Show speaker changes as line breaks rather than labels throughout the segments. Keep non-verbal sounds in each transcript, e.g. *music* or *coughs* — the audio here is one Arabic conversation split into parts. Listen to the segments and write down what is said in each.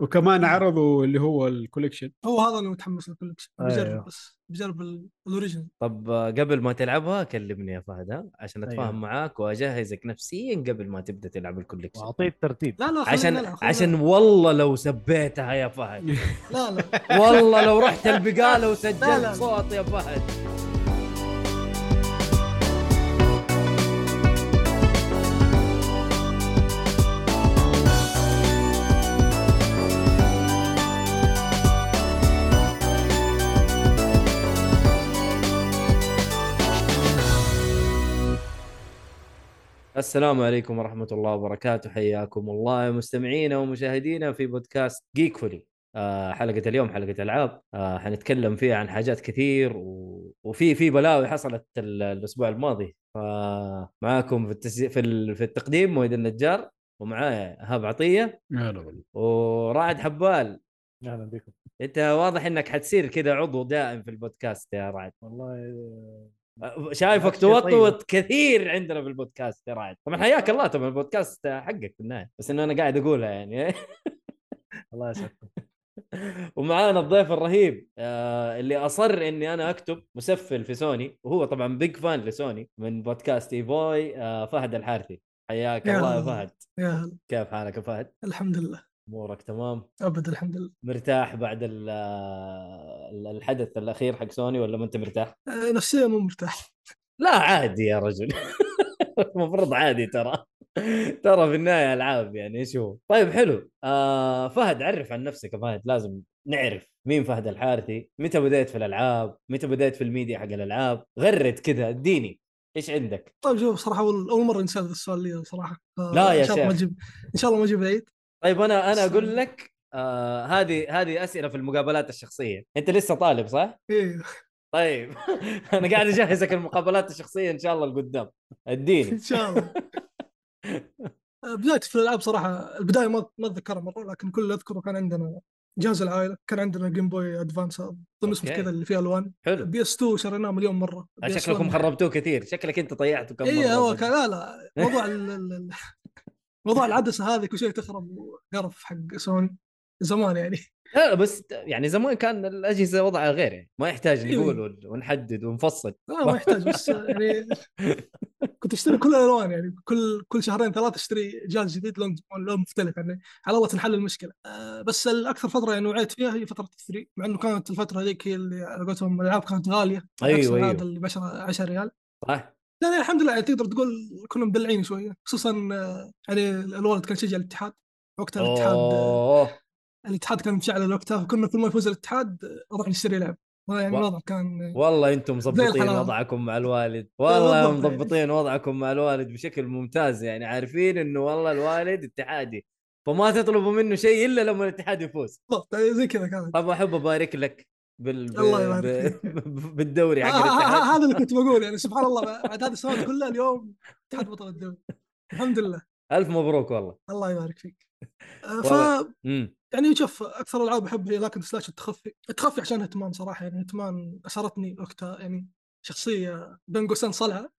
وكمان
إيه.
عرضوا اللي هو الكوليكشن
هو هذا اللي متحمس للكولكشن
أيوه.
بجرب بس بجرب ال- الاوريجن
طب آه، قبل ما تلعبها كلمني يا فهد ها عشان اتفاهم
أيوه.
معاك واجهزك نفسيا قبل ما تبدا تلعب الكوليكشن
واعطيه الترتيب
لا لا خلينا
عشان
نلعب، خلينا
عشان
نلعب.
والله لو سبيتها يا فهد
لا لا
والله لو رحت
لا،
البقاله
لا.
وسجلت صوت يا فهد السلام عليكم ورحمة الله وبركاته حياكم الله يا مستمعينا ومشاهدينا في بودكاست جيك فولي آه، حلقة اليوم حلقة ألعاب آه، حنتكلم فيها عن حاجات كثير و... وفي في بلاوي حصلت ال- الأسبوع الماضي فمعاكم في التس... في, ال... في التقديم مويد النجار ومعايا هاب عطية
هلا والله
ورعد حبال
اهلا بكم
أنت واضح أنك حتصير كذا عضو دائم في البودكاست يا رعد
والله آه،
آه، شايفك
نفس الشيء طيب.
توطوط كثير عندنا في البودكاست يا رعد طبعا حياك الله طبعا البودكاست حقك في النهاية بس إنه أنا قاعد أقولها يعني
الله يسعدكم
ومعانا الضيف الرهيب آه اللي اصر اني انا اكتب مسفل في سوني وهو طبعا بيج فان لسوني من بودكاست اي بوي آه فهد الحارثي حياك
يا
الله يا
هلا.
فهد
يا هلا
كيف حالك يا فهد؟
الحمد لله
امورك تمام؟
ابد الحمد لله
مرتاح بعد ال- آه، ال- الحدث الاخير حق سوني ولا ما انت مرتاح؟
آه، نفسيا مو مرتاح
لا عادي يا رجل *laughs* المفروض عادي ترى ترى في النهايه العاب يعني ايش هو طيب حلو آه فهد عرف عن نفسك يا فهد لازم نعرف مين فهد الحارثي متى بديت في الالعاب متى بديت في الميديا حق الالعاب غرد كذا اديني ايش عندك
طيب شوف صراحه اول اول مره نسال هذا السؤال لي صراحه ف-
لا يا
إن شاء الله ما
شيخ.
أجيب- ان شاء الله ما اجيب العيد
طيب انا انا اقول
سلام.
لك آه، هذه هذه اسئله في المقابلات الشخصيه انت لسه طالب صح
ايه
طيب *laughs* انا قاعد اجهزك المقابلات الشخصيه ان شاء الله لقدام اديني
ان شاء الله آه، بدايتي في الالعاب صراحه البدايه ما ما اتذكرها مره لكن كل اللي اذكره كان عندنا جهاز العائله كان عندنا جيم بوي ادفانس ضمن اسمه
أوكي.
كذا اللي فيه الوان
حلو
بي اس 2 شريناه مليون مره
آه، شكلكم خربتوه كثير شكلك انت طيعته كم
اي
مرة
إيه، هو
بس.
كان لا لا موضوع
*laughs*
ال- ال- ال- موضوع العدسه هذه كل شيء تخرب وقرف حق سوني زمان يعني
لا بس يعني زمان كان الاجهزه وضعها غير يعني ما يحتاج
أيوة.
نقول ون- ونحدد ونفصل
لا ما يحتاج بس يعني كنت اشتري كل الالوان يعني كل كل شهرين ثلاثه اشتري جهاز جديد لون لون مختلف يعني على الله تنحل المشكله آه، بس الاكثر فتره يعني وعيت فيها هي فتره الثري مع انه كانت الفتره هذيك هي اللي على قولتهم الالعاب كانت غاليه
أيوة،
الأكسن
أيوة.
هذا اللي ب 10 10 ريال
صح؟
لا لا الحمد لله يعني تقدر تقول كنا مدلعين شويه خصوصا آه، يعني الوالد كان يشجع الاتحاد وقتها الاتحاد آه،
اوه
الاتحاد كان مشعل وقتها فكنا كل ما يفوز الاتحاد نروح نشتري لعب يعني
و-
الوضع كان
والله انتم مظبطين
الحلاوة.
وضعكم مع
إيه،
الوالد والله
بالضبط.
مظبطين وضعكم مع الوالد بشكل ممتاز يعني عارفين انه والله الوالد اتحادي فما تطلبوا منه شيء الا لما الاتحاد يفوز
بالضبط يعني زي كذا كانت
طب احب ابارك لك بال... ب...
الله يبارك
ب... *laughs* بالدوري
آه،
حق
آه، آه،
الاتحاد
هذا اللي كنت بقول يعني سبحان الله بعد هذه السنوات كلها اليوم اتحاد بطل الدوري الحمد لله
الف مبروك والله
الله يبارك فيك آه، ف
والله. امم
يعني شوف اكثر الالعاب احبها هي لكن سلاش التخفي التخفي عشان هتمان صراحه يعني هتمان اثرتني وقتها يعني شخصيه بين قوسين صلعه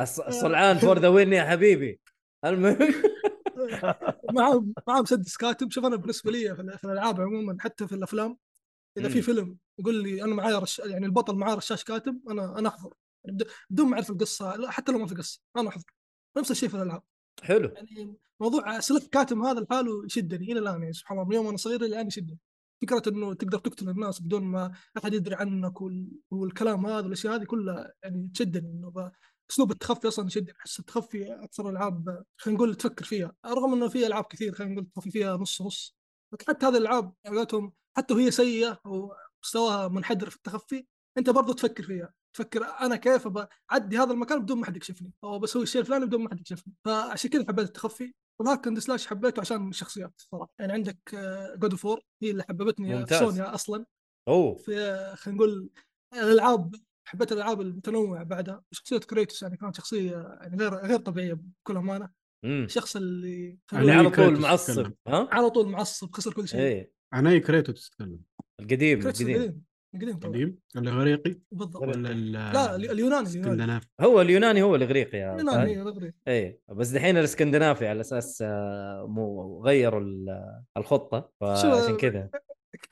الص- الصلعان فور ذا وين يا حبيبي المهم *laughs*
مع مع مسدس كاتب شوف انا بالنسبه لي في ال- في الالعاب عموما حتى في الافلام اذا
مم.
في فيلم يقول لي انا معايا رش... يعني البطل معاه رشاش كاتب انا انا احضر يعني بد- بدون ما اعرف القصه لا حتى لو ما في قصه انا احضر نفس الشيء في الالعاب
حلو
يعني موضوع سلك كاتم هذا لحاله يشدني الى الان يعني سبحان الله من يوم انا صغير الى الان يشدني فكره انه تقدر تقتل الناس بدون ما احد يدري عنك وال... والكلام هذا والاشياء هذه كلها يعني تشدني انه ب... اسلوب التخفي اصلا يشدني احس التخفي اكثر العاب خلينا نقول تفكر فيها رغم انه في العاب كثير خلينا نقول تخفي فيها نص نص لكن حتى هذه الالعاب يعني قولتهم حتى وهي سيئه ومستواها منحدر في التخفي انت برضو تفكر فيها تفكر انا كيف بعدي هذا المكان بدون ما حد يكشفني او بسوي الشيء الفلاني بدون ما حد يكشفني فعشان كذا حبيت التخفي والهاك اند سلاش حبيته عشان الشخصيات الصراحه يعني عندك جود اوف هي اللي حببتني في
ممتاز.
سونيا اصلا
اوه
في آه، خلينا نقول الالعاب حبيت الالعاب المتنوعه بعدها شخصيه كريتوس يعني كانت شخصيه يعني غير غير طبيعيه بكل امانه
امم
الشخص اللي خلينا
اللي
نقول
يعني
على
كريتوس
طول معصب
تتكلم.
ها؟
على طول معصب خسر كل شيء
ايه
عن اي كريتو تتكلم
القديم
كريتوس
القديم
القديم من قديم طبعا
قديم الاغريقي
بالضبط
ولا-
ولا ال-
لا ال- اليوناني اليوناني
الاسكندنافي
هو اليوناني هو الاغريقي يا
اليوناني
فهد.
هي الإغريق.
ايه بس دحين الاسكندنافي على اساس آه، مو غيروا ال- الخطه
شو-
فعشان كذا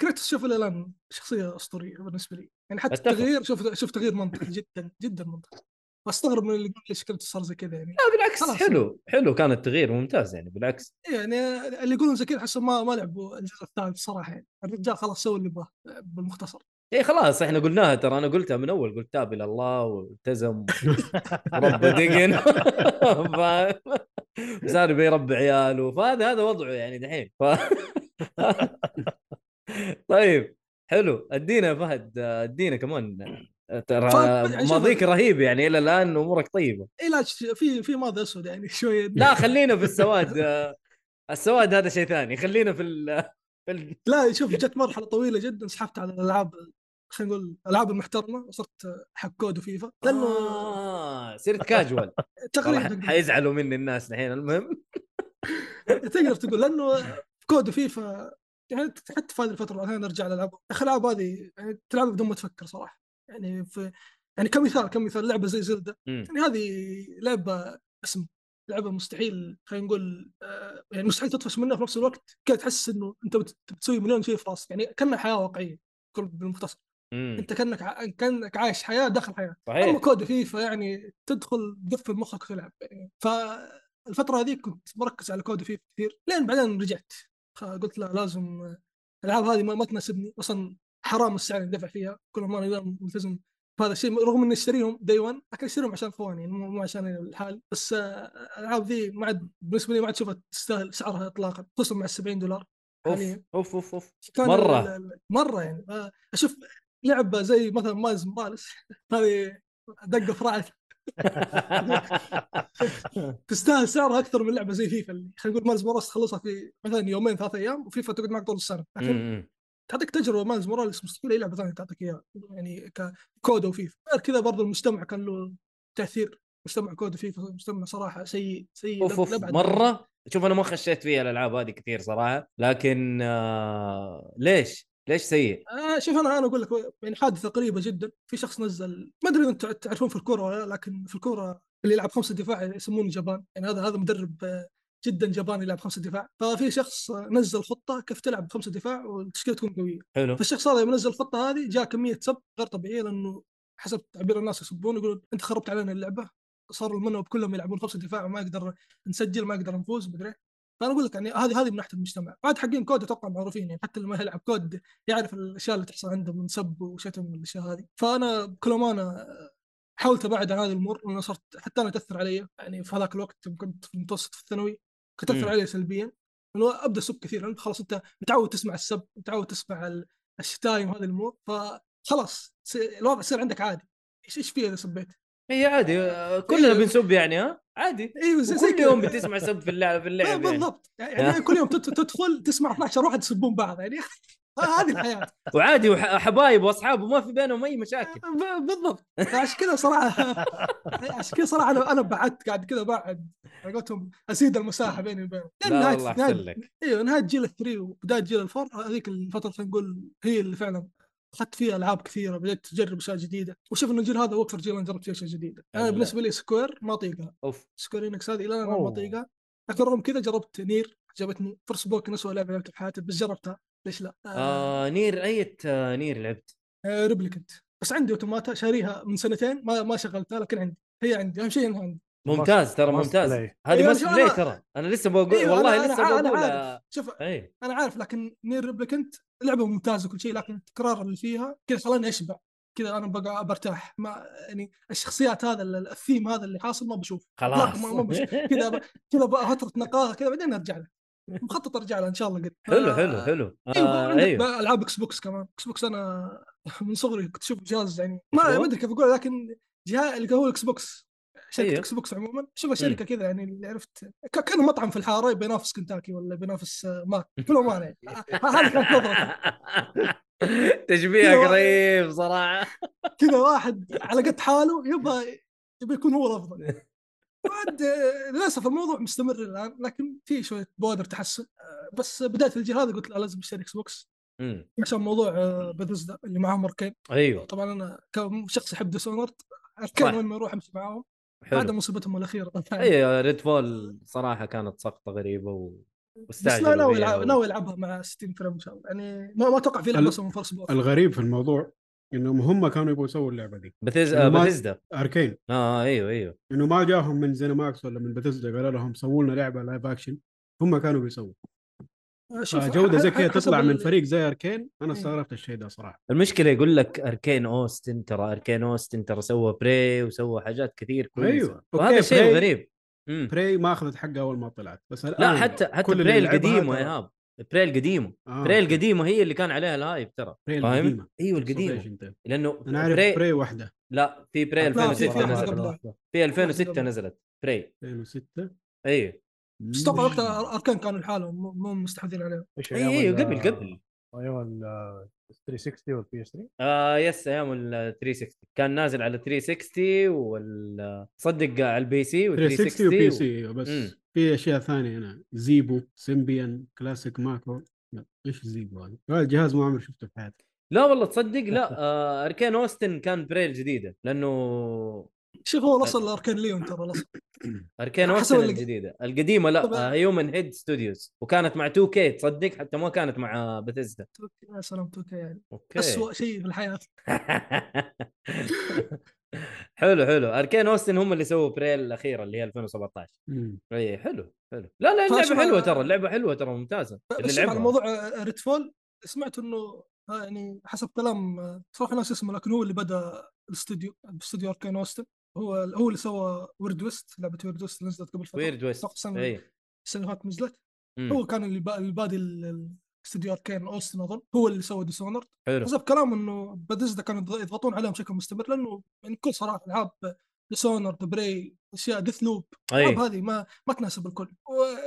كريتوس شوف الى الان شخصيه اسطوريه بالنسبه لي يعني حتى
أتفق.
التغيير شوف شوف تغيير منطقي جدا جدا منطقي واستغرب من اللي يقول ليش كريتوس صار زي كذا يعني
لا بالعكس
خلاص.
حلو حلو كان التغيير ممتاز يعني بالعكس
يعني اللي يقولون زي كذا احسهم ما ما لعبوا الجزء الثالث صراحه يعني الرجال خلاص سوى اللي يبغاه بالمختصر
ايه خلاص احنا قلناها ترى انا قلتها من اول قلت تاب الى الله والتزم رب دقن *laughs* فاهم؟ وصار بيربي عياله فهذا هذا وضعه يعني دحين ف... *laughs* طيب حلو ادينا يا فهد ادينا كمان ترى
فهد، يعني شوف-
ماضيك رهيب يعني الى الان امورك طيبه
اي لا ش- في في ماضي اسود يعني *laughs* شويه
لا خلينا في السواد *laughs* السواد هذا شيء ثاني خلينا في ال... في ال...
لا شوف جت مرحله طويله جدا سحبت على الالعاب خلينا نقول الالعاب المحترمه وصرت حق كود وفيفا لانه
آه، صرت كاجوال
*laughs* تقريبا
حيزعلوا مني الناس الحين المهم
تقدر تقول لانه في كود وفيفا يعني حتى في هذه الفتره الحين ارجع الالعبها يا اخي الالعاب هذه يعني تلعبها بدون ما تفكر صراحه يعني في يعني كمثال كمثال لعبه زي زلدة
مم.
يعني هذه لعبه اسم لعبه مستحيل خلينا نقول آه، يعني مستحيل تطفش منها في نفس الوقت كذا تحس انه انت بت- بتسوي مليون شيء في راسك يعني كانها حياه واقعيه كل بالمختصر
مم.
انت كانك ع- كانك عايش حياه داخل حياه اما
إمم، صحيح
كود فيفا يعني تدخل تقفل مخك وتلعب يعني فالفتره هذيك كنت مركز على كود فيفا كثير لين بعدين رجعت خ- قلت لا لازم آه، الالعاب هذه ما, ما تناسبني اصلا حرام السعر اللي دفع فيها كل ما انا دايماً ملتزم بهذا الشيء رغم اني اشتريهم داي 1 لكن اشتريهم عشان اخواني يعني مو مو عشان أنا الحال بس آه، الالعاب ذي ما عاد بالنسبه لي ما عاد شوفها تستاهل سعرها اطلاقا خصوصا مع 70 دولار
اوف
حاليا.
اوف
*laughs*
اوف اوف
كان
مرة.
ال- ال- مره يعني آه، اشوف لعبه زي مثلا مايز موراليس *laughs* هذه دقه في راعي تستاهل سعرها اكثر من لعبه زي فيفا اللي خلينا نقول مالز موراليس تخلصها في مثلا يومين ثلاث ايام وفيفا تقعد معك طول السنه لكن
مم.
تعطيك تجربه مالز موراليس مستحيل اي لعبه ثانيه تعطيك اياها يعني ككود وفيفا غير كذا برضو المجتمع كان له تاثير مجتمع كود وفيفا مجتمع صراحه سيء سيء
اوف
لأب-
اوف
لأبعد
مره شوف انا ما خشيت فيها الالعاب هذه كثير صراحه لكن آه... ليش؟ ليش سيء؟
آه شوف انا انا اقول لك يعني حادثه قريبه جدا في شخص نزل ما ادري إذا انتم تعرفون في الكوره ولا لا، لكن في الكوره اللي يلعب خمسه دفاع يسمونه جبان يعني هذا هذا مدرب آه، جدا جبان يلعب خمسه دفاع ففي شخص آه، نزل خطه كيف تلعب خمسه دفاع والتشكيله تكون قويه
حلو
فالشخص هذا يوم نزل الخطه هذه جاء كميه سب غير طبيعيه لانه حسب تعبير الناس يسبون يقولون انت خربت علينا اللعبه صاروا المنوب كلهم يلعبون خمسه دفاع وما يقدر نسجل ما يقدر نفوز مدري إيه. فانا اقول لك يعني هذه هذه من ناحيه المجتمع بعد حقين كود اتوقع معروفين يعني حتى اللي ما يلعب كود يعرف الاشياء اللي تحصل عنده من سب وشتم والاشياء هذه فانا بكل امانه حاولت ابعد عن هذه الامور لانه صرت حتى انا تاثر علي يعني في هذاك الوقت يوم كنت في المتوسط في الثانوي كنت
مم.
تاثر علي سلبيا لانه ابدا اسب كثير لانك خلاص انت متعود تسمع السب متعود تسمع ال- الشتايم وهذه الامور فخلاص س- الوضع يصير عندك عادي ايش ايش في اذا سبيت؟
هي عادي آه، كلنا
إيه.
بنسب يعني ها عادي
ايوه زي زي
كل
كذا.
يوم بتسمع سب في اللعب
*laughs*
في
لا،
اللعب يعني.
بالضبط يعني كل يوم تد- تدخل تسمع 12 واحد يسبون بعض يعني هذه الحياه
*laughs* وعادي وحبايب واصحاب وما في بينهم اي مشاكل
ب- بالضبط عشان كذا صراحه عشان كذا صراحه انا انا بعدت قاعد كذا بعد على قولتهم اسيد المساحه بيني وبينهم لأن
لا
نهاية-
والله
نهاية-
احسن لك
ايوه نهايه جيل 3 وبدايه جيل الفور هذيك الفتره خلينا نقول هي اللي فعلا اخذت فيها العاب كثيره بديت تجرب اشياء جديده وشوف انه الجيل هذا هو اكثر جيل انا جربت فيه اشياء جديده انا
الله.
بالنسبه لي سكوير ما اطيقها
اوف
سكوير انكس هذه الى الان أنا ما
أوه.
اطيقها لكن رغم كذا جربت نير عجبتني فرص بوكن اسوء لعبه لعبتها في حياتي بس جربتها ليش لا؟
آه نير اي آه نير لعبت
ريبليكنت بس عندي اوتوماتا شاريها من سنتين ما ما شغلتها لكن عندي هي عندي اهم شيء انها عندي
ممتاز ترى
Must
ممتاز
play.
هذه
أيوة،
ماست
شو أنا-
بلاي ترى انا لسه بقول
أيوة،
والله
أنا- أنا
لسه
عا- أنا
بقول آه، إيه،
عارف. شوف
اي
انا عارف لكن نير ريبليكنت لعبه ممتازه كل شيء لكن التكرار اللي فيها كذا خلاني اشبع كذا انا بقى برتاح ما يعني الشخصيات هذا ال- الثيم هذا اللي حاصل ما بشوف
خلاص
ما-
*laughs*
ما بش- كذا ب- كذا بقى فتره نقاهه كذا بعدين ارجع له مخطط ارجع له ان شاء الله قريب
حلو
آه،
حلو حلو
ايوه
آه
عندك
ايوه
بقى العاب اكس بوكس كمان اكس بوكس انا *laughs* من صغري كنت اشوف جهاز يعني ما
شلون؟
ما ادري كيف اقول لكن جهاز اللي هو الاكس بوكس شركه
أيوه.
اكس بوكس عموما شوفها شركه كذا يعني اللي عرفت ك- كانه مطعم في الحاره بينافس كنتاكي ولا بينافس آه، ماك كل امانه
*laughs*
يعني ه- هذه كانت نظرتي
تشبيه
كذا-
قريب صراحه
كذا واحد على قد حاله يبغى يبغى يكون هو الافضل بعد آه، للاسف الموضوع مستمر الان لكن في شويه بوادر تحسن آه، بس بدايه الجيل هذا قلت لا لازم اشتري اكس بوكس
امم
عشان موضوع بذزدا اللي معاهم اركين
ايوه
طبعا انا كشخص يحب ديسونرد اركين
صح.
وين ما اروح امشي معاهم بعد
حلو إيه،
مصيبتهم
*laughs*
الاخيره
اي ريد فول صراحه كانت سقطه غريبه و...
بس لا
واستعجلوا
ناوي
فيها
يلعب-
و-
ناوي يلعبها مع 60 فريم ان شاء الله يعني ما ما اتوقع في
ال-
لعبه اسمها فورس بور
الغريب في الموضوع انهم هم كانوا يبغوا يسووا اللعبه دي
بثيز... آه،
ما-
بثيزدا
اركين
اه ايوه ايوه
انه ما جاهم من زينماكس ولا من بتزدا قالوا لهم سووا لنا لعبه لايف اكشن هم كانوا بيسووا فجوده آه، زي كذا تطلع من فريق زي اركين انا
إيه.
استغربت الشيء ده صراحه
المشكله يقول لك اركين اوستن ترى اركين اوستن ترى سوى بري وسوى حاجات كثير كويسه
أيوه.
ايوه
أيوه. وهذا شيء
براي-
غريب مم.
براي ما اخذت حقها اول ما طلعت بس
لا
الان
أيوه،
حتى حتى
كل
براي
اللي لعبها
القديمه
ترى-
يا هاب براي القديمه
آه.
براي القديمه هي اللي كان عليها الهايب ترى
براي
فاهم؟
القديمه
ايوه
صدق
القديمه
انت.
لانه
انا عارف
براي-
براي واحده
لا في براي
لا، في-
2006
في واحدة
نزلت
قبل.
في 2006
قبل.
نزلت إيه. براي
2006
اي
بس اتوقع وقتها اركان كانوا لحالهم مو- مو مستحوذين عليهم
ايش
اي اي إيه، قبل قبل
ايام ال 360 والبي اس 3
آه يس ايام ال 360 كان نازل على 360 وال صدق على البي سي وال
360 وبي
360 و-
سي ايوه بس
مم.
في اشياء ثانيه هنا زيبو سيمبيان كلاسيك ماكرو لا، ايش زيبو هذا؟ هذا الجهاز ما عمري شفته في حياتي
لا والله تصدق لا آه اركين اوستن كان براي الجديده لانه
شوف هو الاصل اركان ليون ترى الاصل
اركين
حسب
اوستن
اللي-
الجديده القديمه لا آه،
طبعاً.
هيومن هيد ستوديوز وكانت مع 2 كي تصدق حتى ما كانت مع بثيزدا
يا سلام توكا يعني
اوكي
اسوء شيء في الحياه
حلو حلو اركين اوستن هم اللي سووا بريل الاخيره اللي هي 2017
مم.
اي حلو حلو لا لا
خلاص
اللعبه
ما-
حلوه ترى اللعبه حلوه ترى ممتازه اللي
بس على
لعبها
موضوع آه، ريد فول سمعت انه آه، يعني حسب كلام آه، صراحه ناس اسمه لكن هو اللي بدا الاستوديو استوديو اركان اوستن هو هو اللي سوى ويرد ويست لعبه ويرد ويست اللي نزلت قبل فتره
ويرد ويست
أتوقع السنه
اي
السنه اللي فاتت نزلت
مم.
هو كان اللي با- اللي بادي ال- ال- استوديو اركين اوستن اظن هو اللي سوى ديسونر
حلو
حسب كلام انه بادزدا كانوا يضغ- يضغطون عليهم بشكل مستمر لانه يعني كل صراحه العاب ديسونر بري اشياء ديث لوب
اي
الالعاب هذه ما ما تناسب الكل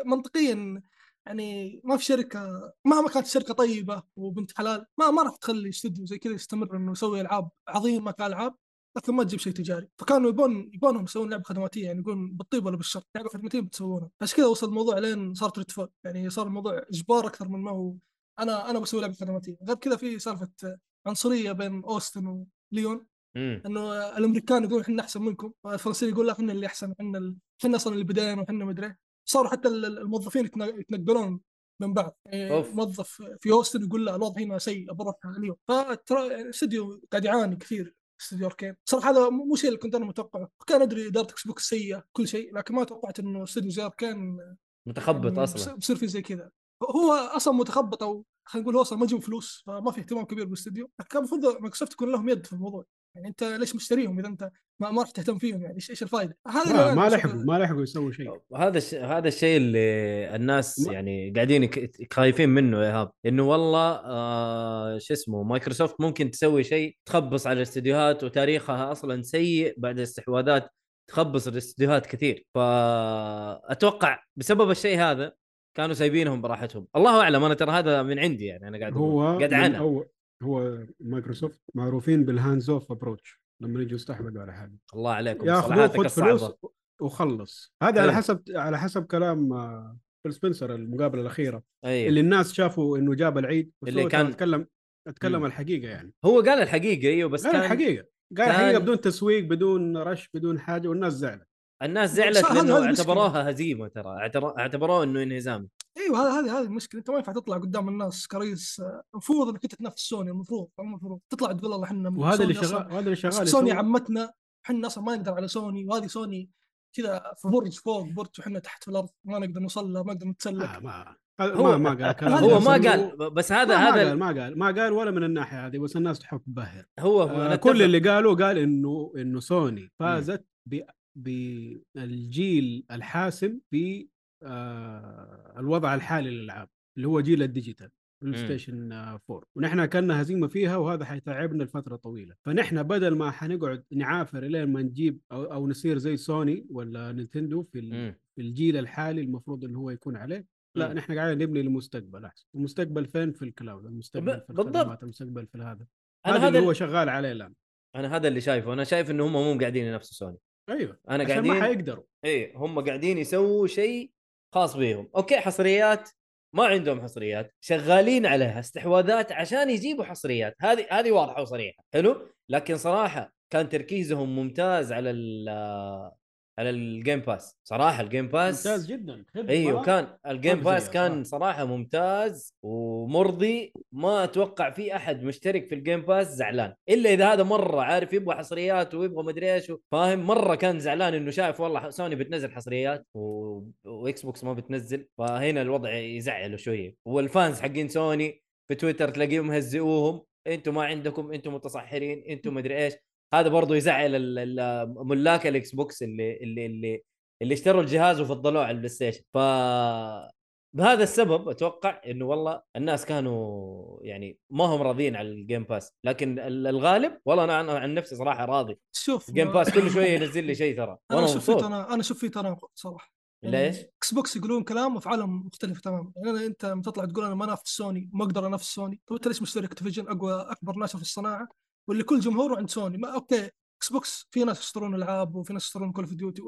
ومنطقيا يعني ما في شركه مهما كانت الشركه طيبه وبنت حلال ما ما راح تخلي استوديو زي كذا يستمر انه يسوي العاب عظيمه كالعاب لكن ما تجيب شيء تجاري فكانوا يبون يبونهم يسوون لعبه خدماتيه يعني يقولون بالطيب ولا بالشر لعبه خدماتيه بتسوونها عشان كذا وصل الموضوع لين صارت ريدفول يعني صار الموضوع اجبار اكثر من ما هو انا انا بسوي لعبه خدماتيه غير كذا في سالفه عنصريه بين اوستن وليون
مم.
انه الامريكان يقولون احنا احسن منكم الفرنسي يقول لا احنا اللي احسن احنا ال- احنا اصلا اللي بدينا وحنا مدري إيه. صاروا حتى ال- ال- الموظفين يتنا- يتنقلون من بعض يعني
أوف.
موظف في اوستن يقول لا الوضع هنا سيء بروح اليوم فترى يعني استديو قاعد يعاني كثير استديو اركين صراحه هذا مو مو شيء اللي كنت انا متوقعه كان ادري اداره اكس بوكس سيئه كل شيء لكن ما توقعت انه استديو زي اركين
متخبط
يعني
اصلا
بص- بصير في زي كذا هو اصلا متخبط او خلينا نقول هو اصلا ما يجيب فلوس فما في اهتمام كبير بالاستديو كان المفروض مايكروسوفت يكون لهم يد في الموضوع يعني انت ليش مشتريهم اذا انت ما, ما راح تهتم فيهم يعني ايش إيش الفائده؟ هذا
ما,
اللي
ما
أنا
لحقوا ما لحقوا يسووا شيء
هذا الش... هذا الشيء اللي الناس
ما-
يعني قاعدين يك- خايفين منه يا ايهاب انه والله آه شو اسمه مايكروسوفت ممكن تسوي شيء تخبص على الاستديوهات وتاريخها اصلا سيء بعد الاستحواذات تخبص الاستديوهات كثير فاتوقع بسبب الشيء هذا كانوا سايبينهم براحتهم الله اعلم انا ترى هذا من عندي يعني انا قاعد أقول.
هو
قاعد
من
عنها
أول هو مايكروسوفت معروفين بالهاندز اوف ابروتش لما يجوا يستحوذوا على حاجه
الله عليكم
ياخذوه
صلاحاتك
خذ فلوس
الصعبه
وخلص هذا على
أيوه.
حسب على حسب كلام آه، فيل سبنسر المقابله الاخيره
أيوه.
اللي الناس شافوا انه جاب العيد بس
اللي
هو
كان-
كان اتكلم اتكلم
مم.
الحقيقه يعني
هو قال الحقيقه ايوه بس
قال
كان
الحقيقه قال
كان-
الحقيقه بدون تسويق بدون رش بدون حاجه والناس زعلت
الناس
صح،
زعلت
هذا-
لانه
هذا المشكلة.
اعتبروها هزيمه ترى اعتبر- اعتبروه انه انهزامي
ايوه هذا هذه هذه المشكله انت ما ينفع تطلع قدام الناس كرئيس آه، المفروض انك انت تنافس سوني المفروض المفروض تطلع تقول والله احنا
وهذا اللي
سوني أصلاً-
شغال هذا اللي شغال
سوني
يسوي-
عمتنا احنا اصلا ما نقدر على سوني وهذه سوني كذا في برج فوق برج وحنا تحت في الارض ما نقدر نوصل له ما نقدر نتسلق
آه، ما هذا- ما
هو-
ما قال كلام
هذا
هو
بس
ما
إنه-
قال ب- بس
لا،
هذا
ما
هذا
قال ما قال ما قال ولا من الناحيه هذه بس الناس تحب تبهر
هو هو
آه
أنا إمم.
كل
أتفق.
اللي قالوا قال انه انه سوني فازت ب- بالجيل الحاسم في آه الوضع الحالي للالعاب اللي هو جيل الديجيتال بلاي
مم.
ستيشن آه، 4 ونحن كنا هزيمه فيها وهذا حيتعبنا لفتره طويله فنحن بدل ما حنقعد نعافر لين ما نجيب او, أو نصير زي سوني ولا نينتندو في ال-
مم.
في الجيل الحالي المفروض انه هو يكون عليه لا
مم.
نحن قاعدين نبني المستقبل احسن المستقبل فين في الكلاود المستقبل في
بالضبط.
الخدمات المستقبل في هذا
انا
هذا اللي
هذا
هو شغال عليه الان
انا هذا اللي شايفه انا شايف انه هم مو قاعدين ينافسوا سوني
ايوه
انا
عشان ما
قاعدين
حيقدروا
اي هم قاعدين يسووا شيء خاص بيهم اوكي حصريات ما عندهم حصريات شغالين عليها استحواذات عشان يجيبوا حصريات هذه هذه واضحه وصريحه حلو لكن صراحه كان تركيزهم ممتاز على ال على الجيم باس صراحه الجيم باس
ممتاز جدا خدمة
ايوه كان الجيم
ما في
باس
زيها
كان صراحه ممتاز ومرضي ما اتوقع في احد مشترك في الجيم باس زعلان الا اذا هذا مره عارف يبغى حصريات ويبغى مدري ايش فاهم مره كان زعلان انه شايف والله سوني بتنزل حصريات و... واكس بوكس ما بتنزل فهنا الوضع يزعله شويه والفانز حقين سوني في تويتر تلاقيهم هزئوهم انتم ما عندكم انتم متصحرين انتم مدري ايش هذا برضه يزعل ال- ال- ملاك الاكس بوكس اللي اللي اللي اللي اشتروا الجهاز وفضلوه على البلاي ستيشن ف بهذا السبب اتوقع انه والله الناس كانوا يعني ما هم راضيين على الجيم باس لكن ال- الغالب والله انا انا عن نفسي صراحه راضي
شوف
الجيم باس كل
*laughs*
شويه ينزل لي شيء ترى
انا
وانا
اشوف في
مبسوط
تنا... انا اشوف في تناقض صراحه
ليش؟
اكس بوكس يقولون كلام وفي عالم مختلف تماما يعني أنا انت لما تطلع تقول انا ما انافس سوني ما اقدر انافس سوني طب انت ليش مشتري اكتيفيجن اقوى اكبر ناشر في الصناعه واللي كل جمهوره عند سوني ما اوكي اكس بوكس في ناس يشترون العاب وفي ناس يشترون كول اوف ديوتي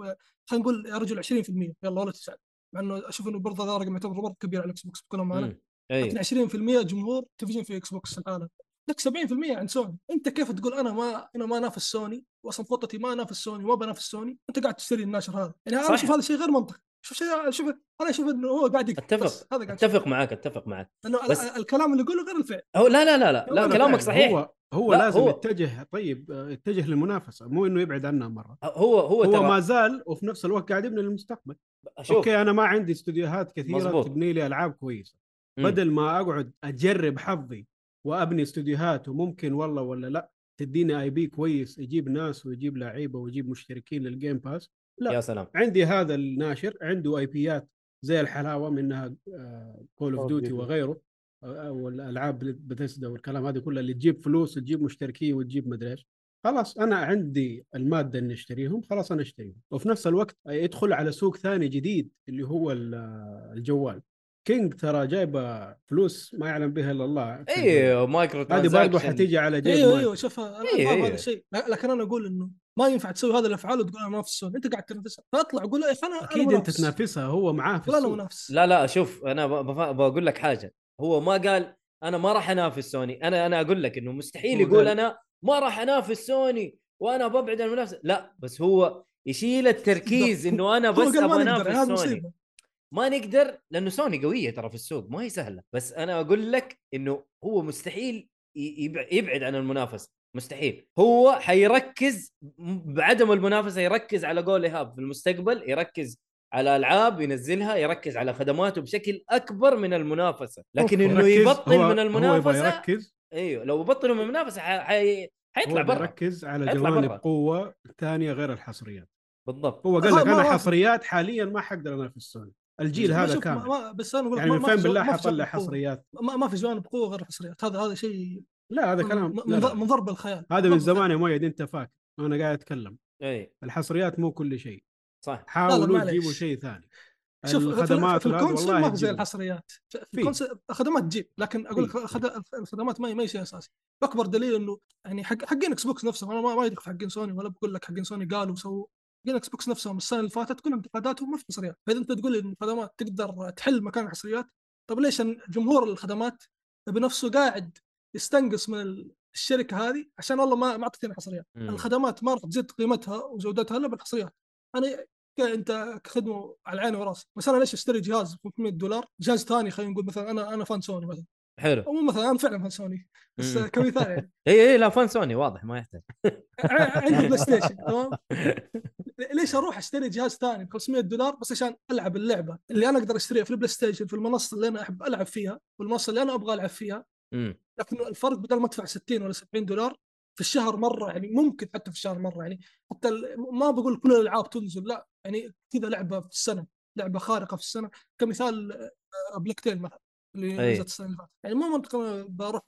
خلينا نقول يا رجل 20% يلا ولا تسال مع انه اشوف انه برضه هذا رقم يعتبر برضه كبير على الاكس بوكس بكل امانه
مم. إيه. اي
لكن 20% جمهور تلفزيون في اكس بوكس العالم لك 70% عند سوني انت كيف تقول انا ما انا ما انافس سوني واصلا خطتي ما انافس سوني وما بنافس سوني انت قاعد تشتري الناشر هذا يعني انا
صح.
اشوف هذا شيء غير منطقي شوف شيء شوف انا اشوف انه هو قاعد يكذب
أتفق.
بس هذا قاعد
اتفق معاك اتفق معك
لانه
بس-
ال- الكلام اللي يقوله غير الفعل
هو لا لا لا لا,
لا،
لا
لا،
كلامك
فعلاً.
صحيح هو
هو هو
لا،
لازم
هو-
يتجه طيب آه، يتجه للمنافسه مو انه يبعد عنها مره
هو, هو
هو
ترى
ما زال وفي نفس الوقت قاعد يبني للمستقبل
شوف
اوكي انا ما عندي استديوهات كثيره
مظبوط.
تبني لي العاب كويسه
مم.
بدل ما اقعد اجرب حظي وابني استديوهات وممكن والله ولا لا تديني اي بي كويس يجيب ناس ويجيب لعيبه ويجيب مشتركين للجيم باس لا.
يا سلام
عندي هذا الناشر عنده اي بيات زي الحلاوه منها آه، كول اوف
Call of
ديوتي
Duty.
وغيره آه، والالعاب بثيسدا والكلام هذه كلها اللي تجيب فلوس وتجيب مشتركين وتجيب مدري ايش خلاص انا عندي الماده اني اشتريهم خلاص انا اشتريهم وفي نفس الوقت يدخل على سوق ثاني جديد اللي هو ال- آه، الجوال كينج ترى جايبه فلوس ما يعلم بها الا الله في الدنيا.
ايوه مايكرو
هذه برضه
ترانزاكشن.
حتيجي على جيب
ايوه
أيوه
ايوه شوف انا
إيه،
فاهم
إيه.
هذا الشيء ل- لكن انا اقول انه ما ينفع تسوي هذا الافعال وتقول انا انافس سوني انت قاعد تنافسها فاطلع إيه، قول اي انا
اكيد
انا
انت
منافس.
تنافسها هو معاه في
لا لا
السوق.
منافس
لا لا شوف انا ب- بف- بقول لك حاجه هو ما قال انا ما راح انافس سوني انا انا اقول لك انه مستحيل
هو
يقول
قال-
انا ما راح انافس سوني وانا ببعد عن المنافسه لا بس هو يشيل التركيز انه انا
هو قال
بس
ما
ابغى
نقدر، هذه
انافس سوني
مصيبة.
ما نقدر لانه سوني قويه ترى في السوق ما هي سهله بس انا اقول لك انه هو مستحيل ي- يبع- يبعد عن المنافسه مستحيل هو حيركز م- بعدم المنافسه يركز على جول ايهاب في المستقبل يركز على العاب ينزلها يركز على خدماته بشكل اكبر من المنافسه لكن انه
يركز،
يبطل
هو-
من
هو يبغى
المنافسه
يركز
ايوه لو بطلوا من المنافسه ح- حي... حيطلع
هو
برا
بيركز على
يطلع
جوانب
برا.
قوه ثانيه غير الحصريات
بالضبط
هو قال
آه،
لك
ما
انا
وافق.
حصريات حاليا ما حقدر انافس سوني الجيل
ما
هذا
شوف، ما-
كامل
ما- بس انا اقول لك
يعني
ما-
من
ما
فين
في جو-
بالله
ما في جو-
حطلع
قوة.
حصريات
ما ما في جوانب قوه غير الحصريات هذا هذا شيء
لا هذا كلام
من-
لا
من
لا.
من ضرب الخيال
هذا
ضرب
من
الخيال.
زمان يا مؤيد انت فاكر انا قاعد اتكلم
اي
الحصريات مو كل شيء
إيه، صح
حاولوا
معليش.
تجيبوا شيء ثاني
شوف في-
الخدمات
في
والهذا
الكونسول ما
والله
في زي
تجيبوا.
الحصريات في في
في.
الكونسول خدمات تجيب لكن اقول لك خد- الخدمات ما هي ما هي شيء اساسي اكبر دليل انه يعني حق حقين اكس بوكس نفسهم انا ما ما يدخل حقين سوني ولا بقول لك حقين سوني قالوا وسووا حقين اكس بوكس نفسهم السنه اللي فاتت كلهم انتقاداتهم ما في حصريات فاذا انت تقول لي ان الخدمات تقدر تحل مكان الحصريات طب ليش إن جمهور الخدمات بنفسه قاعد يستنقص من ال- الشركه هذه عشان والله ما ما اعطتنا حصريات
مم.
الخدمات ما راح تزيد قيمتها وجودتها الا بالحصريات انا ك- انت كخدمه على عيني وراسي بس انا ليش اشتري جهاز ب 500 دولار جهاز ثاني خلينا نقول مثلا انا انا فان سوني مثلا
حلو
او مو مثلا انا فعلا فان سوني بس
مم.
كمثال يعني
اي اي لا فان سوني واضح ما
*laughs*
يحتاج
ع-
*laughs*
عندي بلاي ستيشن تمام ليش اروح اشتري جهاز ثاني ب 500 دولار بس عشان العب اللعبه اللي انا اقدر اشتريها في البلاي ستيشن في المنصه اللي انا احب العب فيها والمنصه اللي انا ابغى العب فيها
مم.
لكن الفرق بدل ما ادفع 60 ولا 70 دولار في الشهر مره يعني ممكن حتى في الشهر مره يعني حتى ال- ما بقول كل الالعاب تنزل لا يعني كذا لعبه في السنه لعبه خارقه في السنه كمثال آه، بلاك تيل مثلا اللي
أي.
نزلت السنه اللي فاتت يعني ما منطق أنا بروح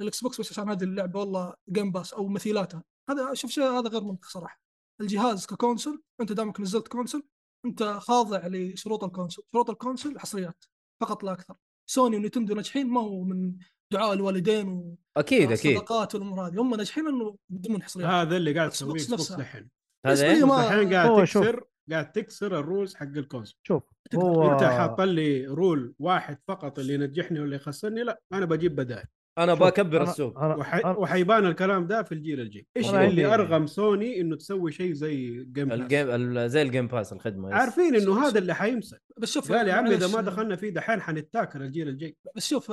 الاكس بوكس بس عشان هذه اللعبه والله جيم باس او مثيلاتها هذا شوف شيء هذا غير منطق صراحه الجهاز ككونسول انت دامك نزلت كونسول انت خاضع لشروط الكونسول شروط الكونسول حصريات فقط لا اكثر سوني ونتندو ناجحين ما هو من دعاء الوالدين و
اكيد اكيد
صداقات والامور هذه هم ناجحين انه يقدمون حصريات
هذا اللي قاعد
Xbox
تسويه اكس بوكس
نفسها.
دحين
هذا إيه؟
إيه؟
الحين قاعد
هو شوف.
تكسر قاعد تكسر الرولز حق الكونسول
شوف
هو...
هو
انت حاط لي رول واحد فقط اللي ينجحني واللي يخسرني لا انا بجيب بدائل
انا
شوف،
بكبر
أنا-
السوق
أنا-
وح...
أنا-
وحيبان الكلام ده في الجيل الجاي ايش
والله
اللي
عندي-
ارغم سوني انه تسوي شيء زي جيم الجيم
الجيم ال- زي الجيم باس الخدمه يس.
عارفين انه هذا اللي حيمسك
بس شوف
قال يا عمي اذا
معلش،
ما دخلنا فيه دحين حنتاكل الجيل الجاي
بس شوف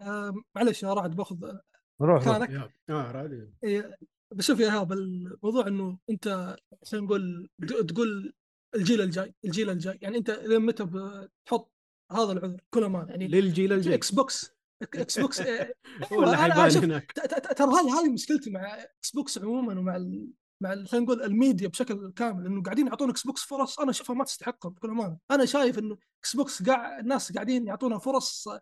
آه، معلش يا رعد باخذ
روح روح.
مكانك
يا- اه راضي
إيه، بس شوف يا ايهاب الموضوع انه انت خلينا نقول د- تقول الجيل الجاي الجيل الجاي يعني انت لين متى بتحط هذا العذر كل ما يعني
للجيل الجاي
اكس بوكس اكس
*laughs*
بوكس إيه،
هو اللي
أنا- أنا
حيبان
شوف-
هناك
ت- ت- ترى هذه هذه مشكلتي مع اكس بوكس عموما ومع ال... مع ال- خلينا نقول الميديا بشكل كامل انه قاعدين يعطون اكس بوكس فرص انا اشوفها ما تستحقها بكل امانه انا شايف انه اكس بوكس قاعد الناس قاعدين يعطونا فرص آه،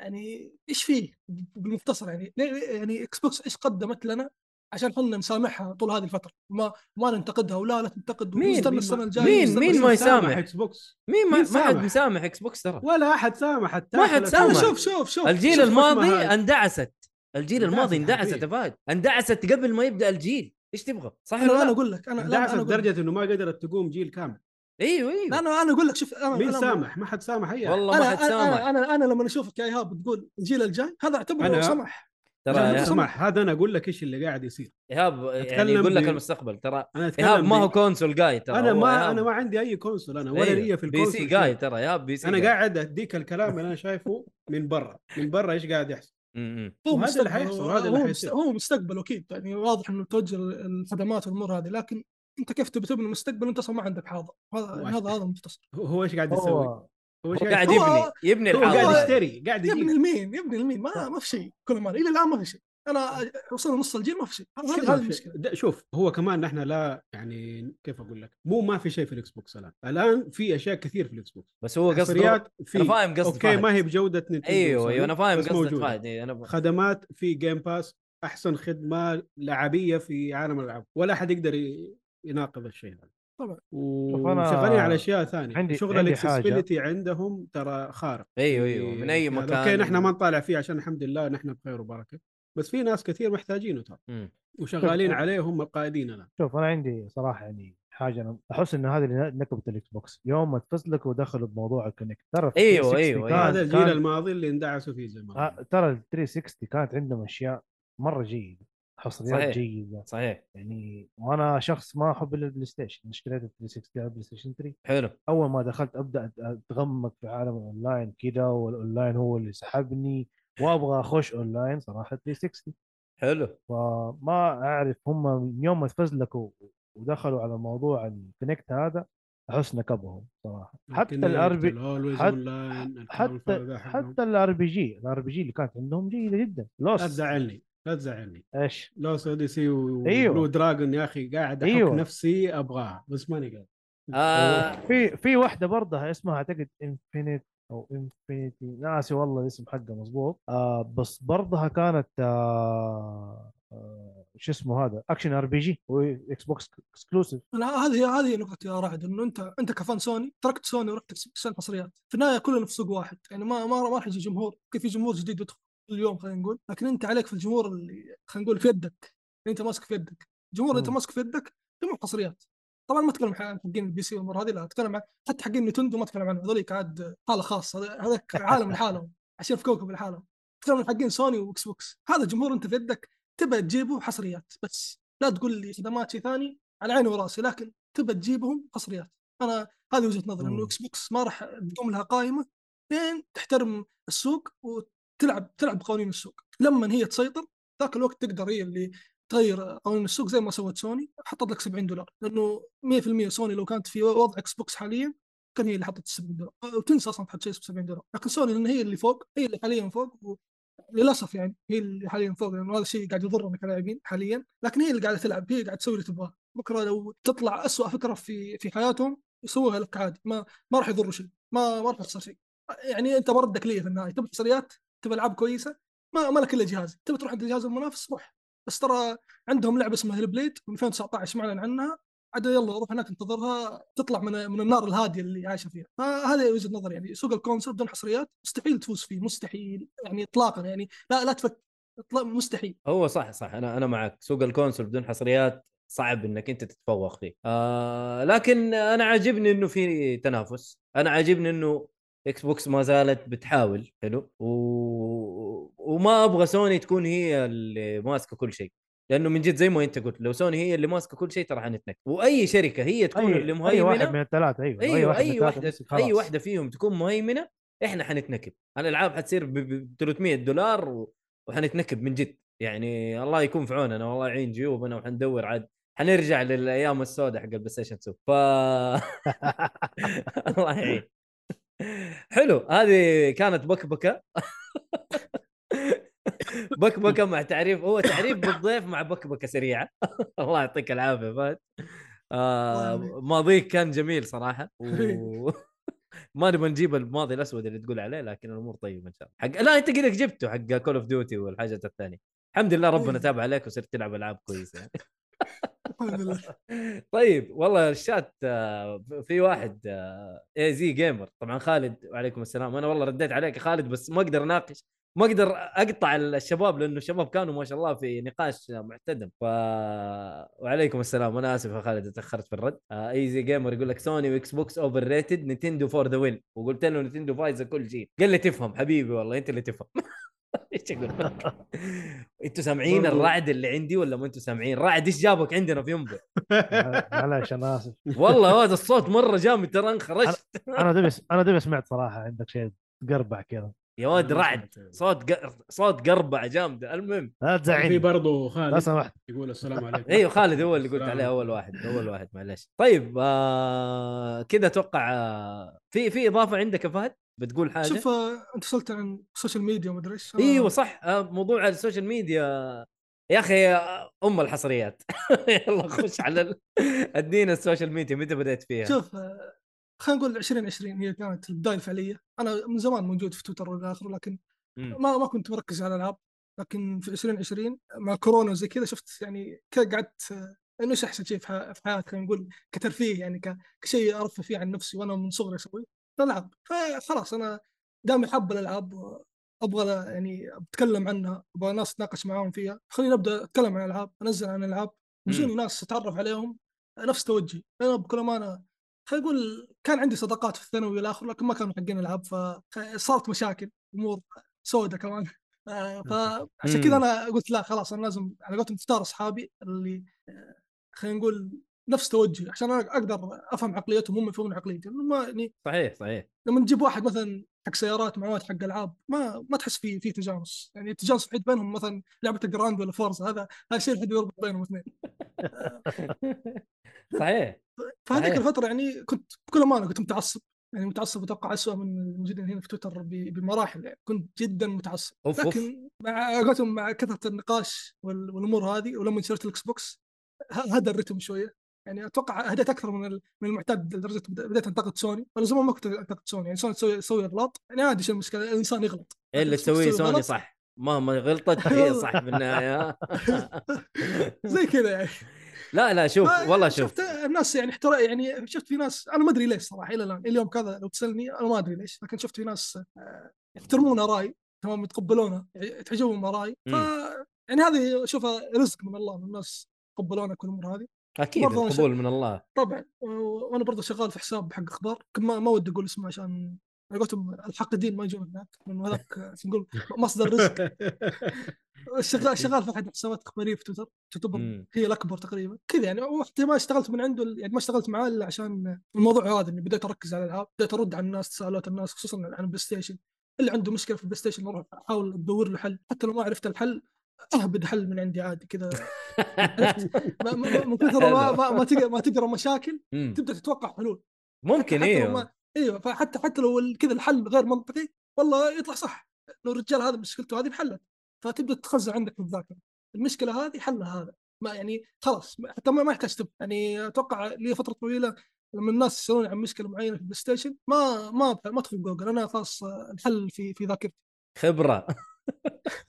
يعني ايش فيه بالمختصر يعني ليه- يعني اكس بوكس ايش قدمت لنا عشان احنا نسامحها طول هذه الفتره ما ما ننتقدها ولا لا تنتقد
مين-
ونستنى
مين-
السنه الجايه
مين-
ونستنى
مين
السنة
ما
الجاية.
يسامح؟
اكس بوكس
مين ما,
مين
ما حد
سامح؟
مسامح اكس بوكس ترى
ولا احد سامح حتى
ما حد سامح.
لا، شوف شوف شوف
الجيل
شوف
الماضي
حكمها هاي.
اندعست الجيل
اندعست
الماضي اندعست
حقيقي.
يا فهد اندعست قبل ما يبدا الجيل ايش تبغى صح
انا
ولا
انا
لا؟
اقول لك انا لا،
دعست
انا أقول لك.
لدرجه انه ما قدرت تقوم جيل كامل
ايوه ايوه
لا انا انا اقول لك شوف انا
مين
أنا-
سامح ما حد سامح اي أحد.
والله ما
انا
حد
انا
سامح
انا انا لما اشوفك يا ايهاب تقول الجيل الجاي هذا اعتبره
أنا-
لو سمح
ترى
لا،
أنا-
لا،
يا-
أنا-
سمح هذا انا اقول لك ايش اللي قاعد يصير
ايهاب يعني
أتكلم
يقول لك
ب-
المستقبل ترى
انا اتكلم
ايهاب ما
ب-
هو كونسول جاي ترى
انا
هو
ما
إيهاب
انا ما عندي اي كونسول انا ولا
أيوه.
ليا في
بي
الكونسول
سي
شيء.
جاي ترى ايهاب بي سي
انا
جاي.
قاعد اديك الكلام اللي انا شايفه من برا من برا ايش قاعد يحصل
م- م.
هو
وهذا
مستقبل
اللي حيحصل،
هو-
وهذا اللي
هو
حيصير.
مست- هو مستقبل اكيد يعني واضح انه توجه الخدمات والامور هذه لكن انت كيف تبي تبني مستقبل انت اصلا ما عندك حاضر هذا
هو
يعني هذا هذا مختصر
هو- هو ايش قاعد يسوي هو
هو
ايش
هو قاعد
هو-
يبني يبني
هو قاعد
الحاضر
يشتري قاعد
يبني
يجيب
المين يبني المين
طيب.
ما ما في شيء كل ما الى الان ما في شيء انا وصلنا نص الجيل ما في شيء هذا-
كل
هذه
ما
هذه
في
المشكله
شيء. ده- شوف هو كمان نحن لا يعني كيف اقول لك مو ما في شيء في الاكس بوكس الان الان في اشياء كثير في الاكس بوكس
بس هو قصده
حصريات
انا
في
فاهم قصد
اوكي
فهد
ما هي بجوده نتندو
ايوه
وسوني،
ايوه انا فاهم
بس
قصد
موجودة.
فهد إيه، انا ف-
خدمات في جيم باس احسن خدمه لعبيه في عالم الالعاب ولا احد يقدر ي- يناقض الشيء هذا
طبعاً.
شوف أنا
وشغالين على اشياء ثانيه
عندي-
شغل
عندي أيوه،
الاكسسبيلتي عندهم ترى خارق
ايوه ايوه من اي
يعني
مكان
اوكي نحن ما نطالع فيه عشان الحمد لله نحن بخير وبركه بس في ناس كثير محتاجينه ترى
مم.
وشغالين
*laughs* شوف-
عليهم القائدين الان
شوف انا عندي صراحه يعني حاجه انا احس ان هذه اللي نكبه الاكس بوكس يوم ما تفزلك ودخلوا بموضوع الكونكت ترى في
أيوة،
360
أيوة،
كان-
هذا الجيل
طيب. كان-
الماضي اللي اندعسوا فيه زي ما
آه،
قلنا.
ترى ال 360 كانت عندهم اشياء مره جيده حصريات
صحيح.
جيده
صحيح
يعني وانا شخص ما احب إلا البلاي ستيشن أنا اشتريت ال 360 على البلاي ستيشن 3
حلو
اول ما دخلت ابدا أت- اتغمق في عالم الاونلاين كذا والاونلاين هو اللي سحبني وابغى اخش اونلاين صراحه 360
حلو
فما اعرف هم من يوم ما تفزلكوا ودخلوا على موضوع الكونكت هذا احس نكبهم صراحه حتى
لكن
الار بي
Always
حت-
Online، الكلام الفارغ
حتى
ده حقهم.
حتى الار بي جي الار بي جي اللي كانت عندهم جيده جدا
لا
لوس
تزعلني لا تزعلني
ايش
لوس اوديسي و-
أيوه.
وبلو دراجون يا اخي قاعد احك
أيوه.
نفسي ابغاها بس ماني قادر
آه
في في واحده برضه اسمها اعتقد انفينيت او انفينيتي ناسي والله الاسم حقه مظبوط آه بس برضها كانت آه آه شو اسمه هذا اكشن ار بي جي واكس بوكس اكسكلوسيف
لا هذه هذه نقطة يا رعد انه انت انت كفان سوني تركت سوني ورحت تشتري الحصريات، في النهاية كلنا في سوق واحد، يعني ما ما ما راح يجي جمهور، كيف في جمهور جديد يدخل كل يوم خلينا نقول، لكن انت عليك في الجمهور اللي خلينا نقول في يدك، اللي انت ماسك في يدك، الجمهور اللي انت
مم.
ماسك في يدك جمهور حصريات. طبعا ما اتكلم عن حقين البي سي والامور هذه لا اتكلم عن حتى حقين نتندو ما اتكلم عنهم هذوليك عاد حالة خاصة هذا- هذاك عالم لحالهم، عشان في كوكب لحالهم. اتكلم عن حقين سوني واكس بوكس، هذا الجمهور انت في يدك تبى تجيبه حصريات بس، لا تقول لي خدمات شيء ثاني على عيني وراسي لكن تبى تجيبهم حصريات انا هذه وجهه نظري انه
مم.
اكس بوكس ما راح تقوم لها قائمه لين تحترم السوق وتلعب تلعب بقوانين السوق لما هي تسيطر ذاك الوقت تقدر هي اللي تغير قوانين السوق زي ما سوت سوني حطت لك 70 دولار لانه 100% سوني لو كانت في وضع اكس بوكس حاليا كان هي اللي حطت 70 دولار وتنسى اصلا تحط شيء اسمه 70 دولار لكن سوني لان هي اللي فوق هي اللي حاليا فوق و... للاسف يعني هي اللي حاليا فوق لانه هذا الشيء قاعد يضرنا كلاعبين حاليا لكن هي اللي قاعده تلعب هي اللي قاعده تسوي اللي تبغاه بكره لو تطلع أسوأ فكره في في حياتهم يسووها لك عادي ما ما راح يضر شيء ما ما راح يخسر شيء يعني انت مردك ليه في النهايه تبي حصريات تبي العاب كويسه ما ما لك الا جهاز تبي تروح عند جهاز المنافس روح بس ترى عندهم لعبه اسمها هيلبليد من 2019 معلن عنها عاد يلا روح هناك انتظرها تطلع من من النار الهاديه اللي عايشه فيها فهذا وجهه نظري يعني سوق الكونسول بدون حصريات مستحيل تفوز فيه مستحيل يعني اطلاقا يعني لا لا تفكر إطلاق- مستحيل
هو صح صح انا انا معك سوق الكونسول بدون حصريات صعب انك انت تتفوق فيه آه لكن انا عاجبني انه في تنافس انا عاجبني انه اكس بوكس ما زالت بتحاول حلو و... وما ابغى سوني تكون هي اللي ماسكه كل شيء لانه من جد زي ما انت قلت لو سوني هي اللي ماسكه كل شيء ترى حنتنك واي شركه هي تكون اللي
اي, أي واحد من
مهيمنه
الثلاثه ايوه
ايوه اي
من الثلاثة
واحده
مسك
اي
خلاص. *laughs*
واحده فيهم تكون مهيمنه احنا حنتنكب الالعاب حتصير ب- ب 300 دولار و... وحنتنكب من جد يعني الله يكون في عوننا والله يعين جيوبنا وحندور عاد حنرجع للايام السوداء حق البلاي ستيشن 2 ف *laughs* الله يعين حلو هذه كانت *laughs* بكبكه بكبكه مع تعريف هو تعريف بالضيف مع بكبكه سريعه *laughs* الله يعطيك العافيه فهد آه
الله يعافيك.
ماضيك كان جميل صراحه و... *laughs* ما نبغى نجيب الماضي الاسود اللي تقول عليه لكن الامور طيبه ان شاء الله حق لا انت قلت جبته حق كول اوف ديوتي والحاجات الثانيه الحمد لله ربنا
إيه.
تاب عليك وصرت تلعب العاب كويسه
الحمد لله
طيب والله الشات آه، في واحد آه، اي زي جيمر طبعا خالد وعليكم السلام انا والله رديت عليك يا خالد بس ما اقدر اناقش ما اقدر اقطع الشباب لانه الشباب كانوا ما شاء الله في نقاش محتدم ف وعليكم السلام انا اسف يا خالد تاخرت في الرد آه، اي زي جيمر يقول لك سوني واكس بوكس اوفر ريتد نينتندو فور ذا وين وقلت له نينتندو فايزه كل شيء قال لي تفهم حبيبي والله انت اللي تفهم *laughs* ايش اقول لك؟ انتوا سامعين
برضو.
الرعد اللي عندي ولا ما انتوا سامعين؟ رعد ايش جابك عندنا في ينبع؟
معلش انا اسف
والله هذا الصوت مره جامد ترى انخرجت
انا دبي انا دبي سمعت صراحه عندك شيء تقربع كذا
*laughs*
يا واد رعد صوت ق... صوت قربعه جامده المهم
لا
في
تزعلني
برضه
لا
خالد
سمحت
يقول السلام عليكم
ايوه خالد هو اللي قلت
السلام
عليه اول واحد اول واحد معلش طيب آه كذا اتوقع آه في في اضافه عندك يا فهد بتقول حاجه
شوف آه، انت سالت عن السوشيال ميديا ومدري ايش أنا-
ايوه صح آه موضوع السوشيال ميديا يا اخي آه، ام الحصريات *laughs* يلا خش على ال- *laughs* ادينا السوشيال ميديا متى بدات فيها؟
شوف آه، خلينا نقول 2020 هي كانت البدايه الفعليه انا من زمان موجود في تويتر والى اخره لكن
مم.
ما ما كنت مركز على الالعاب لكن في 2020 مع كورونا وزي كذا شفت يعني كذا قعدت آه، انه ايش احسن شيء في ح- في حياتي خلينا نقول كترفيه يعني ك- كشيء ارفه فيه عن نفسي وانا من صغري اسويه الالعاب فخلاص انا دامي حاب الالعاب و- ابغى لا- يعني اتكلم عنها ابغى ناس اتناقش معاهم فيها خليني ابدا اتكلم عن الالعاب انزل عن الالعاب يجوني ناس اتعرف عليهم نفس توجهي انا بكل امانه خلينا نقول كان عندي صداقات في الثانوي والاخر لكن ما كانوا حقين العاب فصارت مشاكل امور سوداء كمان آه، فعشان كذا
مم.
انا قلت لا خلاص انا لازم على قولتهم اختار اصحابي اللي آه، خلينا نقول نفس توجهي عشان انا اقدر افهم عقليتهم هم يفهمون عقليتي لأنه ما يعني
صحيح صحيح
لما نجيب واحد مثلا حق سيارات مع واحد حق العاب ما ما تحس في في تجانس يعني التجانس الوحيد بينهم مثلا لعبه الجراند ولا فورزا هذا هذا الشيء الوحيد اللي يربط بينهم الاثنين
صحيح
فهذيك
صحيح.
الفتره يعني كنت بكل امانه كنت متعصب يعني متعصب اتوقع اسوء من الموجودين هنا في تويتر ب- بمراحل يعني كنت جدا متعصب
أوف، أوف.
لكن مع قولتهم مع كثره النقاش وال- والامور هذه ولما شريت الاكس بوكس ه- هدى الرتم شويه يعني اتوقع هديت اكثر من ال- من المعتاد لدرجه بد- بديت انتقد سوني انا زمان ما كنت انتقد سوني يعني سوني تسوي تسوي اغلاط يعني عادي شو المشكله الانسان يغلط
ايه اللي
لكن تسوي
تسويه سوني
غلط،
صح مهما غلطت
*laughs*
هي صح في النهايه
زي كذا يعني
لا لا *laughs* شوف
ما-
والله شوف
شفت الناس يعني احترا يعني شفت في ناس انا ما ادري ليش صراحه الى الان اليوم كذا لو تسالني انا ما ادري ليش لكن شفت في ناس آه، يحترمون ارائي تمام يتقبلونها يتعجبهم ارائي ف يعني هذه اشوفها رزق من الله ان الناس يتقبلونك والامور هذه
اكيد
برضه أنا
القبول من الله
طبعا و- وانا برضه شغال في حساب حق اخبار كم- ما, ما ودي اقول اسمه عشان على قولتهم الحاقدين ما يجون هناك لانه هذاك آه، نقول مصدر
*laughs*
رزق شغال شغال في احد حسابات اخباريه في تويتر تعتبر *laughs*
مم. *laughs*
هي الاكبر تقريبا كذا يعني وقت ما اشتغلت من عنده يعني ما اشتغلت معاه الا عشان الموضوع هذا اني بديت اركز على الالعاب بديت ارد على الناس تساؤلات الناس خصوصا عن البلاي ستيشن اللي عنده مشكله في البلاي ستيشن اروح احاول ادور له حل حتى لو ما عرفت الحل اهبد حل من عندي عادي كذا ما- ما- من كثر ما ما, ما, تقرا ما تقرا مشاكل
مم.
تبدا تتوقع حلول
ممكن
حتى لو ما-
ايوه
ايوه فحتى حتى لو ال- كذا الحل غير منطقي والله يطلع صح لو الرجال هذا مشكلته هذه انحلت فتبدا تتخزن عندك في الذاكره المشكله هذه حلها هذا ما يعني خلاص ما- حتى ما, ما يحتاج تب يعني اتوقع لي فتره طويله لما الناس يسالوني عن مشكله معينه في البلاي ستيشن ما ما أبحث- ما ادخل جوجل انا خلاص آه، الحل في في ذاكرتي
خبره *laughs*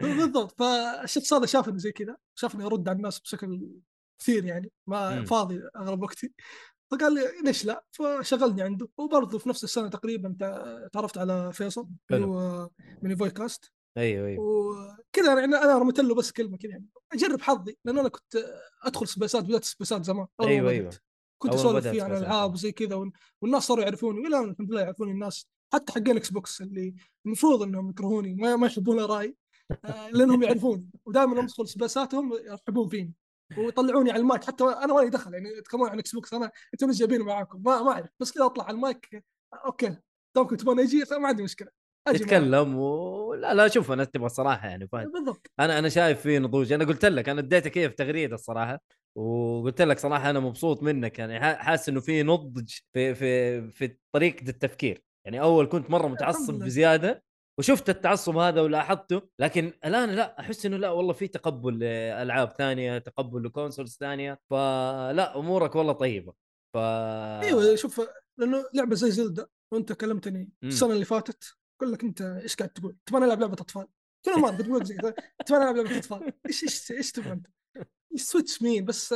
بالضبط فالشخص هذا شافني زي كذا شافني ارد على الناس بشكل كثير يعني ما
مم.
فاضي اغلب وقتي فقال لي ليش لا فشغلني عنده وبرضه في نفس السنه تقريبا تع- تعرفت على فيصل اللي
حلو.
هو من فويكاست
ايوه ايوه
وكذا يعني انا رميت له بس كلمه كذا يعني اجرب حظي لانه انا كنت ادخل سبيسات بدات سبيسات زمان أول ما
ايوه
بدأت.
ايوه
كنت
أول ما
اسولف
بدأت
فيه عن
سبيسات.
العاب وزي كذا وال- والناس صاروا يعرفوني والى الآن الحمد لله يعرفوني الناس حتى حقين اكس بوكس اللي المفروض انهم يكرهوني ما, ما يحبون ارائي آه، لانهم يعرفوني ودائما ادخل سباساتهم يرحبون فيني ويطلعوني على المايك حتى انا مالي دخل يعني تكلمون عن اكس بوكس انا انتم إيش جايبينه معاكم ما ما اعرف بس كذا اطلع على المايك آه، اوكي دامكم تبون اجي ما عندي مشكله أجي معاكم.
تتكلم أيوه. و... لا لا شوف انا تبغى الصراحه يعني فاهم
بالضبط
انا انا شايف فيه نضوج انا قلت لك انا اديته كيف تغريده الصراحه وقلت لك صراحه انا مبسوط منك يعني ح- حاسس انه في نضج في في في طريقه التفكير يعني اول كنت مره متعصب
لله.
بزياده وشفت التعصب هذا ولاحظته لكن الان لا احس انه لا والله في تقبل العاب ثانيه تقبل لكونسولز ثانيه فلا امورك والله طيبه ف
ايوه شوف لانه لعبه زي زلدا وانت كلمتني
آه. مم.
السنه اللي فاتت اقول لك انت ايش قاعد تقول؟ تبغى نلعب لعبه اطفال كل ما تقول زي كذا تبغى نلعب لعبه اطفال ايش ايش ايش تبغى انت؟ السويتش مين بس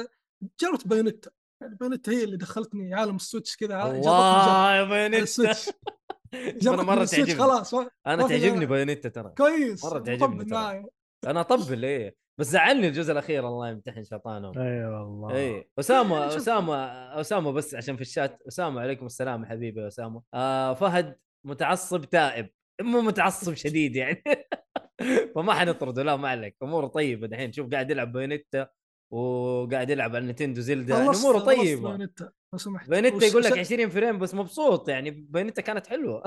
جربت بايونيتا يعني بايونيتا هي اللي دخلتني عالم السويتش كذا ع- جربتني
الله يا
جا- على
بايونيتا
السويتش
*laughs* انا
جربتني
مره
السويتش
تعجبني
خلاص ما-
انا
ما في
تعجبني
غيرها.
بايونيتا ترى
كويس
مرة
مطبل
تعجبني ترى.
معايا
انا اطبل ايه بس زعلني الجزء الاخير الله يمتحن شيطانهم
اي
إيه.
والله
اي اسامه
شوف.
اسامه اسامه بس عشان في الشات اسامه عليكم السلام يا حبيبي يا اسامه آه فهد متعصب تائب مو متعصب شديد يعني *laughs* فما حنطرده لا ما عليك اموره طيبه دحين شوف قاعد يلعب بايونيتا وقاعد يلعب على نتندو زلدا يعني
خلصت-
اموره
خلصت
طيبه
بايونيتا لو سمحت
بايونيتا
وش-
يقول لك
وش-
20 فريم بس مبسوط يعني بايونيتا كانت حلوه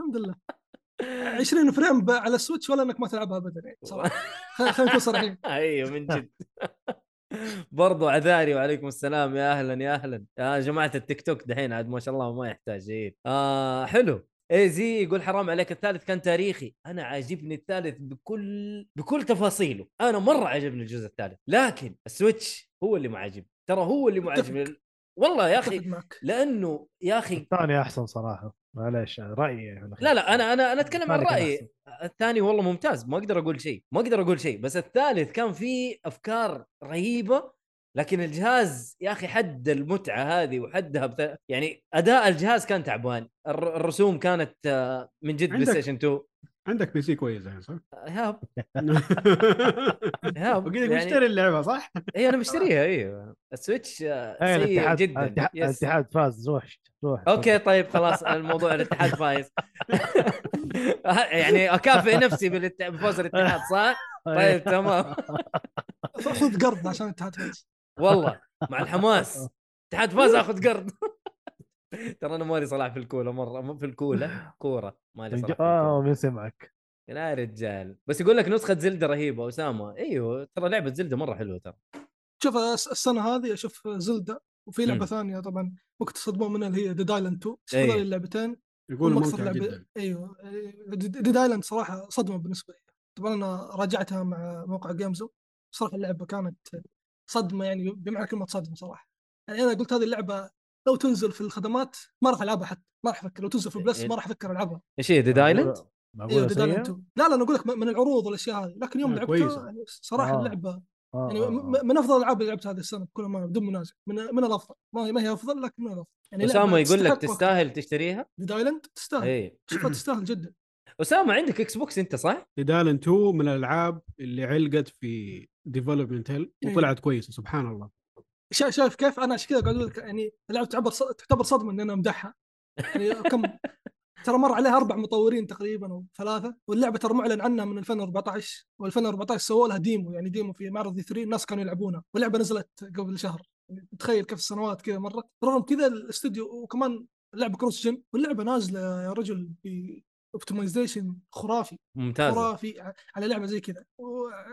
الحمد لله 20 فريم ب- على السويتش ولا انك ما تلعبها ابدا يعني
*laughs*
صراحه خل- خلينا نكون صريحين
ايوه من جد *laughs* برضو عذاري وعليكم السلام يا اهلا يا اهلا يا جماعه التيك توك دحين عاد ما شاء الله ما يحتاج ايه آه حلو اي زي يقول حرام عليك الثالث كان تاريخي انا عاجبني الثالث بكل بكل تفاصيله انا مره عجبني الجزء الثالث لكن السويتش هو اللي ما عاجبني ترى هو اللي ما
أتفق.
عاجبني والله يا
اتفق
اخي
معك
لانه يا اخي
الثاني احسن صراحه معليش يعني رايي يعني
لا لا انا انا انا اتكلم عن
الثاني كان
رايي
أحسن.
الثاني والله ممتاز ما اقدر اقول شيء ما اقدر اقول شيء بس الثالث كان فيه افكار رهيبه لكن الجهاز يا اخي حد المتعه هذه وحدها بت... يعني اداء الجهاز كان تعبان الر- الرسوم كانت آه، من جد بلاي
عندك-
ستيشن 2
عندك بي سي كويس الحين
*laughs*
صح؟
ايهاب
وقلت *laughs*
ايهاب
لك
يعني
مشتري اللعبه صح؟
اي انا مشتريها ايوه السويتش آه،
اي
سيء
إيه، الاتحاد
جدا
الاتحاد,
يس.
الاتحاد فاز روح روح
اوكي طيب خلاص الموضوع الاتحاد فايز *laughs* يعني اكافئ نفسي بالات- بفوز الاتحاد صح؟ طيب
آه،
*laughs*
تمام
خذ قرض عشان الاتحاد فاز
والله مع الحماس اتحاد فاز اخذ قرض *laughs* ترى انا مالي صلاح في الكوره مره مو في الكوره كوره مالي صلاح في الكوره
آه.
اه مين سمعك
لا يا رجال بس يقول لك نسخه زلده رهيبه اسامه ايوه ترى لعبه زلده مره حلوه ترى
شوف الس- السنه هذه اشوف زلدا وفي لعبه
مم.
ثانيه طبعا ممكن تصدمون منها اللي هي ديد ايلاند 2 بس
أي.
هذول اللعبتين
يقولوا
هم أكثر
ممتع
لعبة-
جدا
ايوه ديد ايلاند صراحه صدمه بالنسبه لي طبعا انا راجعتها مع موقع جيمزو صراحه اللعبه كانت صدمه يعني بمعنى كلمه صدمه صراحه يعني انا قلت هذه اللعبه لو تنزل في الخدمات ما راح العبها حتى ما راح افكر لو تنزل في البلس ما راح افكر العبها
ايش هي
آه،
ديد ايلاند؟
معقوله
ايوه ديد ايلاند
سيئة؟
2 لا لا انا اقول لك من العروض والاشياء هذه لكن يوم
آه،
لعبتها
كويسة.
يعني صراحه
آه.
اللعبه
آه،
يعني
آه،
م-
آه.
م- من افضل الالعاب اللي لعبتها هذه السنه بكل امانه بدون منازع من من الافضل ما هي ما هي افضل لكن من الافضل يعني
اسامه يقول لك
تستحق
تستاهل إيه. تشتريها؟
ديد ايلاند تستاهل
اي
شوفها تستاهل جدا
اسامه عندك اكس بوكس انت صح؟
ديدال 2 من الالعاب اللي علقت في ديفلوبمنت هيل
إيه.
وطلعت كويسه سبحان الله
شا- شايف كيف انا عشان كذا قاعد اقول لك يعني اللعبه تعتبر ص- تعتبر صدمه ان انا امدحها يعني كم ترى مر عليها اربع مطورين تقريبا او ثلاثه واللعبه ترى معلن عنها من 2014 و2014 سووا لها ديمو يعني ديمو في معرض 3 الناس كانوا يلعبونها واللعبه نزلت قبل شهر يعني تخيل كيف السنوات كذا مرت رغم كذا الاستوديو وكمان لعبه كروس جن واللعبه نازله يا رجل باوبتمايزيشن خرافي
ممتاز
خرافي على لعبه زي كذا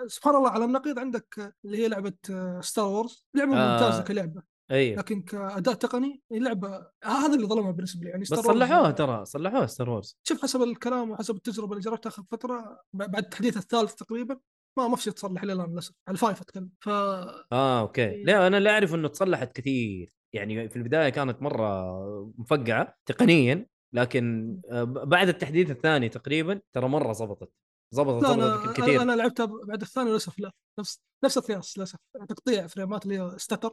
سبحان الله على النقيض عندك اللي هي لعبه ستار وورز لعبه
آه.
آه. ممتازه كلعبه
ايوه
لكن كاداء تقني اللعبه آه، هذا اللي ظلمها بالنسبه لي يعني
بس
Star Wars-
صلحوها ترى صلحوها ستار وورز
شوف حسب الكلام وحسب التجربه اللي جربتها اخر فتره ب- بعد التحديث الثالث تقريبا ما ما في شيء تصلح الى الان للاسف على الفايف اتكلم ف
اه
إيه.
اوكي لا انا لا اعرف انه تصلحت كثير يعني في البدايه كانت مره مفقعه تقنيا لكن
إمم.
آه، ب- بعد التحديث الثاني تقريبا ترى مره زبطت زبطت
لا
زبطت
انا
يمكن كثير
أنا- انا لعبتها بعد الثاني للاسف لا نفس نفس القياس للاسف تقطيع فريمات اللي هي ستتر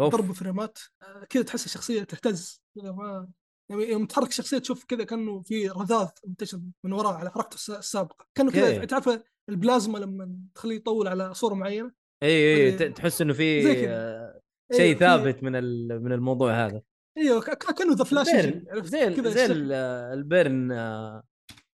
أوف.
ضرب فريمات آه، كذا تحس الشخصيه تهتز كذا ما يعني يوم تحرك الشخصيه تشوف كذا كانه في رذاذ منتشر من وراه على حركته الس- السابقه كانه كذا
أوكي.
تعرف البلازما لما تخليه يطول على صوره معينه
اي اي
أوكي.
ت- تحس انه في
يعني زي كذا.
آه،
أيوة،
شيء
في-
ثابت من ال- من الموضوع هذا
ايوه ك- ك- كانه ذا فلاش
بيرن
يجي، عرفت؟
زي ال-
كذا
زي
الشكل.
ال- آه، البيرن آه،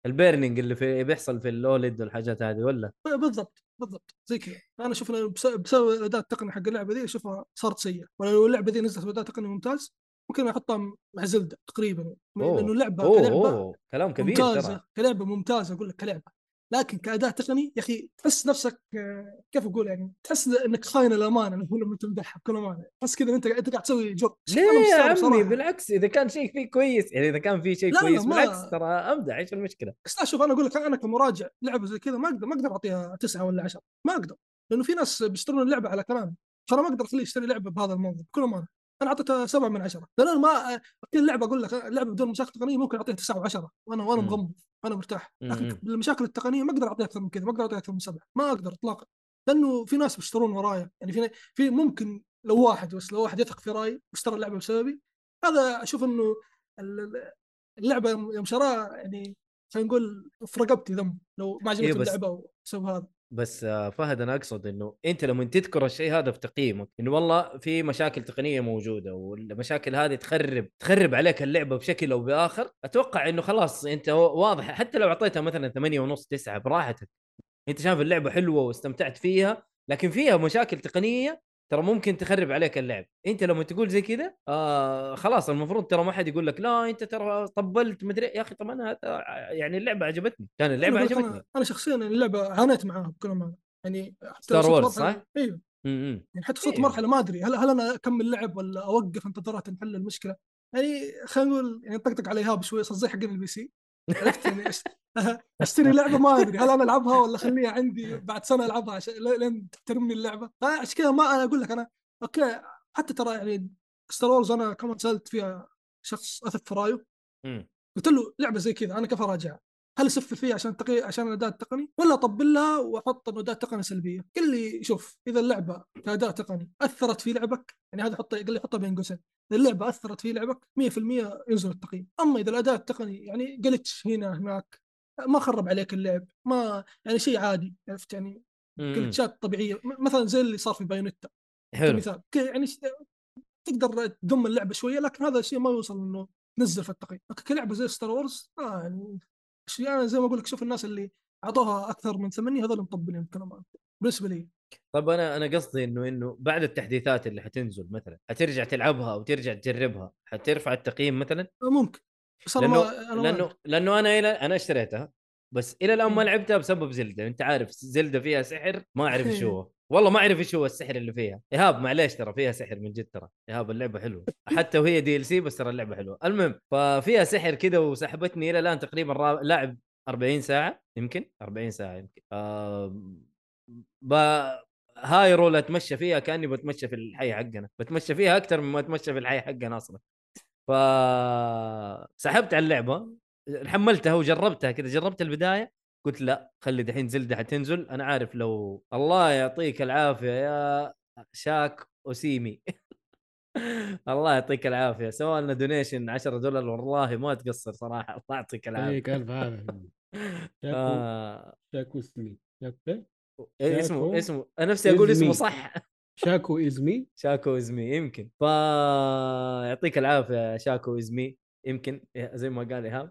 البيرنينج اللي في بيحصل في الاولد والحاجات هذه ولا
ب- إيه، بالضبط بالضبط زي كذا انا اشوف إنه بس- بسبب الاداء التقني حق اللعبه ذي اشوفها صارت سيئه ولو اللعبه ذي نزلت باداء تقني ممتاز ممكن احطها مع زلده تقريبا
أوه.
لانه لعبه
اوه
كلعبه
اوه كلام كبير
ممتازه
ترى
كلعبه ممتازه اقول لك كلعبه لكن كاداء تقني يا اخي تحس نفسك آه، كيف اقول يعني تحس انك خاين الامانه انا اقول لما تمدحها بكل امانه تحس كذا انت انت قاعد تسوي جو أنا
ليه يا
مستغرب
عمي
صراحة.
بالعكس اذا كان شيء فيه كويس يعني اذا كان في شيء
لا، لا،
كويس
ما-
بالعكس ترى امدح ايش المشكله؟
بس لا شوف انا اقول لك انا كمراجع لعبه زي كذا ما اقدر ما اقدر اعطيها تسعه ولا عشرة ما اقدر لانه في ناس بيشترون اللعبه على كلامي فانا ما اقدر اخليه يشتري لعبه بهذا المنظر بكل امانه انا اعطيتها سبعه من عشره لان أنا ما كل لعبه اقول لك لعبه بدون مشاكل تقنيه ممكن اعطيها تسعه وعشره وانا وانا
مم.
مغمض وانا مرتاح لكن
مم.
بالمشاكل التقنيه ما اقدر اعطيها اكثر من كذا ما اقدر اعطيها اكثر من سبعه ما اقدر اطلاقا لانه في ناس بيشترون ورايا يعني في في ممكن لو واحد بس لو واحد يثق في رايي واشترى اللعبه بسببي هذا اشوف انه ال- اللعبه يوم شراها يعني خلينا نقول في رقبتي ذنب لو ما عجبتني
إيه بس-
اللعبه بسبب هذا
بس آه، فهد انا اقصد انه انت لما تذكر الشيء هذا في تقييمك انه والله في مشاكل تقنيه موجوده والمشاكل هذه تخرب تخرب عليك اللعبه بشكل او باخر اتوقع انه خلاص انت هو- واضح حتى لو اعطيتها مثلا 8 ونص 9 براحتك انت شايف اللعبه حلوه واستمتعت فيها لكن فيها مشاكل تقنيه ترى ممكن تخرب عليك اللعب انت لما تقول زي كذا آه خلاص المفروض ترى ما حد يقول لك لا انت ترى طبلت مدري يا اخي طب انا هذا- يعني اللعبه عجبتني كان اللعبه
أنا أقول لك
عجبتني
انا انا شخصيا اللعبه عانيت معاها بكل امانه يعني حتى
ستار
وصلت
وورز،
مرحلة-
صح؟
ايوه
م- م.
يعني حتى وصلت
إيه.
مرحله ما ادري هل هل انا اكمل لعب ولا اوقف انتظرها تنحل المشكله يعني خلينا نقول يعني طقطق على ايهاب شوي صار زي حقين البي سي عرفت يعني *laughs* أشت- اشتري لعبه ما ادري هل انا العبها ولا اخليها عندي بعد سنه العبها عشان ل- لين تحترمني اللعبه فعشان كذا ما انا اقول لك انا اوكي حتى ترى يعني ستار وورز انا كمان سالت فيها شخص اثق في رايه
م.
قلت له لعبه زي كذا انا كيف اراجعها؟ هل اسفل فيها عشان تقي... عشان الاداء التقني ولا اطبل لها واحط انه اداء تقني سلبيه؟ قال لي شوف اذا اللعبه كاداء تقني اثرت في لعبك يعني هذا حطه قال لي حطها بين قوسين اذا اللعبه اثرت في لعبك 100% ينزل التقييم، اما اذا الاداء التقني يعني جلتش هنا هناك ما خرب عليك اللعب، ما يعني شيء عادي عرفت يعني
م- م.
جلتشات طبيعيه م- مثلا زي اللي صار في بايونيتا
حلو
كمثال ك- يعني ش- تقدر تضم اللعبه شويه لكن هذا الشيء ما يوصل انه تنزل في التقييم لكن كلعبه زي ستار وورز آه يعني شيء انا زي ما اقول لك شوف الناس اللي اعطوها اكثر من ثمانيه هذول مطبلين الكلام بالنسبه لي
طب انا انا قصدي انه انه بعد التحديثات اللي حتنزل مثلا حترجع تلعبها وترجع تجربها حترفع التقييم مثلا
آه، ممكن بس أنا
لأنه-
ما- أنا ما
لانه لانه انا الى انا اشتريتها بس الى الان ما
مم.
لعبتها بسبب زلده انت عارف زلده فيها سحر ما اعرف ايش
إيه.
هو والله ما اعرف ايش هو السحر اللي فيها ايهاب معليش ترى فيها سحر من جد ترى ايهاب اللعبه حلوه حتى وهي دي ال سي بس ترى اللعبه حلوه المهم ففيها سحر كذا وسحبتني الى الان تقريبا را- لاعب 40 ساعه يمكن 40 ساعه يمكن آم، ب... هايرول اتمشى فيها كاني بتمشى في الحي حقنا بتمشى فيها اكثر مما اتمشى في الحي حقنا اصلا ف سحبت على اللعبه حملتها وجربتها كذا جربت البدايه قلت لا خلي دحين زلده حتنزل انا عارف لو الله يعطيك العافيه يا شاك اوسيمي *laughs* الله يعطيك العافيه سواء لنا دونيشن 10 دولار والله ما تقصر صراحه الله يعطيك العافيه
عليك الف هذا إيه،
*laughs*
شاكو
آه.
شاكو اسمي شاكو
إيه
شاكو
اسمه اسمه انا نفسي اقول اسمه
إزمي.
صح *laughs*
شاكو ازمي
شاكو ازمي يمكن فا يعطيك العافيه يا شاكو ازمي يمكن إيه، زي ما قال ايهاب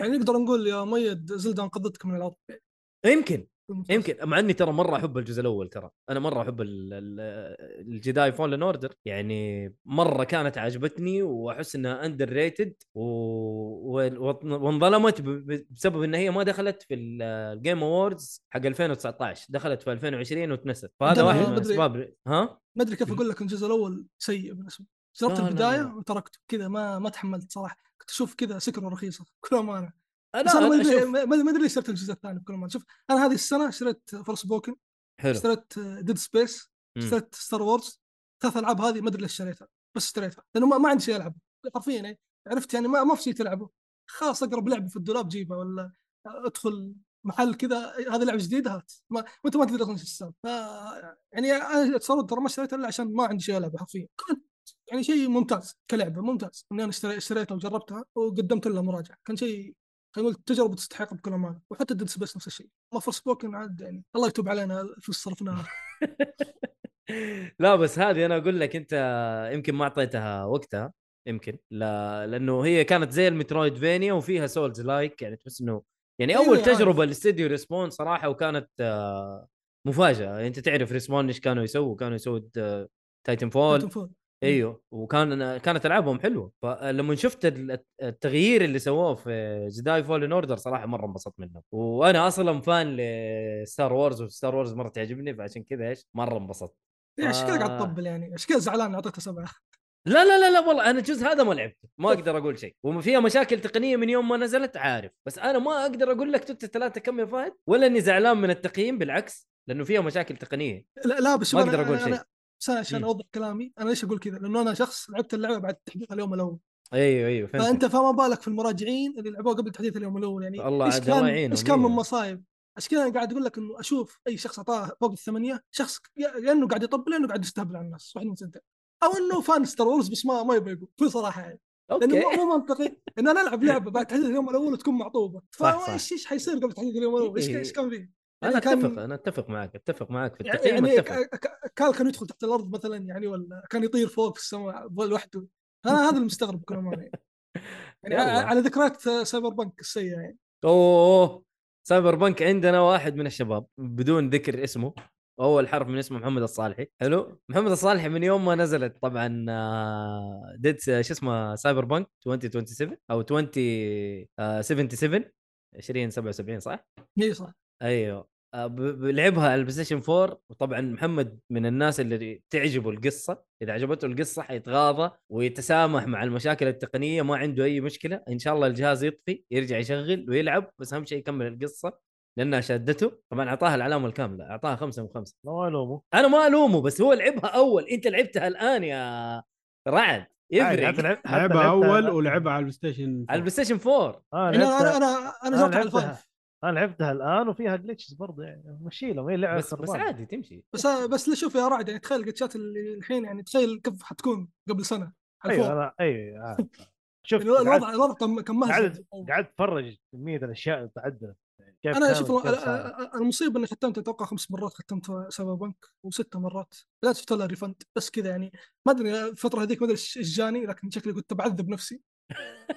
يعني نقدر نقول يا ميد زلده انقذتك من يعني الارض
يمكن يمكن مع اني ترى مره احب الجزء الاول ترى انا مره احب ال- ال- الجداي فولن اوردر يعني مره كانت عجبتني واحس انها اندر ريتد و... و- وانظلمت ب- ب- بسبب ان هي ما دخلت في الجيم اووردز حق 2019 دخلت في 2020 واتنست فهذا
ده
واحد
أنا
من
بدري-
اسباب ها
ما ادري كيف اقول لك الجزء الاول سيء بالنسبه لي. جربت
لا، لا،
البدايه
لا.
وتركته كذا ما ما تحملت صراحه كنت اشوف كذا سكره رخيصه بكل امانه بس
انا
انا ما
أشوف-
ادري ما ما ادري ليش اشتريت الجزء الثاني بكل ما شوف انا هذه السنه اشتريت فورس بوكن
حلو
اشتريت ديد سبيس
مم.
اشتريت ستار وورز ثلاث العاب هذه ما ادري ليش اشتريتها بس اشتريتها لانه ما, ما عندي شيء العبه حرفيا يعني عرفت يعني ما, ما في شيء تلعبه خلاص اقرب لعبه في الدولاب جيبها ولا ادخل محل كذا هذه لعبه جديده هات ما وانت ما تدري اصلا ايش السالفه ف- يعني انا اتصور ترى ما اشتريتها الا عشان ما عندي شيء العبه حرفيا كنت يعني شيء ممتاز كلعبه ممتاز اني انا اشتري- اشتريتها وجربتها وقدمت لها مراجعه كان شيء خلينا نقول تجربه تستحق بكل امانه وحتى ديد سبيس نفس الشيء ما فور سبوكن عاد يعني الله يتوب علينا شو صرفناها
*laughs* لا بس هذه انا اقول لك انت يمكن ما اعطيتها وقتها يمكن لا لانه هي كانت زي المترويد فينيا وفيها سولز لايك يعني تحس انه يعني
أيوة،
اول
عارف.
تجربه لاستديو ريسبون صراحه وكانت آه، مفاجاه يعني انت تعرف ريسبون ايش كانوا يسووا كانوا يسووا تايتن فول
Titanfall.
ايوه وكان كانت العابهم حلوه فلما شفت ال- التغيير اللي سووه في جداي فول اوردر صراحه مره انبسطت منه وانا اصلا فان لستار وورز وستار وورز مره تعجبني فعشان كذا ايش مره انبسطت
يعني عشان كذا قاعد
آه.
تطبل يعني عشان كذا زعلان إني اعطيتها سبعه
لا لا لا لا والله انا الجزء هذا ما لعبته ما
طيب.
اقدر اقول شيء وفيها مشاكل تقنيه من يوم ما نزلت عارف بس انا ما اقدر اقول لك توت الثلاثه كم يا فهد ولا اني زعلان من التقييم بالعكس لانه فيها مشاكل تقنيه
لا لا بس
ما
شوف أنا-
أقدر أقول
أنا-
شيء.
أنا- بس أنا عشان
مم.
اوضح كلامي انا ليش اقول كذا؟ لانه انا شخص لعبت اللعبه بعد تحديثها اليوم الاول
ايوه ايوه فهمت
فانت فما بالك في المراجعين اللي لعبوها قبل تحديث اليوم الاول يعني
الله
ايش
عاد الله
كان
يعينهم،
ايش كان من
أيوة.
مصايب عشان كذا انا قاعد اقول لك انه اشوف اي شخص اعطاه فوق الثمانيه شخص يا- يا انه قاعد يطبل يا انه قاعد يستهبل على الناس واحد من سنتين او انه فان ستار وورز بس ما ما يبغى يقول بكل صراحه يعني لانه
اوكي
مو- مو منطقي ان انا العب لعبه بعد تحديث اليوم الاول وتكون معطوبه
صح، صح.
فايش ايش حيصير قبل تحديث اليوم الاول؟ ايش ايش كان فيه؟
انا
يعني كان-
اتفق انا اتفق معك اتفق معك في
يعني
التقييم
يعني
اتفق
ك- ك- كان كان يدخل تحت الارض مثلا يعني ولا كان يطير فوق في السماء لوحده انا هذا المستغرب بكل امانه يعني. يعني
يلا.
ع- على ذكرات سايبر بنك السيئه يعني
اوه سايبر بنك عندنا واحد من الشباب بدون ذكر اسمه اول حرف من اسمه محمد الصالحي حلو محمد الصالحي من يوم ما نزلت طبعا آه، ديد س- شو اسمه سايبر بنك 2027 او آه، 2077 2077 صح
اي صح
ايوه آه، ب- ب- لعبها على البلايستيشن 4 وطبعا محمد من الناس اللي تعجبه القصه اذا عجبته القصه حيتغاضى ويتسامح مع المشاكل التقنيه ما عنده اي مشكله ان شاء الله الجهاز يطفي يرجع يشغل ويلعب بس اهم شيء يكمل القصه لانها شادته طبعا اعطاها العلامه الكامله اعطاها خمسة من خمسة
لا ما الومه
انا ما الومه بس هو لعبها اول انت لعبتها الان يا رعد
عادي،
يفرق
حتى لعب- حتى
لعبها
لعبتها-
اول ولعبها على البلاي ستيشن
على البلاي ستيشن 4
آه،
يعني انا
لعبتها-
انا انا, أنا
أنا
جربت على
لعبتها.
الفايف
انا لعبتها الان وفيها جلتشز برضه يعني مشي لهم هي لعبه
بس بس
خربانة.
عادي تمشي
بس بس لا شوف يا رعد يعني تخيل الجلتشات اللي الحين يعني تخيل كيف حتكون قبل سنه على
ايوه
الفور.
انا ايوه
*laughs*
عارف. شوف
يعني الوضع
قعدت-
الوضع كان- كان مهزل
عدد- قعدت اتفرج كميه الاشياء اللي تعدلت كيف
انا
كانت،
شوف
كيف
ال-
صارت.
ال- المصيبه اني ختمت اتوقع خمس مرات ختمت سايبر بنك وست مرات بدات شفت لها ريفند بس كذا يعني ما ادري الفتره هذيك ما ادري ايش إيش جاني لكن شكلي كنت بعذب نفسي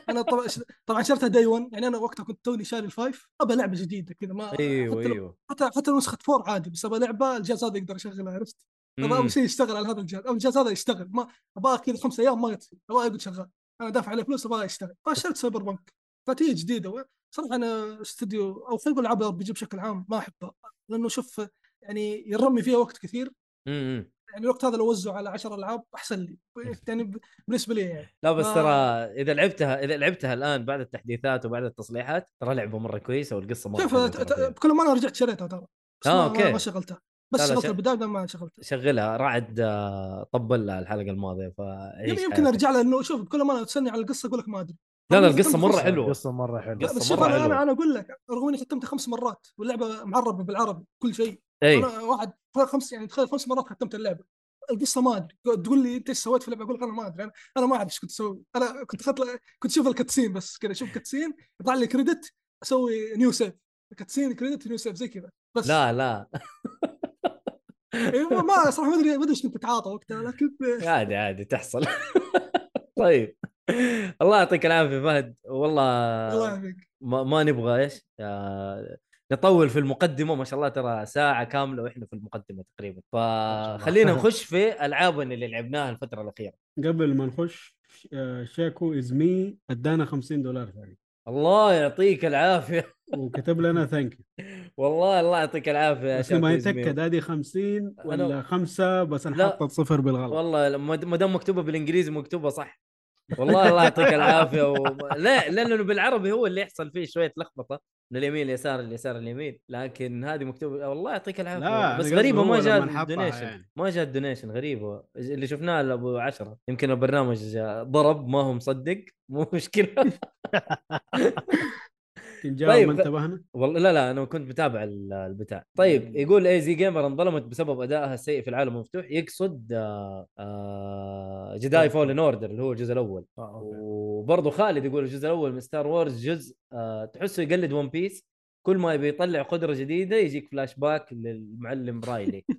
انا طبعا طبعا شريتها داي 1 يعني انا وقتها كنت توني شاري الفايف ابى لعبه جديده كذا ما
ايوه
حتى لو-
ايوه
حتى حتى لو نسخه فور عادي بس ابى لعبه الجهاز هذا يقدر يشغلها عرفت؟ ابى
مم.
اول شيء يشتغل على هذا الجهاز او الجهاز هذا يشتغل ما ابغاه كذا خمس ايام ما يطفي ابغاه يقعد شغال انا دافع عليه فلوس ابغاه يشتغل فشريت سايبر بنك فتيه جديده و- صراحه انا استوديو او خلينا نقول العاب الار بي جي بشكل عام ما احبها لانه شوف يعني يرمي فيها وقت كثير
مم، مم.
يعني الوقت هذا لو وزعه على 10 العاب احسن لي يعني ب- بالنسبه لي يعني
لا بس
ما-
ترى اذا لعبتها اذا لعبتها الان بعد التحديثات وبعد التصليحات ترى لعبه مره كويسه والقصه مره
شوف
حلوة
ت-
ترى
ت-
فيها.
بكل ما انا رجعت شريتها ترى بس
آه،
ما-
أوكي.
ما, ما شغلتها بس
لا، لا،
شغلتها
شا-
البدايه ما شغلتها
شغلها رعد آه، طبل لها الحلقه الماضيه ف
يعني يمكن ارجع لها انه شوف بكل ما انا تسالني على القصه اقول لك ما ادري
لا، لا،
رغم إني
القصة
ختمت
مرة
خمس-
حلوة.
قصه مره حلوه
قصة
لا بس
مرة
شوف انا
حلوة.
انا انا اقول لك رغم اني ختمتها خمس مرات واللعبه معربه بالعربي كل شيء
اي
انا واحد خمس يعني تخيل خمس مرات ختمت اللعبه القصه ما ادري تقول لي انت ايش سويت في اللعبه اقول لك انا ما ادري انا, أنا ما اعرف ايش كنت اسوي انا كنت خط... كنت اشوف الكاتسين بس كذا اشوف كاتسين يطلع لي كريدت اسوي نيو سيف كاتسين كريدت نيو سيف زي كذا بس
لا لا
*laughs* إيه، ما- ما صراحه ما ادري ما ادري ايش كنت اتعاطى وقتها لكن
عادي عادي تحصل *laughs* طيب الله يعطيك العافيه فهد
الله
والله
يعافيك
ما, ما نبغى ايش آه، نطول في المقدمه ما شاء الله ترى ساعه كامله واحنا في المقدمه تقريبا
*laughs*
الله.
فخلينا نخش في العابنا اللي لعبناها الفتره الاخيره
قبل ما نخش آه، شاكو از مي ادانا 50 دولار ثاني
الله يعطيك العافيه
وكتب
*laughs*
لنا ثانك يو
والله الله يعطيك العافيه يا
بس ما
شاكوز ميو.
يتاكد هذه 50
أنا-
ولا خمسه بس
لا.
انحطت صفر بالغلط
والله لما- ما دام مكتوبه بالانجليزي مكتوبه صح والله الله يعطيك العافيه و... *laughs* لا لا، لانه بالعربي هو اللي يحصل فيه شويه لخبطه من اليمين اليسار اليسار اليمين لكن هذه مكتوبه والله يعطيك العافيه
لا،
والله.
أنا
بس
قصدي
غريبه
هو
ما
لما
جاء
نحطها
الدونيشن
يعني.
ما جاء الدونيشن غريبه اللي شفناه لابو عشرة يمكن البرنامج ضرب ما هو مصدق مو مشكله
نجاوب
طيب،
ما انتبهنا
والله لا لا انا كنت متابع ال- البتاع طيب يقول اي زي جيمر انظلمت بسبب ادائها السيء في العالم المفتوح يقصد آه، آه، جداي فولن اوردر اللي هو الجزء الاول
آه، أوكي.
وبرضه خالد يقول الجزء الاول من ستار وورز جزء آه، تحسه يقلد ون بيس كل ما يبي يطلع قدره جديده يجيك فلاش باك للمعلم رايلي *laughs*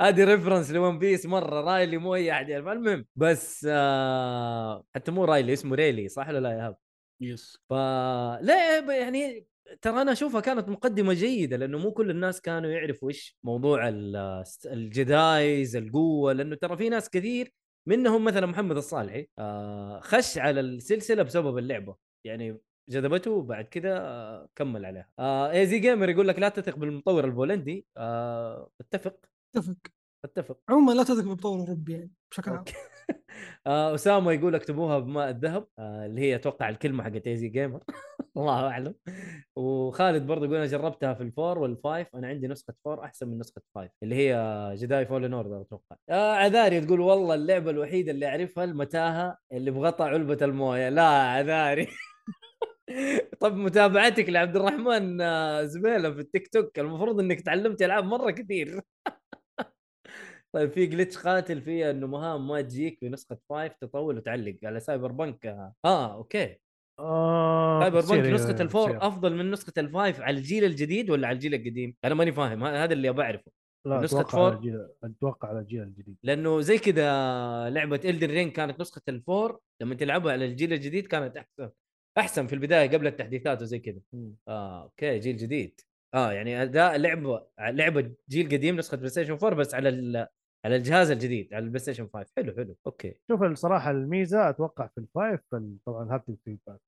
هذه ريفرنس لون بيس مره رايلي مو اي احد يعرف المهم بس آه حتى مو رايلي اسمه ريلي صح ولا لا يا هاب؟
يس
فلا ب- يعني ترى انا اشوفها كانت مقدمه جيده لانه مو كل الناس كانوا يعرفوا ايش موضوع ال- الجدايز القوه لانه ترى في ناس كثير منهم مثلا محمد الصالحي آه، خش على السلسله بسبب اللعبه يعني جذبته وبعد كذا آه، كمل عليها آه، اي زي جيمر يقول لك لا تثق بالمطور البولندي آه، اتفق
اتفق
اتفق
عموما لا تثق بطور اوروبي يعني بشكل عام
أوكي. آه، اسامه يقول اكتبوها بماء الذهب آه، اللي هي اتوقع الكلمه حقت ايزي جيمر *laughs* الله اعلم وخالد برضه يقول انا جربتها في الفور والفايف انا عندي نسخه فور احسن من نسخه فايف اللي هي جداي فولن اوردر اتوقع آه عذاري تقول والله اللعبه الوحيده اللي اعرفها المتاهه اللي بغطى علبه المويه لا عذاري *laughs* طب متابعتك لعبد الرحمن آه، زبيله في التيك توك المفروض انك تعلمت العاب مره كثير طيب في جلتش قاتل فيها انه مهام ما تجيك في نسخه 5 تطول وتعلق على سايبر بنك اه, آه اوكي
آه،
سايبر
بتصير،
بنك
أيوه،
نسخه
أيوه،
طيب، الفور آه،
بتصير.
افضل من نسخه الفايف على الجيل الجديد ولا على الجيل القديم؟ انا ماني فاهم ه- هذا اللي بعرفه
لا
نسخة
اتوقع على
فور.
الجيل اتوقع على الجيل الجديد
لانه زي كذا لعبه الدن رين كانت نسخه الفور لما تلعبها على الجيل الجديد كانت احسن احسن في البدايه قبل التحديثات وزي كذا
مم.
اه اوكي جيل جديد اه يعني اداء لعبه لعبه جيل قديم نسخه بلاي ستيشن 4 بس على ال- على الجهاز الجديد على البلاي ستيشن 5 حلو حلو اوكي
شوف الصراحه الميزه اتوقع في الفايف فال- طبعا هابتك فيدباك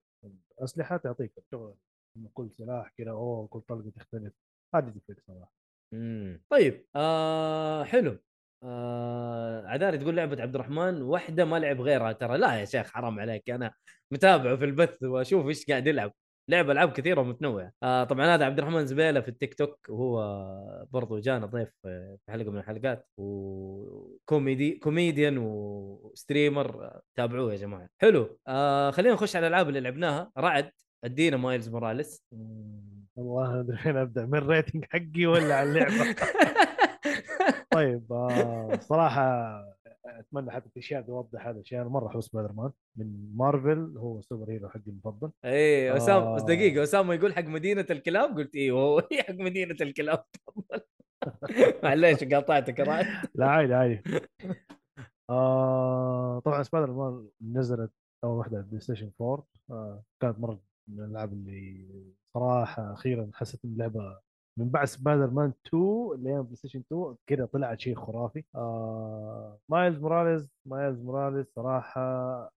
الاسلحه تعطيك شغل إنه كل سلاح كذا اوه كل طلقه تختلف هذه تفرق صراحه
امم طيب آه حلو آه عذاري تقول لعبه عبد الرحمن واحده ما لعب غيرها ترى لا يا شيخ حرام عليك انا متابعه في البث واشوف ايش قاعد يلعب لعب العاب كثيره ومتنوعه آه طبعا هذا عبد الرحمن زبيله في التيك توك وهو برضو جانا ضيف في حلقه من الحلقات وكوميدي كوميديان وستريمر آه، تابعوه يا جماعه حلو آه خلينا نخش على الالعاب اللي لعبناها رعد ادينا مايلز موراليس
مم، والله ادري فين ابدا من الريتنج حقي ولا على اللعبه طيب آه صراحه اتمنى حتى الاشياء توضح هذا الشيء انا مره احب سبايدر مان من مارفل هو السوبر هيرو حقي المفضل
ايه اسامه
آه.
بس دقيقه اسامه يقول حق مدينه الكلاب قلت ايوه هو *laughs* هي حق مدينه الكلاب *laughs* معليش قاطعتك *laughs* رائد
لا عادي عادي آه طبعا سبايدر مان نزلت اول واحده على البلاي ستيشن 4 آه كانت مره من الالعاب اللي صراحه اخيرا حسيت ان اللعبه من بعد سبايدر مان 2 لين بلاي ستيشن 2 كده طلعت شيء خرافي آه مايلز موراليز مايلز موراليز صراحه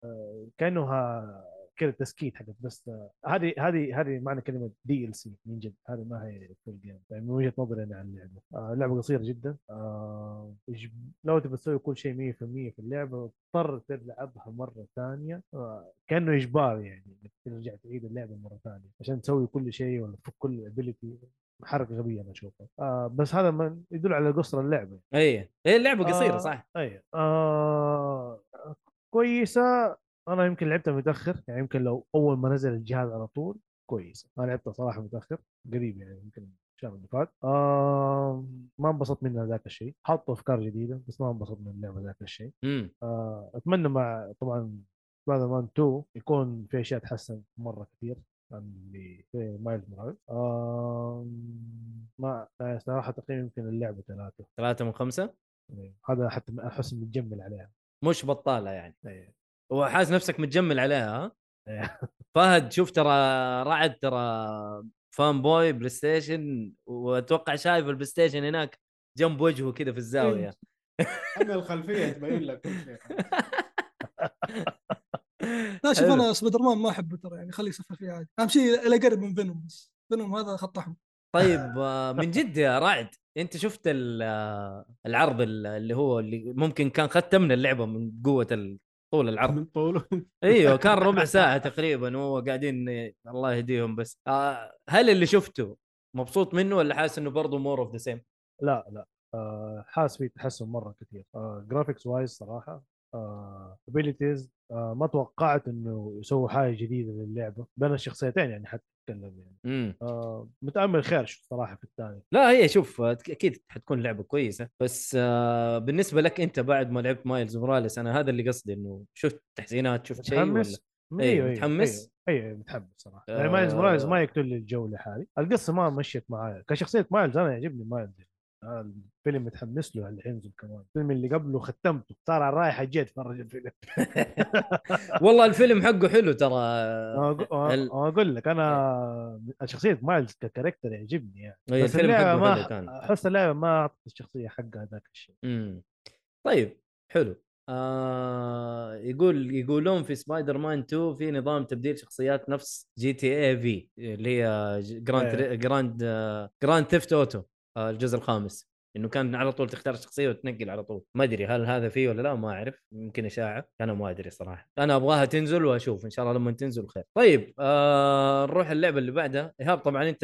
آه كانها كده تسكيت حقت بس آه، هذه هذه هذه معنى كلمه دي ال سي من جد هذه ما هي فول جيم يعني من وجهه نظري انا عن اللعبه آه لعبه قصيره جدا آه إج- لو تبي تسوي كل شيء 100% في اللعبه تضطر تلعبها مره ثانيه آه كانه اجبار يعني إنك ترجع تعيد اللعبه مره ثانيه عشان تسوي كل شيء ولا تفك كل ابيلتي حركه غبيه انا اشوفها آه بس هذا ما يدل على قصر اللعبه
ايه ايه اللعبه قصيره
آه.
صح
اي آه كويسه انا يمكن لعبتها متاخر يعني يمكن لو اول ما نزل الجهاز على طول كويس انا لعبتها صراحه متاخر قريب يعني يمكن الشهر اللي فات آه ما انبسطت منها ذاك الشيء حطوا افكار جديده بس ما انبسطت من اللعبه ذاك الشيء
امم
آه اتمنى مع طبعا سبايدر مان 2 يكون في اشياء تحسن مره كثير عن اللي في مايلز موراليز آه ما آه، صراحه تقييم يمكن اللعبه ثلاثه
ثلاثة من خمسة
يعني هذا حتى ما احس متجمل عليها
مش بطالة يعني
إيه.
وحاس نفسك متجمل عليها ها
إيه.
فهد شوف ترى رعد ترى فان بوي بلاي ستيشن واتوقع شايف البلاي ستيشن هناك جنب وجهه كذا في الزاوية
اما الخلفيه تبين لك كل شيء *laughs*
لا شوف
حلو.
انا سبايدر مان ما احبه ترى يعني خليه يسافر فيه عادي اهم شيء لا يقرب من فينوم بس فينوم هذا خط احمر
طيب آه، من جد يا رعد انت شفت ال- آه، العرض ال- اللي هو اللي ممكن كان ختمنا اللعبه من قوه ال- طول العرض
من *laughs*
*laughs*
طوله
ايوه كان ربع ساعه تقريبا وهو قاعدين ي- الله يهديهم بس آه، هل اللي شفته مبسوط منه ولا حاسس انه برضه مور اوف ذا سيم
لا لا آه حاسس في تحسن مره كثير آه جرافيكس وايز صراحه ابيلتيز ما توقعت انه يسووا حاجه جديده للعبه بين الشخصيتين يعني حتى اتكلم يعني
امم
آه، متامل خير شوف صراحه في الثاني
لا هي شوف أت- اكيد حتكون لعبه كويسه بس آه، بالنسبه لك انت بعد ما لعبت مايلز موراليس انا هذا اللي قصدي انه شفت تحسينات شفت شيء ولا
متحمس؟ أيوه،
إيه، متحمس؟
ايوه ايوه متحمس صراحه
آه.
يعني مايلز موراليز ما يقتل لي الجو لحالي القصه ما مشيت معايا كشخصيه مايلز انا يعجبني مايلز آه، الفيلم متحمس له اللي حينزل كمان الفيلم اللي قبله ختمته صار على رايح جيت اتفرج الفيلم
*laughs* والله الفيلم حقه حلو ترى آه،
أنا أقو- أنا-
ال-
أنا اقول لك انا شخصيه مايلز ككاركتر يعجبني يعني
أي
بس
الفيلم
اللعبه
حقه
ما
حلو كان
احس اللعبه ما اعطت الشخصيه حقها ذاك الشيء
امم طيب حلو آه يقول يقولون في سبايدر مان 2 في نظام تبديل شخصيات نفس جي تي اي في اللي هي جراند
إيه.
جراند جراند ثيفت اوتو آه، الجزء الخامس انه كان على طول تختار شخصيه وتنقل على طول ما ادري هل هذا فيه ولا لا ما اعرف يمكن اشاعه انا ما ادري صراحه انا ابغاها تنزل واشوف ان شاء الله لما تنزل خير طيب آه نروح اللعبه اللي بعدها ايهاب طبعا انت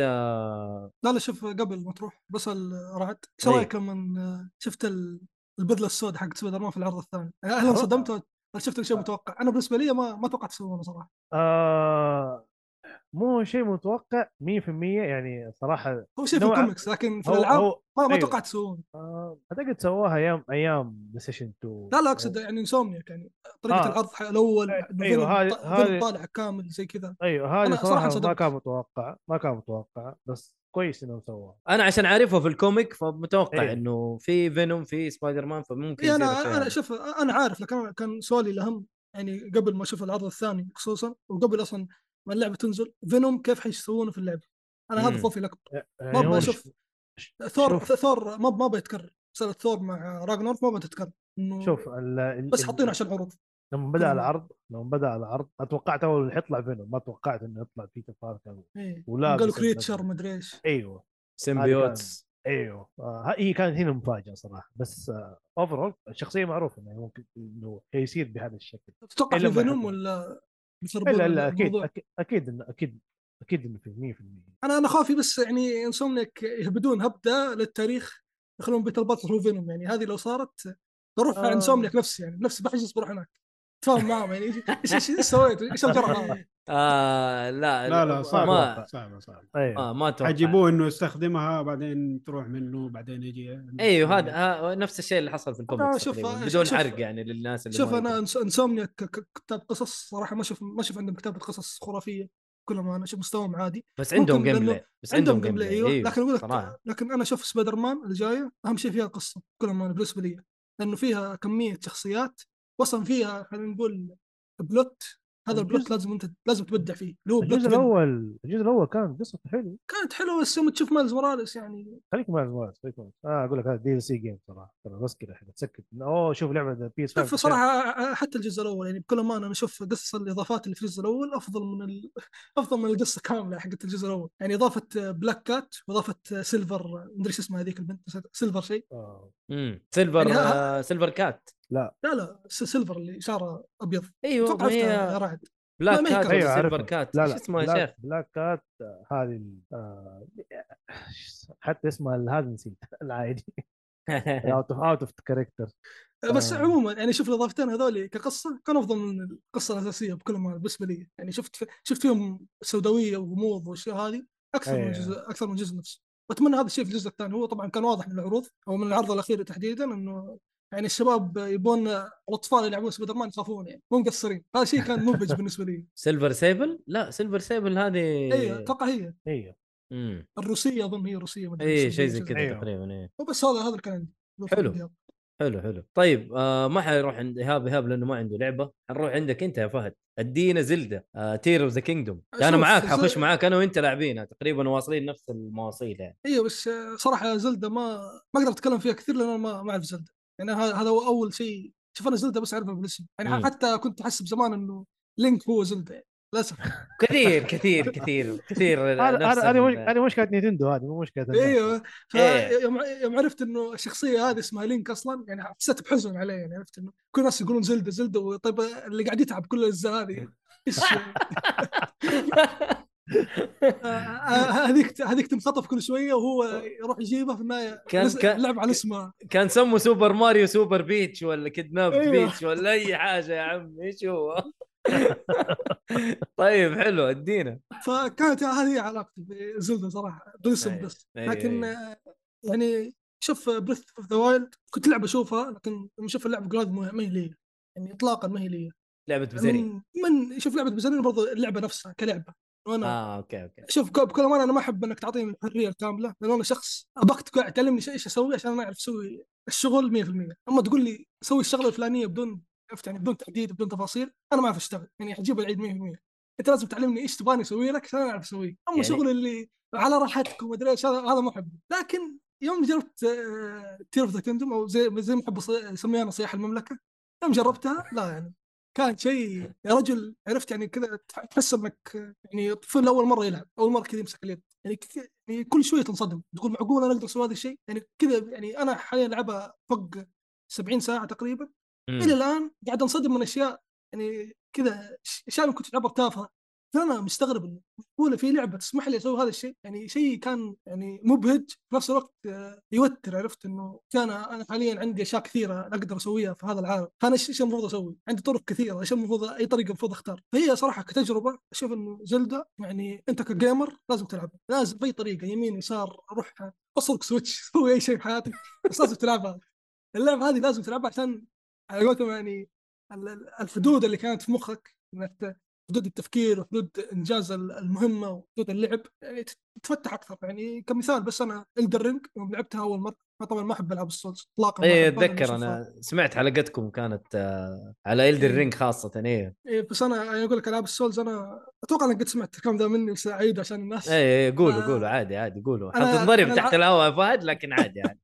لا لا شوف قبل ما تروح بسال رعد ايش
إيه.
أي.
رايك لما شفت ال- البدله السوداء حقت سبايدر مان في العرض الثاني؟ يعني هل انصدمت ولا شفت شيء متوقع؟ انا بالنسبه لي ما ما توقعت يسوونه صراحه
آه مو شيء متوقع 100% يعني صراحه
هو شيء في
نوعاً-
الكوميكس لكن في
هو
الالعاب
هو
ما ما
أيوه.
توقعت يسوونه
آه، اعتقد سواها ايام ايام بلاي ستيشن 2
لا لا اقصد يعني انسومنياك يعني طريقه
إيه. آه.
العرض حق- الاول
أيوه،
إنه فيلم
هذه-
ط-
هذه-
فيلم طالع كامل زي كذا
ايوه هذه
أنا صراحة
صراحه ما
انصدمت.
كان متوقع ما كان متوقع بس كويس انهم سووها
انا عشان عارفه في الكوميك فمتوقع
إيه.
انه في فينوم في سبايدر مان فممكن
إيه
يصير الشيء
انا انا
هذا.
شوف انا عارف لكن أنا كان سؤالي الاهم يعني قبل ما اشوف العرض الثاني خصوصا وقبل اصلا ما اللعبه تنزل فينوم كيف حيسوونه في اللعبه؟ انا هذا
مم.
خوفي الاكبر
يعني
ما
هو
ابغى اشوف
ش-
ثور
شوف-
ثور ما ما بيتكرر سلسله ثور مع راجنر ما بتتكرر انه
شوف ال- ال-
بس
ال-
حاطينه عشان عروض
لما بدا
*laughs* كلهم.
العرض لما بدا العرض أنا توقعت اول إنه حيطلع فينوم ما توقعت انه يطلع فيه تفاعل كبير
إيه.
ولا
قالوا
بس
كريتشر
البدلة.
مدري ايش
ايوه
سيمبيوتس
ايوه آه هي كانت هنا مفاجاه صراحه بس آه، اوفرول الشخصيه معروفه انه ممكن انه حيصير بهذا الشكل
تتوقع
إلا
في
لما
فينوم
يحطوا.
ولا بيخربون
الا الا اكيد
الموضوع؟
أكيد- اكيد انه اكيد اكيد انه في 100%
انا انا خافي بس يعني انسومنيك يهبدون هبده للتاريخ يخلون بيتر باتل هو فينوم يعني هذه لو صارت بروح
آه.
آه. انسومنيك نفسي يعني نفسي بحجز بروح هناك تفاهم معاهم يعني ايش ايش إيش سويت ايش الجرأة هذه؟
آه لا
لا لا صعبه
ما
صعبه صعبه
ايوه
آه ما اتوقع
حيجيبوه انه يستخدمها بعدين تروح منه بعدين يجي
ايوه هذا آه نفس الشيء اللي حصل في الكوميكس
شوف-
تقريباً،
يعني. آه،
بدون
شوف-
عرق يعني للناس اللي
شوف
ما
انا
يدرون.
إنس- انسومنياك ك- ك- كتاب قصص صراحه ما اشوف ما اشوف عندهم كتابه قصص خرافيه كلهم انا اشوف مستواهم عادي
بس عندهم
ممكن
إيه، جيم
لأنه
بلاي بس أيوه،
عندهم جيم بلاي ايوه لكن اقول *laughs*
صراحه
لك لكن انا اشوف سبايدر مان الجايه اهم شيء فيها قصه كلهم انا بالنسبه لي لانه فيها كميه شخصيات وصل فيها خلينا نقول بلوت هذا البلوت
الجزء-
لازم انت لازم تبدع فيه اللي هو بلوت
الجزء
فيلم.
الاول الجزء الاول كان قصته حلو
كانت حلوه بس يوم تشوف مالز موراليس يعني
خليك مع المواد خليك مع المواد. آه اقول لك هذا دي سي جيم صراحه ترى بس كذا حلو. تسكت اوه شوف لعبه بي اس
شوف صراحه حتى الجزء الاول يعني بكل امانه انا اشوف قصه الاضافات اللي في الجزء الاول افضل من ال... افضل من القصه كامله حقت الجزء الاول يعني اضافه بلاك كات واضافه سيلفر مدري ايش اسمها هذيك البنت نسيت- سيلفر شيء
آه.
امم سيلفر
يعني ها-
آه سيلفر كات
لا لا س- سيلفر اللي شعره ابيض
ايوه
اتوقع
ما
عرفتها
هي
يا رعد
بلاك
ما هي
كات
كات.
أيوة
ولا سيلفر
عارفها.
كات
لا
ايش
لا
اسمها يا
بلاك-
شيخ
بلاك كات آه، هذه ال- آه، حتى اسمها ال- هذه نسيت *laughs* العادي
*laughs*
اوت اوف اوت اوف كاركتر
بس
آه.
عموما يعني شوف الاضافتين هذول كقصه كان افضل من القصه الاساسيه بكل ما بالنسبه لي يعني شفت في شفت فيهم سوداويه وغموض والاشياء هذه اكثر من
أيوة.
الجزء اكثر من الجزء نفسه واتمنى هذا الشيء في الجزء الثاني هو طبعا كان واضح من العروض او من العرض الاخير تحديدا انه يعني الشباب يبون الاطفال يلعبون سبايدر مان يخافون يعني مو مقصرين هذا الشيء كان مبهج بالنسبه
*laughs*
لي
سيلفر سيبل لا سيلفر سيبل هذه
اي اتوقع هي
ايوه
امم
الروسيه اظن هي روسيه مدري
اي
إيش
إيه، شيء زي
أيوة.
كذا إيه. تقريبا اي
وبس هذا هذا اللي كان عندي
حلو. حلو حلو طيب آه ما حنروح عند ايهاب ايهاب لانه ما عنده لعبه حنروح عندك انت يا فهد ادينا زلده آه تير اوف ذا كينجدوم انا
شوف،
معاك
زل-
حخش معاك انا وانت لاعبينها تقريبا واصلين نفس المواصيل يعني
ايوه بس آه، صراحه زلدة ما ما اقدر اتكلم فيها كثير لان انا ما ما اعرف زلدة يعني ه- هذا هو اول شيء شوف انا زلدة بس اعرفها بالاسم يعني
مم.
حتى كنت احسب زمان انه لينك هو زلدة يعني
*laughs*
للاسف
كثير كثير كثير كثير
هذا
نفس
هذا- هذه مش-
ال-
هذه مشكله نينتندو هذه مو مشكله الناس.
ايوه ف-
إيه.
يوم ع- يوم عرفت انه الشخصيه هذه اسمها لينك اصلا يعني حسيت بحزن عليه يعني عرفت انه كل الناس يقولون زلدة
إيه.
زلدة طيب اللي قاعد يتعب كل الاجزاء هذه ايش *laughs* آه، هذيك هذيك تنخطف كل شويه وهو يروح يجيبها في النهايه
كان-
نس-
كان-
لعب على اسمها
كان سموا سوبر ماريو سوبر بيتش ولا كيدناب
أيوة.
بيتش ولا اي حاجه يا عم ايش هو *laughs* طيب حلو ادينا
فكانت هذه هي علاقتي بزلدة صراحه برسم
أيوة.
بس
أيوة،
لكن
أيوة.
آه، يعني شوف بريث اوف ذا وايلد كنت لعبه اشوفها لكن لما اشوف اللعبه جراد ما ما هي لي يعني اطلاقا ما هي لي
لعبه بزري
من, من شوف لعبه بزرين برضه اللعبه نفسها كلعبه وانا
اه اوكي اوكي
شوف كوب كل ما انا ما احب انك تعطيني الحريه الكامله لان انا شخص ابغاك تقعد تعلمني شيء ايش اسوي عشان انا اعرف اسوي الشغل 100% اما تقول لي سوي الشغله الفلانيه بدون عرفت يعني بدون تحديد بدون تفاصيل انا ما اعرف اشتغل يعني حجيب العيد 100% انت لازم تعلمني ايش تبغاني اسوي لك عشان أنا اعرف اسويه اما
يعني-
يعني... شغل اللي على راحتك ومدري ايش هذا هذا ما احبه لكن يوم جربت آه، تير اوف ذا كيندوم او زي زي ما احب أصي- اسميها انا صياح المملكه يوم جربتها لا يعني كان شيء يا رجل عرفت يعني كذا تح- تحس انك آه، يعني طفل اول مره يلعب اول مره كذا يمسك اليد يعني كت- يعني كل شويه تنصدم تقول معقول انا اقدر اسوي هذا الشيء يعني كذا يعني انا حاليا العبها فوق 70 ساعه تقريبا
مم.
الى الان قاعد انصدم من اشياء يعني كذا ش- اشياء كنت العبها تافهه فانا مستغرب معقوله في لعبه تسمح لي اسوي هذا الشيء يعني شيء كان يعني مبهج في نفس الوقت آه، يوتر عرفت انه كان انا حاليا عندي اشياء كثيره اقدر اسويها في هذا العالم فانا ايش إيش المفروض اسوي عندي طرق كثيره ايش المفروض اي طريقه المفروض اختار فهي صراحه كتجربه اشوف انه زلدا يعني انت كجيمر لازم تلعبها لازم باي طريقه يمين يسار روح اسرق سويتش *laughs* سوي اي شيء في حياتك بس لازم تلعبها اللعبه هذه لازم تلعبها عشان على قولتهم يعني ال- ال- الحدود اللي كانت في مخك انك ت- حدود التفكير وحدود انجاز ال- المهمه وحدود اللعب يعني تت- تتفتح اكثر يعني كمثال بس انا الدرينج يوم لعبتها اول مره أنا طبعا ما احب العاب السولز اطلاقا ما
اي
أحب ولا
اتذكر
أشوفها.
انا إيه، سمعت حلقتكم كانت آه، على الدر رينج خاصه اي
إيه بس انا يعني اقول لك العاب السولز انا اتوقع انك قد سمعت الكلام ذا مني بس اعيد عشان الناس
اي إي، إيه، قولوا
آه.
قولوا عادي عادي قولوا
أنا-
حتنضرب
أنا
تحت
الع-
الهواء يا فهد لكن
*laughs*
عادي عادي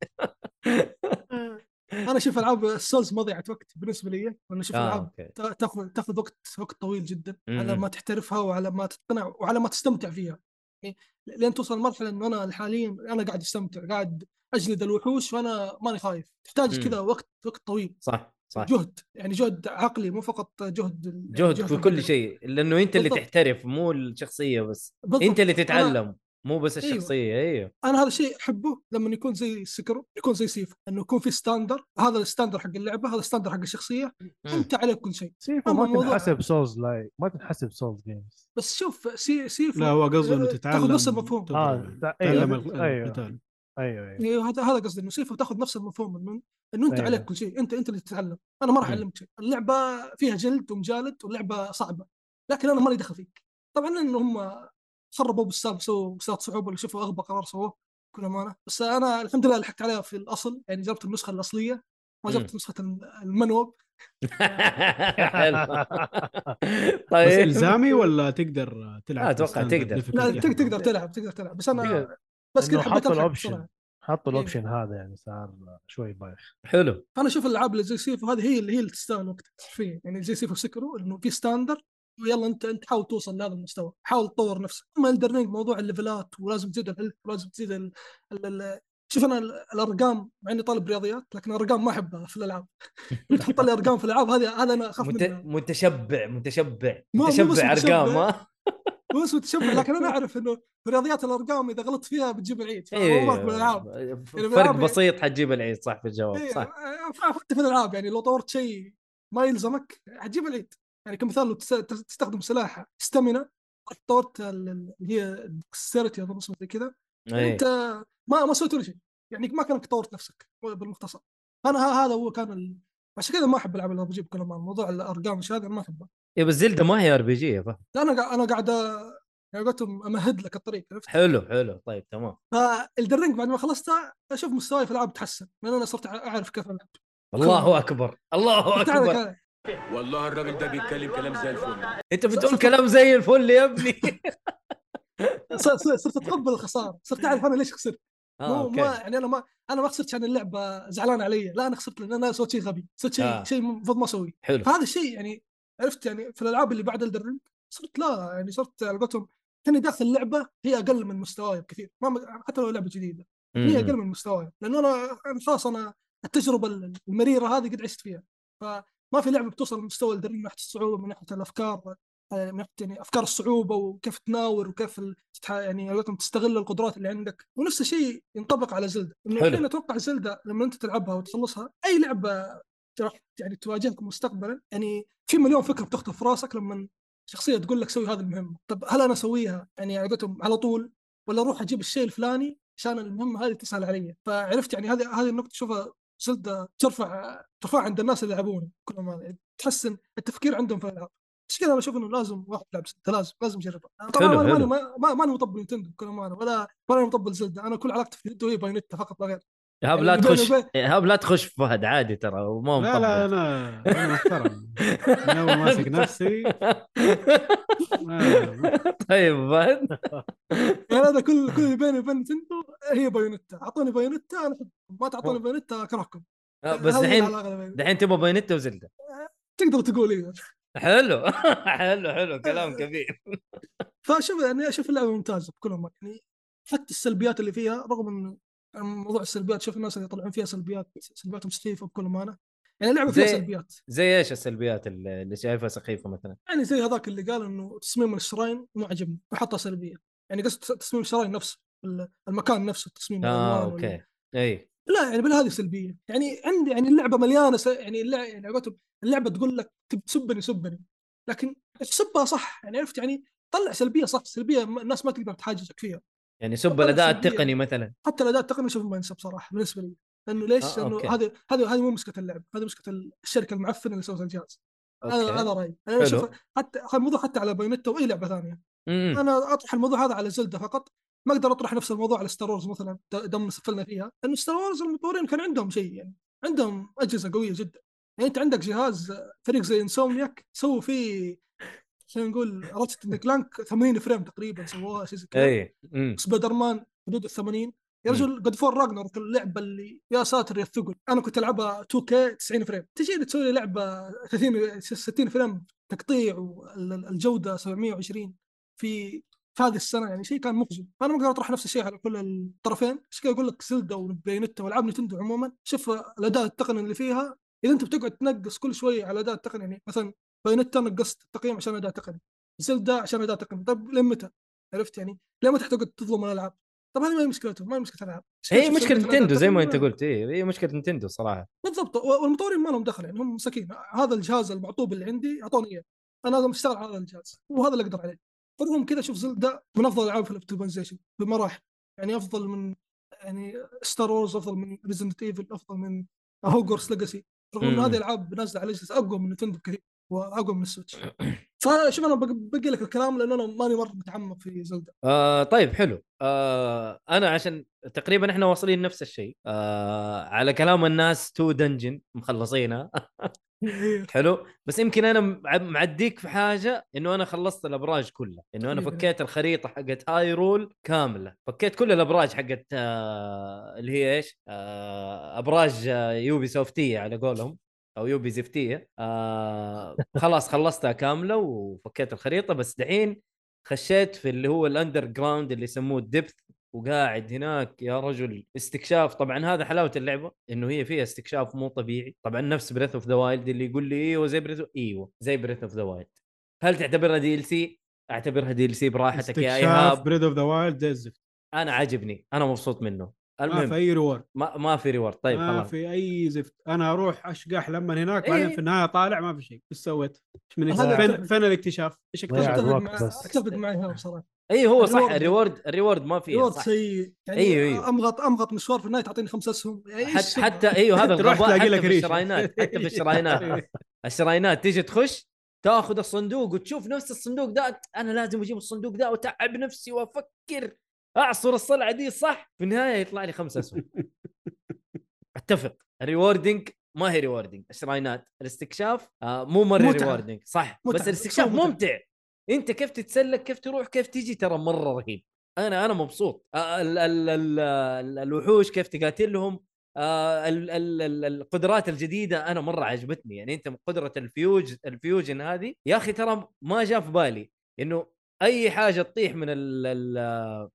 انا اشوف العاب السولز مضيعه وقت بالنسبه لي وانا اشوف
اه
العاب
اوكي
تا- تاخذ تاخذ وقت وقت طويل جدا على
مهم.
ما تحترفها وعلى ما تقتنع وعلى ما تستمتع فيها
إيه.
يعني لين توصل مرحله انه انا حاليا انا قاعد استمتع قاعد اجلد الوحوش وانا ماني خايف
مم.
تحتاج كذا وقت وقت طويل
صح صح
جهد يعني جهد عقلي مو فقط جهد ال-
جهد في كل
البدني.
شيء لانه انت اللي
بالضبط.
تحترف مو الشخصيه بس
بالضبط.
انت اللي تتعلم مو بس
أيوة.
الشخصيه ايوه
انا هذا الشيء احبه لما يكون زي سكرو يكون زي سيف انه يكون في ستاندر هذا الستاندر حق اللعبه هذا الستاندر حق الشخصيه انت عليه كل شيء
سيفو
أما
ما
الموضوع-
تنحسب سولز لايك ما تنحسب سولز جيمز
بس شوف سي سيف
لا هو قصده انه
تاخذ
تتعلم
نفس المفهوم.
تضرب
اه
يعني.
تع-
تعلم
ايوه
ال-
ايوه
القتال
ايوه ايوه
إيه، هذا هذا قصدي انه سيفا تاخذ نفس المفهوم انه انه انت
أيوه.
عليك كل شيء انت انت اللي تتعلم انا ما راح
مم.
اعلمك شيء اللعبه فيها جلد ومجالد واللعبه صعبه لكن انا مالي دخل فيك طبعا انه هم خربوا بالسالفه سووا سالفه صعوبه اللي شوفوا اغبى قرار سووه بكل امانه بس انا الحمد لله لحقت عليها في الاصل يعني جربت النسخه الاصليه ما
مم.
جربت نسخه المنوب
*laughs*
*laughs*
حلو
بس
طيب
الزامي ولا تقدر تلعب
آه، أتوقع
بستاندرد
تقدر.
difficulty
لا
حقه؟
تق- تقدر تلعب تقدر تلعب بس انا
تقدر.
بس كذا
إنه
حبيت الحق
حطوا الأوبشن.
بسرعه
حطوا
إيه.
الاوبشن هذا يعني صار شوي بايخ
حلو
فانا اشوف الالعاب اللي زي سيفو هذه هي اللي هي اللي تستاهل وقتك حرفيا يعني زي سيفو سكرو انه في ستاندر ويلا انت انت حاول توصل لهذا المستوى حاول تطور نفسك اما الدرنينج موضوع الليفلات ولازم تزيد الهيلث ولازم تزيد ال... ال... ال... شوف انا ال- الارقام مع اني طالب رياضيات لكن الارقام ما احبها في
*laughs*
الالعاب لو تحط لي ارقام في الالعاب هذه هذا انا اخاف
مت...
منها
متشبع متشبع
مو- مو بس
متشبع ارقام
متشبع.
ها
مو اسمه تشبع لكن انا اعرف انه في رياضيات الارقام اذا غلطت فيها بتجيب العيد فهو
إيه.
ماك بالالعاب
فرق
بالألعاب-
بسيط حتجيب العيد صح في الجواب
يعني إيه،
صح
آه، حتى في الالعاب يعني لو طورت شيء ما يلزمك حتجيب العيد يعني كمثال لو تس- تس- تستخدم سلاح ستامينا طورت ال- ال- اللي هي السيرتي اظن اسمها زي كذا
إيه.
انت ما ما سويت ولا شيء يعني ما كانك طورت نفسك بالمختصر انا ه- هذا هو كان ال... عشان كذا ما احب العاب الار بي جي بكل امانه موضوع الارقام والشيء هذا ما احبه
إيه بس زلده ما هي ار بي جي يا فهد
لا انا قاعد انا قاعد أ- يعني قلتهم امهد لك الطريق عرفت
حلو حلو طيب تمام
فالدرينج بعد ما خلصتها اشوف مستواي في الالعاب تحسن لان انا صرت اعرف كيف العب
الله اكبر الله
تعال-
اكبر
تعال-
والله الراجل ده بيتكلم كلام زي الفل
انت بتقول كلام زي الفل يا ابني
ص- ص- صرت اتقبل الخساره صرت اعرف انا ليش خسرت
آه،
*laughs* مو
أوكي.
ما يعني انا ما انا ما خسرت عشان اللعبه زعلان علي لا انا خسرت لان انا سويت شيء غبي سويت شيء
آه.
شيء المفروض ما اسويه
حلو
فهذا الشيء يعني عرفت يعني في الالعاب اللي بعد الدرينج صرت لا يعني صرت على قولتهم كاني داخل اللعبه هي اقل من مستواي بكثير ما حتى لو لعبه جديده هي اقل
مم.
من مستواي لانه انا أنا يعني خلاص انا التجربه المريره هذه قد عشت فيها فما في لعبه بتوصل لمستوى الدرينج من ناحيه الصعوبه من ناحيه الافكار آه، من ناحيه يعني افكار الصعوبه وكيف تناور وكيف ال- تتح- يعني على قولتهم تستغل القدرات اللي عندك ونفس الشيء ينطبق على زلدة انه
حلو.
الحين اتوقع زلدة لما انت تلعبها وتخلصها اي لعبه راح يعني تواجهك مستقبلا يعني في مليون فكره بتخطف في راسك لما شخصيه تقول لك سوي هذه المهمه طب هل انا اسويها يعني على قولتهم على طول ولا اروح اجيب الشيء الفلاني عشان المهمه هذه تسهل علي فعرفت يعني هذه هذه النقطه شوفها زلدة ترفع ترفع عند الناس اللي يلعبون كلهم هذا يعني تحسن التفكير عندهم في الالعاب عشان كذا انا اشوف انه لازم واحد يلعب زلدة لازم لازم يجربها أنا طبعا
حلو،
انا ماني
حلو.
ما- ما- ماني مطبل نينتندو كل ما انا ولا ولا مطبل زلدة انا كل علاقتي في نينتندو هي بايونيتا فقط لا غير
ايهاب لا
يعني
تخش
بيني وبين-
ايهاب لا تخش في فهد عادي ترى وما
لا لا
مطبل
انا انا محترم انا اول *laughs* ماسك نفسي ما-
طيب فهد
يعني هذا كل كل اللي بيني وبين نتندو هي بايونيتا اعطوني بايونيتا انا أحب. ما تعطوني بايونيتا اكرهكم
آه، بس
هذه
دحين
العلاقة اللي بيننا.
دحين تبغى باينته وزلده
تقدر تقول ايه
حلو *laughs* حلو حلو كلام كبير
فاشوف يعني اشوف اللعبه ممتازه بكل ما يعني حتى السلبيات اللي فيها رغم انه موضوع السلبيات شوف الناس اللي يطلعون فيها سلبيات سلبياتهم سخيفه بكل امانه يعني اللعبه فيها
زي-
سلبيات
زي ايش السلبيات اللي اللي شايفها سخيفه مثلا
يعني زي هذاك اللي قال انه تصميم الشراين مو عجبني وحطها سلبيه يعني قصد تصميم الشراين نفسه ال- المكان نفسه التصميم
اه
والألوان وال-
اوكي اي
لا يعني بلا هذه سلبيه يعني عندي يعني اللعبه مليانه س... يعني اللعبه يعني عقولتهم- اللعبه تقول لك تب- سبني سبني لكن سبها صح يعني عرفت يعني طلع سلبيه صح سلبيه ما- الناس ما تقدر تحاججك فيها
يعني سب
طبعاً
الاداء
سلبية.
التقني مثلا
حتى الاداء التقني اشوفه ما ينسب صراحه بالنسبه لي لانه ليش؟
آه،
لانه
أوكي.
هذه هذه هذه مو مشكله اللعب هذه مشكله الشركه المعفنه اللي سوت الجهاز هذا
اوكي
هذا رايي انا
حلو.
اشوف حتى هذا الموضوع حتى على بايونيتا واي لعبه ثانيه
أمم.
انا اطرح الموضوع هذا على زلدة فقط ما اقدر اطرح نفس الموضوع على ستار وورز مثلا د- دم سفلنا فيها لانه ستار وورز المطورين كان عندهم شيء يعني عندهم اجهزه قويه جدا يعني انت عندك جهاز فريق زي انسومياك سووا فيه خلينا نقول راتشت اند كلانك 80 فريم تقريبا سووها شيء زي كذا
اي أمم.
سبايدر مان حدود ال 80 يا
مم.
رجل جود فور راجنر اللعبه اللي يا ساتر يا الثقل انا كنت العبها 2 كي 90 فريم تجيني تسوي لي لعبه 30 60 فريم تقطيع والجوده 720 في في هذه السنه يعني شيء كان محزن فانا ما اقدر اطرح نفس الشيء على كل الطرفين عشان كذا اقول لك زلدا وبايونيتا والعاب نتندو عموما شوف الاداء التقني اللي فيها اذا انت بتقعد تنقص كل شويه على الاداء التقني يعني مثلا بايونيتا نقصت التقييم عشان اداء تقني زلدا عشان اداء تقني طب لمتى عرفت يعني ليه ما تحتاج تظلم الالعاب طب هذه ما هي مشكلتهم ما هي مشكله العاب
هي مشكله نتندو زي ما انت قلت اي هي مشكله نتندو صراحه
بالضبط و- والمطورين ما لهم دخل يعني هم مساكين هذا الجهاز المعطوب اللي عندي اعطوني اياه انا لازم اشتغل على هذا الجهاز وهذا اللي اقدر عليه فرغم كذا شوف زلدا من افضل الالعاب في الاوبتمايزيشن بمراحل يعني افضل من يعني ستار وورز افضل من ريزنت ايفل افضل من هوجورس ليجاسي رغم ان
مم.
هذه الالعاب نازله على اجهزه اقوى من نتندو بكثير واقوى من السويتش فشوف انا بق- بقي لك الكلام لان انا ماني مره متعمق في زلدا
آه طيب حلو آه انا عشان تقريبا احنا واصلين نفس الشيء آه على كلام الناس تو دنجن مخلصينها *laughs* حلو بس يمكن انا مع- معديك في حاجه انه انا خلصت الابراج كلها انه انا
تقريباً.
فكيت الخريطه حقت هايرول كامله فكيت كل الابراج حقت آه اللي هي ايش آه ابراج آه، يوبي سوفتيه على قولهم او يوبي زفتيه آه خلاص خلصتها كامله وفكيت الخريطه بس دحين خشيت في اللي هو الاندر جراوند اللي يسموه الدبث وقاعد هناك يا رجل استكشاف طبعا هذا حلاوه اللعبه انه هي فيها استكشاف مو طبيعي طبعا نفس بريث اوف ذا وايلد اللي يقول لي ايوه زي بريث ايوه زي بريث اوف ذا وايلد هل تعتبرها دي ال سي؟ اعتبرها دي ال سي براحتك يا
استكشاف
ايهاب
بريد اوف ذا وايلد زي الزفت
انا عاجبني انا مبسوط منه
ما في
المهم
اي ريورد
ما, ما في ريورد طيب
ما
خلاص
في اي زفت انا اروح اشقح لما هناك
إيه.
بعدين في النهايه طالع ما في شيء ايش سويت؟ إيش من
هذا
فين
أعتقد.
فين الاكتشاف؟ ايش
ضيع
اكتشفت؟
اتفق
الوقت
مع
بس.
اتفق معي هذا بصراحه
اي إيه، هو صح
الريورد-
الريورد الريورد ما فيه
ريورد
صح
سيء يعني
أيوه، أيوه.
امغط امغط مشوار في النهايه تعطيني خمسة اسهم يعني إيش
حتى
الشغل؟
حتى ايوه
*laughs*
هذا
تروح
الغباء
تلاقي
حتى
لك إيه.
في
ريشة.
الشراينات
*laughs*
حتى في الشراينات الشراينات تيجي تخش تاخذ الصندوق وتشوف نفس الصندوق ده انا لازم اجيب الصندوق ده واتعب نفسي وافكر اعصر الصلعه دي صح في النهايه يطلع لي خمسة اسهم اتفق الريوردنج ما هي ريوردنج الشراينات الاستكشاف آه مو مره
متعة.
ريوردنج صح
متعة.
بس الاستكشاف
متعة.
ممتع انت كيف تتسلك كيف تروح كيف تيجي ترى مره رهيب انا انا مبسوط آه، ال ال ال ال الوحوش كيف تقاتلهم آه، ال- ال- ال- القدرات الجديده انا مره عجبتني يعني انت من قدره الفيوج الفيوجن هذه يا اخي ترى ما جاء في بالي انه اي حاجه تطيح من ال ال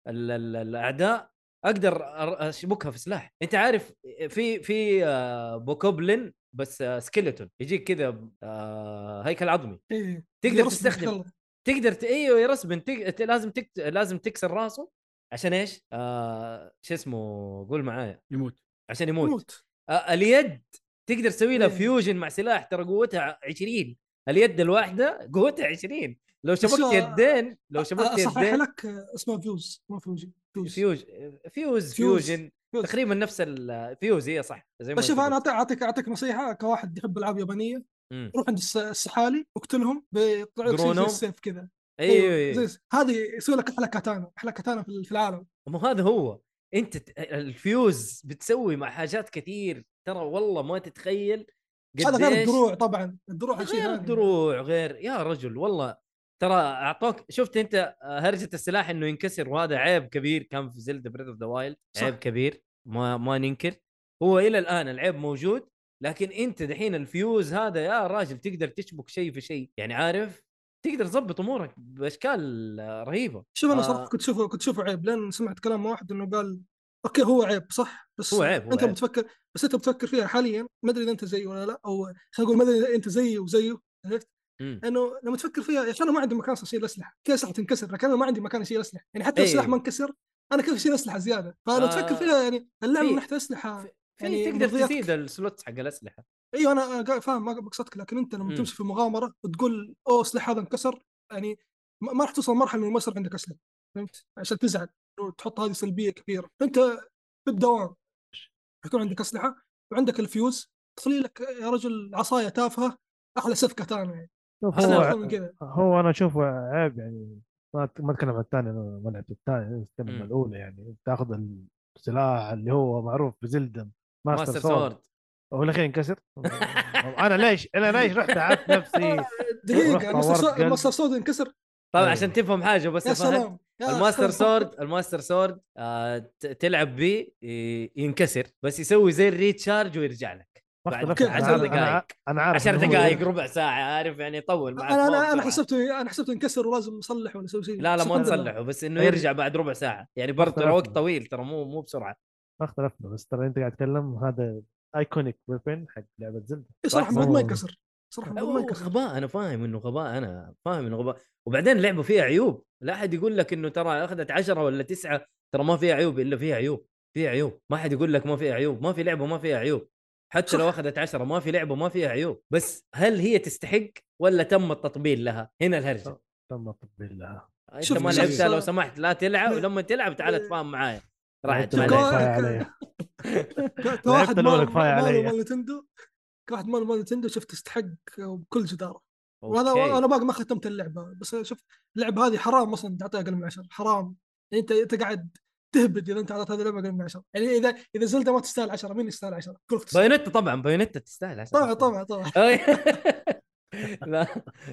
ال ال الاعداء اقدر أر- اشبكها في سلاح انت عارف في في آه، بوكوبلين بس سكيلتون يجيك كذا آه، هيكل عظمي
إيه.
تقدر
يرسم إن شاء
تستخدم
الله.
تقدر ت... ايوه يا رسم تق... ت- لازم تك... لازم تكسر راسه عشان ايش؟ آه... شو اسمه قول معايا
يموت
عشان يموت, يموت.
موت
آه اليد تقدر تسوي لها
إيه.
فيوجن مع سلاح ترى قوتها 20 اليد الواحده قوتها 20 لو شبكت
هو-
يدين لو شبكت
اصحح آه،
يدين آه،
لك آه، اسمه فيوز ما فيوجي فيوز
فيوج فيوز فيوجن
فيوز.
تقريبا نفس الفيوز هي صح زي ما
بس شوف
قلت.
انا أعطي- اعطيك اعطيك نصيحه كواحد يحب العاب يابانيه
مم.
روح عند الس- السحالي اقتلهم بطلعوا شيء زي
درونهم.
السيف كذا أيوه.
ايوه ايوه
زي- هذه يسوي لك احلى كاتانا احلى كاتانا في في العالم
مو هذا هو انت ت- الفيوز بتسوي مع حاجات كثير ترى والله ما تتخيل
هذا غير
قديش-
الدروع طبعا الدروع شيء
غير
ثاني.
الدروع غير يا رجل والله ترى اعطوك شفت انت هرجه السلاح انه ينكسر وهذا عيب كبير كان في زلدة بريد اوف ذا وايلد
صح.
عيب كبير ما ما ننكر هو الى الان العيب موجود لكن انت دحين الفيوز هذا يا راجل تقدر تشبك شيء في شيء يعني عارف تقدر تظبط امورك باشكال آه، رهيبه
شوف انا
آه.
صراحه كنت شوفه كنت شوفه عيب لان سمعت كلام واحد انه قال اوكي هو عيب صح بس
هو عيب، هو
انت
عيب.
بتفكر بس انت بتفكر فيها حاليا ما ادري اذا انت زيي ولا لا او خلينا نقول ما ادري اذا انت زيي وزيه عرفت
مم.
انه لما تفكر فيها يا اخي انا ما عندي مكان اشيل اسلحه في اسلحه تنكسر لكن انا ما عندي مكان اشيل اسلحه يعني حتى لو
إيه.
السلاح ما انكسر انا كيف اشيل اسلحه زياده فانا
آه،
تفكر فيها يعني اللعبه
في-
من ناحيه اسلحه
في- في
يعني
تقدر
مرضياتك.
تزيد السلوتس حق الاسلحه
ايوه انا قا- فاهم ما قصدك لكن انت لما
مم.
تمشي في مغامره وتقول اوه سلاح هذا انكسر يعني ما ما راح توصل مرحله انه ما يصير عندك اسلحه فهمت؟ عشان تزعل وتحط هذه سلبيه كبيره انت في الدوام يكون عندك اسلحه وعندك الفيوز تخلي لك يا رجل عصايه تافهه احلى سيف كاتانا يعني
شوف
أنا
هو
أحسن من كذا
هو انا اشوفه عيب يعني ما أت- ما اتكلم عن الثاني انا ما لعبت الثاني اتكلم عن
مم.
الاولى يعني تاخذ السلاح اللي هو معروف بزلدا
ماستر سورد
هو الاخير انكسر *laughs* انا ليش انا ليش رحت عبت نفسي
دقيقه
طورت قلب.
الماستر سود انكسر
طبعا
أيوة.
عشان تفهم حاجه بس
يا
أفهم.
سلام يا *laughs*
الماستر
أخي.
سورد الماستر سورد آه ت- تلعب بيه ي- ينكسر بس يسوي زي الريتشارج ويرجع لك
ما
بعد
اختلفت
أوكي، عشر
أنا عارف- أنا
دقايق.
ع- انا عارف
10
إنه هو
دقائق
يقدر.
ربع ساعه عارف يعني يطول معك
انا انا
ما
انا
بسرعة.
حسبته انا حسبته انكسر ولازم اصلح ولا اسوي شيء
لا لا ما
استغفر الله.
تصلحه بس انه
أي.
يرجع بعد ربع ساعه يعني برضه ترى
اختلفنا.
وقت طويل ترى مو مو بسرعه
ما اختلفنا بس ترى انت قاعد تتكلم هذا ايكونيك ويبن حق لعبه زلدة
إيه، صراحه
صح.
المفروض ما ينكسر صراحه المفروض ما
أوه، *laughs*
ينكسر
غباء انا فاهم انه غباء انا فاهم انه غباء وبعدين اللعبه فيها عيوب لا احد يقول لك انه ترى اخذت عشرة ولا تسعة ترى ما فيها عيوب الا فيها عيوب فيها عيوب ما حد يقول لك ما فيها عيوب ما في لعبه ما فيها عيوب حتى لو
صح.
اخذت عشرة ما في لعبه ما فيها عيوب بس هل هي تستحق ولا تم التطبيل لها هنا الهرجه
صح. تم تطبيل لها
انت
شوف،
ما
شوف،
لعبتها
صراحة-
لو سمحت لا تلعب ولما تلعب تعال تفاهم معايا راحت
لعبت
معلش.
الأولى كفاية
معلش.
ك- ك-
عليها. لعبت
كواحد
الأولى
مال
كفاية علي.
مال مال نتندو كواحد مال مال نتندو شفت استحق بكل جداره وانا
أوكي.
انا باقي ما ختمت اللعبه بس شوف اللعبه هذه حرام اصلا تعطيها اقل من 10 حرام يعني انت انت قاعد تهبد اذا انت اعطيت هذه اللعبه اقل من 10 يعني اذا اذا زلده ما تستاهل 10 مين يستاهل طيب، 10 كلك تستاهل
بايونيتا طبعا بايونيتا تستاهل
طبعا
عشان تستاهل.
طبعا
*laughs*
طبعا
أي. لا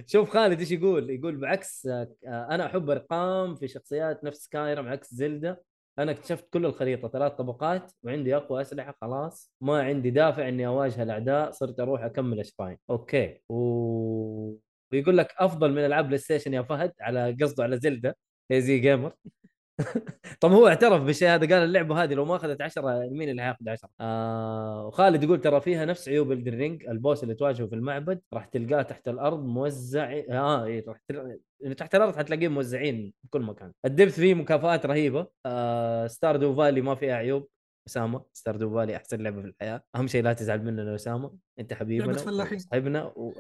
شوف خالد ايش يقول يقول بعكس آه، انا احب ارقام في شخصيات نفس سكايرم عكس زلدة انا اكتشفت كل الخريطه ثلاث طبقات وعندي اقوى اسلحه خلاص ما عندي دافع اني اواجه الاعداء صرت اروح اكمل اشراين اوكي و... ويقول لك افضل من العاب بلاي ستيشن يا فهد على قصده على زلدة هي زي جيمر *laughs* طب هو اعترف بالشيء هذا قال اللعبه هذه لو ما اخذت 10 مين اللي هياخذ 10 آه وخالد يقول ترى فيها نفس عيوب الدرينج البوس اللي تواجهه في المعبد راح تلقاه تحت الارض موزع اه إيه، راح تل... إنه تحت الارض حتلاقيه موزعين في كل مكان الدبث فيه مكافآت رهيبه آه ستار دو فالي ما فيها عيوب اسامه ستار دو فالي احسن لعبه في الحياه اهم شيء لا تزعل مننا يا اسامه انت حبيبنا
لعبة فلاحين.
وصاحبنا و...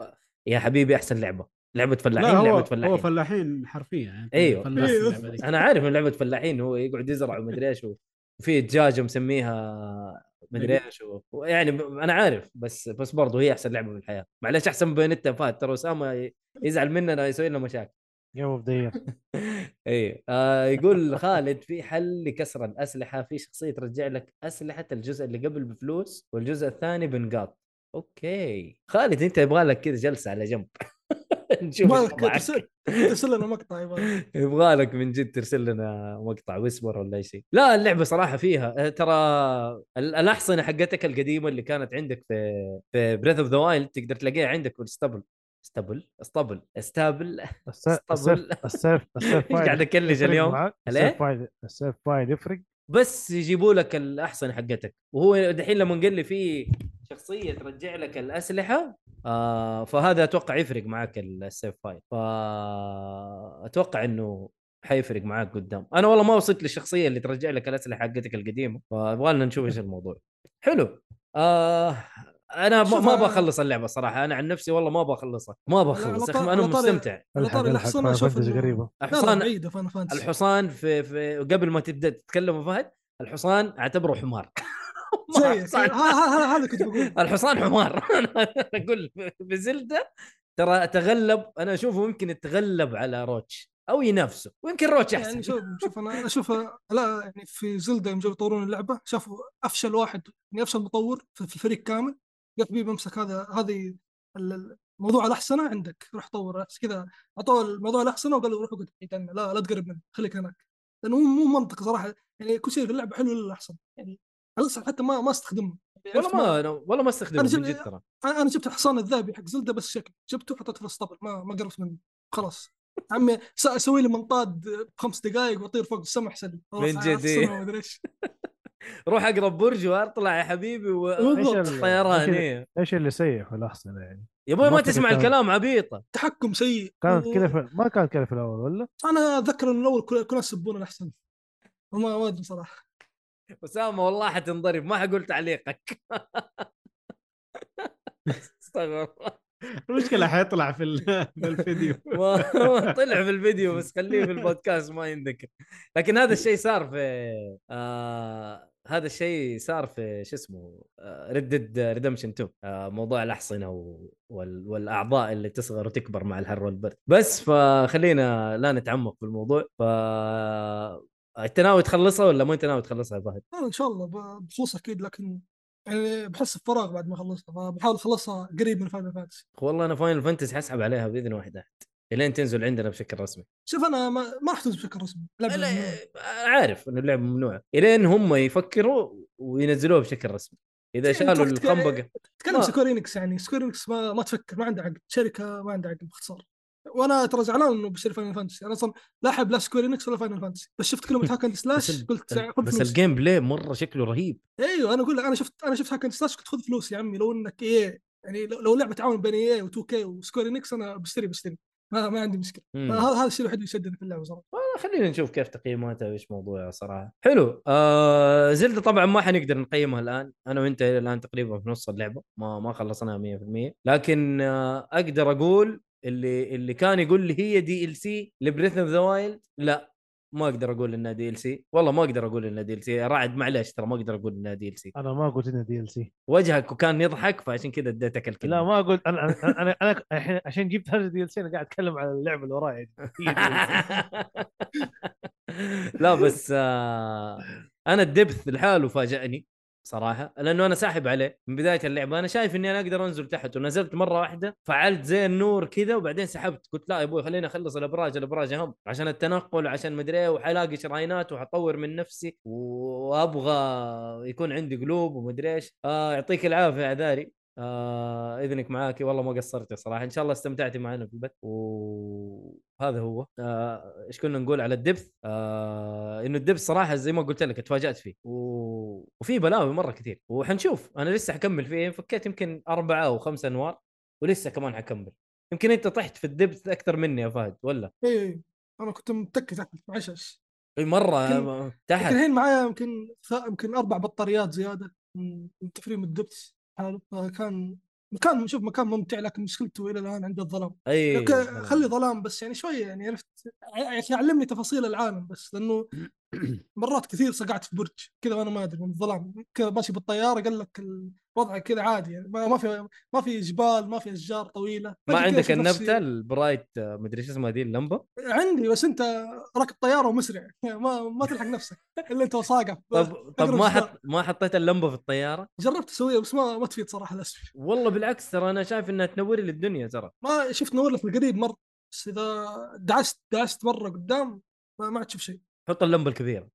يا حبيبي احسن لعبه لعبه فلاحين
لا هو
لعبه
فلاحين.
فلاحين
هو فلاحين حرفيا يعني
أيوه.
فلاح في
أيوه.
اللعبة *laughs* دي.
انا عارف انه لعبه فلاحين هو يقعد يزرع ومدري ايش و- وفي دجاجه مسميها مدري ايش و- ويعني ب- انا عارف بس بس برضه هي احسن لعبه في الحياه معليش احسن من بايونيتا فات ترى اسامه ي- يزعل مننا يسوي لنا مشاكل
جيم اوف ذا يير
اي آه
*laughs*
يقول خالد في حل لكسر الاسلحه في شخصيه ترجع لك اسلحه الجزء اللي قبل بفلوس والجزء الثاني بنقاط اوكي خالد انت يبغى لك كذا جلسه على جنب *laughs* نشوف إيش
يبغالك
معك.
ترسل ترسل لنا مقطع يبغالك.
يبغى لك من جد ترسل لنا مقطع ويسبر ولا أي شيء لا اللعبه صراحه فيها آه، ترى ال- الاحصنه حقتك القديمه اللي كانت عندك في في بريث اوف ذا وايلد تقدر تلاقيها عندك في الستبل ستبل اسطبل *laughs* استابل ايش
السيف
اسطبل.
السيف السيف
*laughs* قاعد اكلج اليوم إيه؟ عليه؟
السيف فايل السيف فايل يفرق
بس يجيبوا لك الاحصنه حقتك وهو دحين لما قال لي في شخصيه ترجع لك الاسلحه آه فهذا اتوقع يفرق معك السيف فايل فاتوقع انه حيفرق معاك قدام انا والله ما وصلت للشخصيه اللي ترجع لك الاسلحه حقتك القديمه فيبغى لنا نشوف ايش الموضوع حلو آه انا ما
شوف آه.
ما
أنا-
بخلص اللعبه صراحه انا عن نفسي والله ما بخلصها ما بخلص يا اخي
طاري-
انا
على طاري-
مستمتع
على طاري الحصان أنا أشوف إنه-
*laughs*
غريبه
لا لا
الحصان
بعيده فانا فانتسي
الحصان في, في قبل ما تبدا تتكلم فهد الحصان اعتبره حمار *laughs* ما
زيك ها-
صعب.
ها- ها- هذا كنت
*laughs*
بقول
الحصان حمار انا اقول بزلدة ترى تغلب انا اشوفه ممكن يتغلب على روتش او ينافسه ويمكن روتش
يعني
احسن
شوف شوف انا اشوف لا يعني في زلدة يوم جابوا يطورون اللعبه شافوا افشل واحد يعني افشل مطور في في الفريق كامل يا حبيبي امسك هذا هذه ال- ال- موضوع الاحسنه عندك روح طور أحس- كذا اعطوه الموضوع الاحسنه وقالوا روح اقعد بعيد عنه لا لا تقرب منه خليك هناك لانه مو مو منطق صراحه يعني كل شيء في اللعبه حلو الا الاحسن يعني الاحسن حتى ما ما استخدمه يعني
والله
عرفت
ما أنا والله ما استخدمه
أنا
من
جبت-
جد ترى
انا أنا جبت الحصان الذهبي حق زلدة بس شكل جبته وحطيته في الاسطبل ما ما قربت منه خلاص عمي س- اسوي لي منطاد بخمس دقائق واطير فوق السما احسن لي أروح
من جد،
أحصنه
إيه.
وما أدري إيش.
روح اقرب برج واطلع يا حبيبي *laughs* و...
إيش ال-
طيران
إيش ال-
إيه.
ايش اللي سيء في الاحصنه يعني
يا ابوي ما
ما في
تسمع
كلام.
الكلام عبيطه
تحكم سيء
*laughs*
كانت كذا
و-
في... ما كانت كذا في الاول ولا؟
انا اتذكر ان الاول كل- كلنا يسبون الاحسن وما ما ادري صراحه
اسامه والله حتنضرب ما حقول تعليقك *laughs* استغفر الله.
المشكله حيطلع في ال- *laughs* في الفيديو
*laughs* ما- طلع في الفيديو بس خليه في البودكاست ما ينذكر لكن هذا الشيء صار في آه هذا الشيء صار في شو اسمه آه، ردد ريدمشن 2 آه موضوع الاحصنه و- وال والاعضاء اللي تصغر وتكبر مع الحر والبرد بس فخلينا لا نتعمق في الموضوع ف انت ناوي تخلصها ولا مو انت ناوي تخلصها يا فهد؟
انا ان شاء الله ب- بخلص اكيد لكن يعني بحس بفراغ بعد ما اخلصها فبحاول اخلصها قريب من فاينل فانتسي
والله انا فاينل فانتسي حسحب عليها باذن واحد احد الين تنزل عندنا بشكل رسمي
شوف انا ما, ما راح تنزل بشكل رسمي لعبة
لا آه،
ممنوعة.
عارف ان اللعبه ممنوعه الين هم يفكروا وينزلوها بشكل رسمي اذا
يعني
شالوا
تكتك-
الخنبقه
تكلم
ما-
سكويرينكس يعني سكويرينكس ما ما تفكر ما عندها عقل شركه ما عندها عقل باختصار وانا ترى زعلان انه بيصير فاينل فانتسي انا اصلا لا احب لا سكويرينكس ولا فاينل فانتسي بس شفت
*laughs*
كلمه هاكن
ال-
سلاش قلت خذ
بس
فلوس
الجيم بلاي مره شكله رهيب
ايوه انا اقول لك، انا شفت انا شفت هاكن سلاش قلت خذ فلوس يا عمي لو انك ايه يعني لو لو لعبه تعاون بين ايه و2 كي وسكويرينكس انا بشتري بشتري ما, ما عندي مشكله
مم.
هذا هذا الشيء الوحيد اللي يشدني في اللعبه صراحه
والله خلينا نشوف كيف تقييماتها وايش موضوعها صراحه حلو آه زلدة طبعا ما حنقدر نقيمها الان انا وانت الى الان تقريبا في نص اللعبه ما ما خلصناها 100% لكن آه اقدر اقول اللي اللي كان يقول لي هي دي ال سي لبريث اوف ذا وايلد لا ما اقدر اقول انها دي ال سي والله ما اقدر اقول انها دي ال سي رعد معلش ترى ما اقدر اقول انها دي ال سي
انا ما قلت انه دي ال سي
وجهك وكان يضحك فعشان كذا اديتك الكلمه
لا ما قلت انا أنا- انا انا الحين عشان جبت هذا الدي ال سي انا قاعد اتكلم على اللعبه اللي ورايا دي. هي DLC.
*laughs* لا بس آه انا الدبث لحاله فاجأني صراحه لانه انا ساحب عليه من بدايه اللعبه انا شايف اني انا اقدر انزل تحت ونزلت مره واحده فعلت زي النور كذا وبعدين سحبت قلت لا يا ابوي خليني اخلص الابراج الابراج اهم عشان التنقل عشان مدري ايه وحلاقي شراينات وحطور من نفسي وابغى يكون عندي قلوب ومدري ايش آه يعطيك العافيه يا عذاري آه اذنك معاكي والله ما قصرتي صراحه ان شاء الله استمتعتي معنا في البث وهذا هو آه، ايش كنا نقول على الدبث آه انه الدبث صراحه زي ما قلت لك تفاجات فيه و... وفي بلاوي مره كثير وحنشوف انا لسه حكمل فيه فكيت يمكن اربعه او خمسه انوار ولسه كمان حكمل يمكن انت طحت في الدبث اكثر مني يا فهد ولا
اي اي انا إيه، كنت متكي تحت معلش
اي مره
يمكن-
آه،
لكن
تحت
الحين معايا يمكن ث- يمكن اربع بطاريات زياده من من تفريم الدبس حلو فكان مكان شوف مكان ممتع لكن مشكلته الى الان عند الظلام
اي
لك- خلي ظلام بس يعني شويه يعني عرفت يا اخي علمني تفاصيل العالم بس
*coughs*
لانه مرات كثير صقعت في برج كذا وانا ما ادري من الظلام كذا ماشي بالطياره قال لك الوضع كذا عادي يعني ما ما في ما في جبال ما في اشجار طويله
ما
فجأة كذا
عندك
أشوف نفسي-
النبته البرايت آه، مدري ايش اسمها دي اللمبه
أه، عندي بس انت راكب طياره ومسرع *laughs* ما ما تلحق نفسك الا انت وصاقع
طب طب
أقرب جدار.
ما حط ما حطيت اللمبه في الطياره
جربت اسويها بس ما ما تفيد صراحه للاسف
والله بالعكس ترى انا شايف انها تنور لي الدنيا ترى
ما شفت نور لك القريب مره بس اذا دعست دعست مره قدام ما, ما عاد تشوف شيء
حط اللمبه الكبيره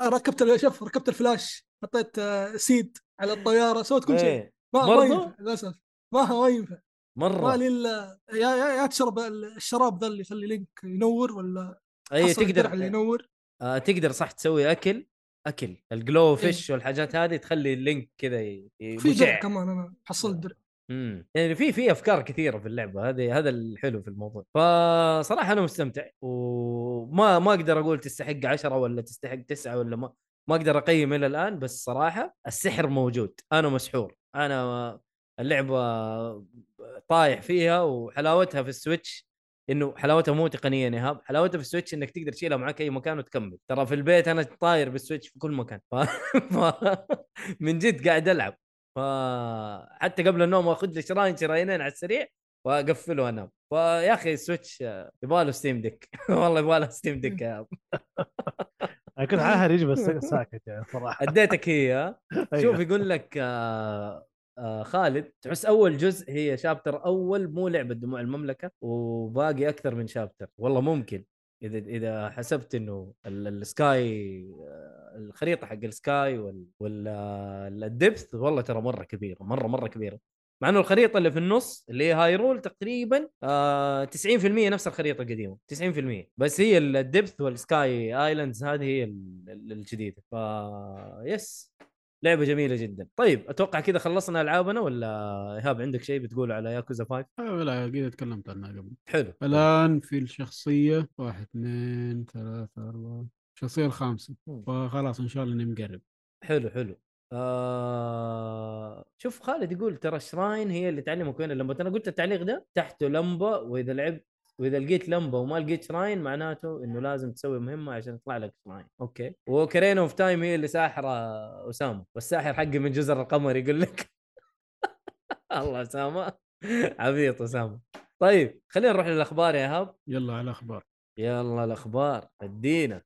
آه، ركبت ال- شوف ركبت الفلاش حطيت آه، سيد على الطياره سويت كل شيء
إيه،
ما ما
برضو؟
ينفع للاسف ما ما ينفع ما
مره
لي الا يا يا يا تشرب ال- الشراب ذا اللي يخلي لينك ينور ولا
اي
حصى الدرع
إيه، تقدر
اللي ينور
آه، تقدر صح تسوي اكل اكل الجلو فيش والحاجات هذه تخلي اللينك كذا ي- ي-
إيه. في
مشع.
درع كمان انا حصلت درع
امم يعني في في افكار كثيره في اللعبه هذه هذا الحلو في الموضوع فصراحه انا مستمتع وما ما اقدر اقول تستحق عشرة ولا تستحق تسعة ولا ما ما اقدر اقيم الى الان بس صراحه السحر موجود انا مسحور انا اللعبه طايح فيها وحلاوتها في السويتش انه حلاوتها مو تقنيا يا هاب حلاوتها في السويتش انك تقدر تشيلها معك اي مكان وتكمل ترى في البيت انا طاير بالسويتش في كل مكان ف... ف... من جد قاعد العب فحتى قبل النوم اخذ لي شرايين شرايينين على السريع واقفله وانام فيا اخي السويتش آه، يبغى له ستيم ديك *laughs* والله يبغى له ستيم ديك يا أب.
انا
*laughs*
كنت عاهرج بس ساكت يعني صراحه
اديتك هي ها؟ *laughs* شوف
أيوه.
يقول لك آه آه خالد تحس اول جزء هي شابتر اول مو لعبه دموع المملكه وباقي اكثر من شابتر والله ممكن اذا اذا حسبت انه ال- السكاي آه، الخريطه حق السكاي وال وال- آه، الدبث والله ترى مره كبيره مره مره كبيره مع انه الخريطه اللي في النص اللي هي هايرول تقريبا آه 90% نفس الخريطه القديمه 90% بس هي ال- الدبث والسكاي ايلاندز هذه هي ال- ال- الجديده ف يس لعبه جميله جدا طيب اتوقع كذا خلصنا العابنا ولا ايهاب عندك شيء بتقوله على ياكوزا 5
آه، لا قد تكلمت عنها قبل
حلو
الان في الشخصيه واحد اثنين ثلاثه اربعه الشخصيه الخامسه فخلاص ان شاء الله اني مقرب
حلو حلو آه... شوف خالد يقول ترى الشراين هي اللي تعلمك وين اللمبه انا قلت التعليق ده تحته لمبه واذا لعبت واذا لقيت لمبه وما لقيت شراين معناته انه لازم تسوي مهمه عشان يطلع لك شراين اوكي وكرين اوف تايم هي اللي ساحره اسامه والساحر حقي من جزر القمر يقول لك *laughs* الله اسامه عبيط اسامه طيب خلينا نروح للاخبار يا هاب
يلا على الاخبار
يلا الاخبار ادينا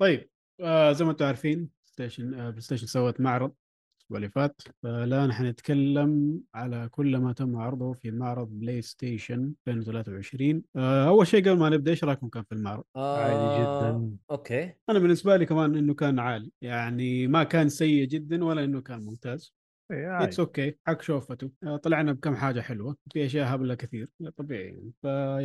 طيب آه زي ما انتم عارفين ستيشن آه بلاي ستيشن سوت معرض الاسبوع اللي فات فالان حنتكلم على كل ما تم عرضه في معرض بلاي ستيشن 2023 آه اول شيء قبل ما نبدا ايش رايكم كان في المعرض؟
عادي
آه،
جدا
اوكي
انا بالنسبه لي كمان انه كان عالي يعني ما كان سيء جدا ولا انه كان ممتاز
إيه، عادي.
طيب.
اتس اوكي حق شوفته آه، طلعنا بكم حاجه حلوه في اشياء هبله كثير طبيعي يعني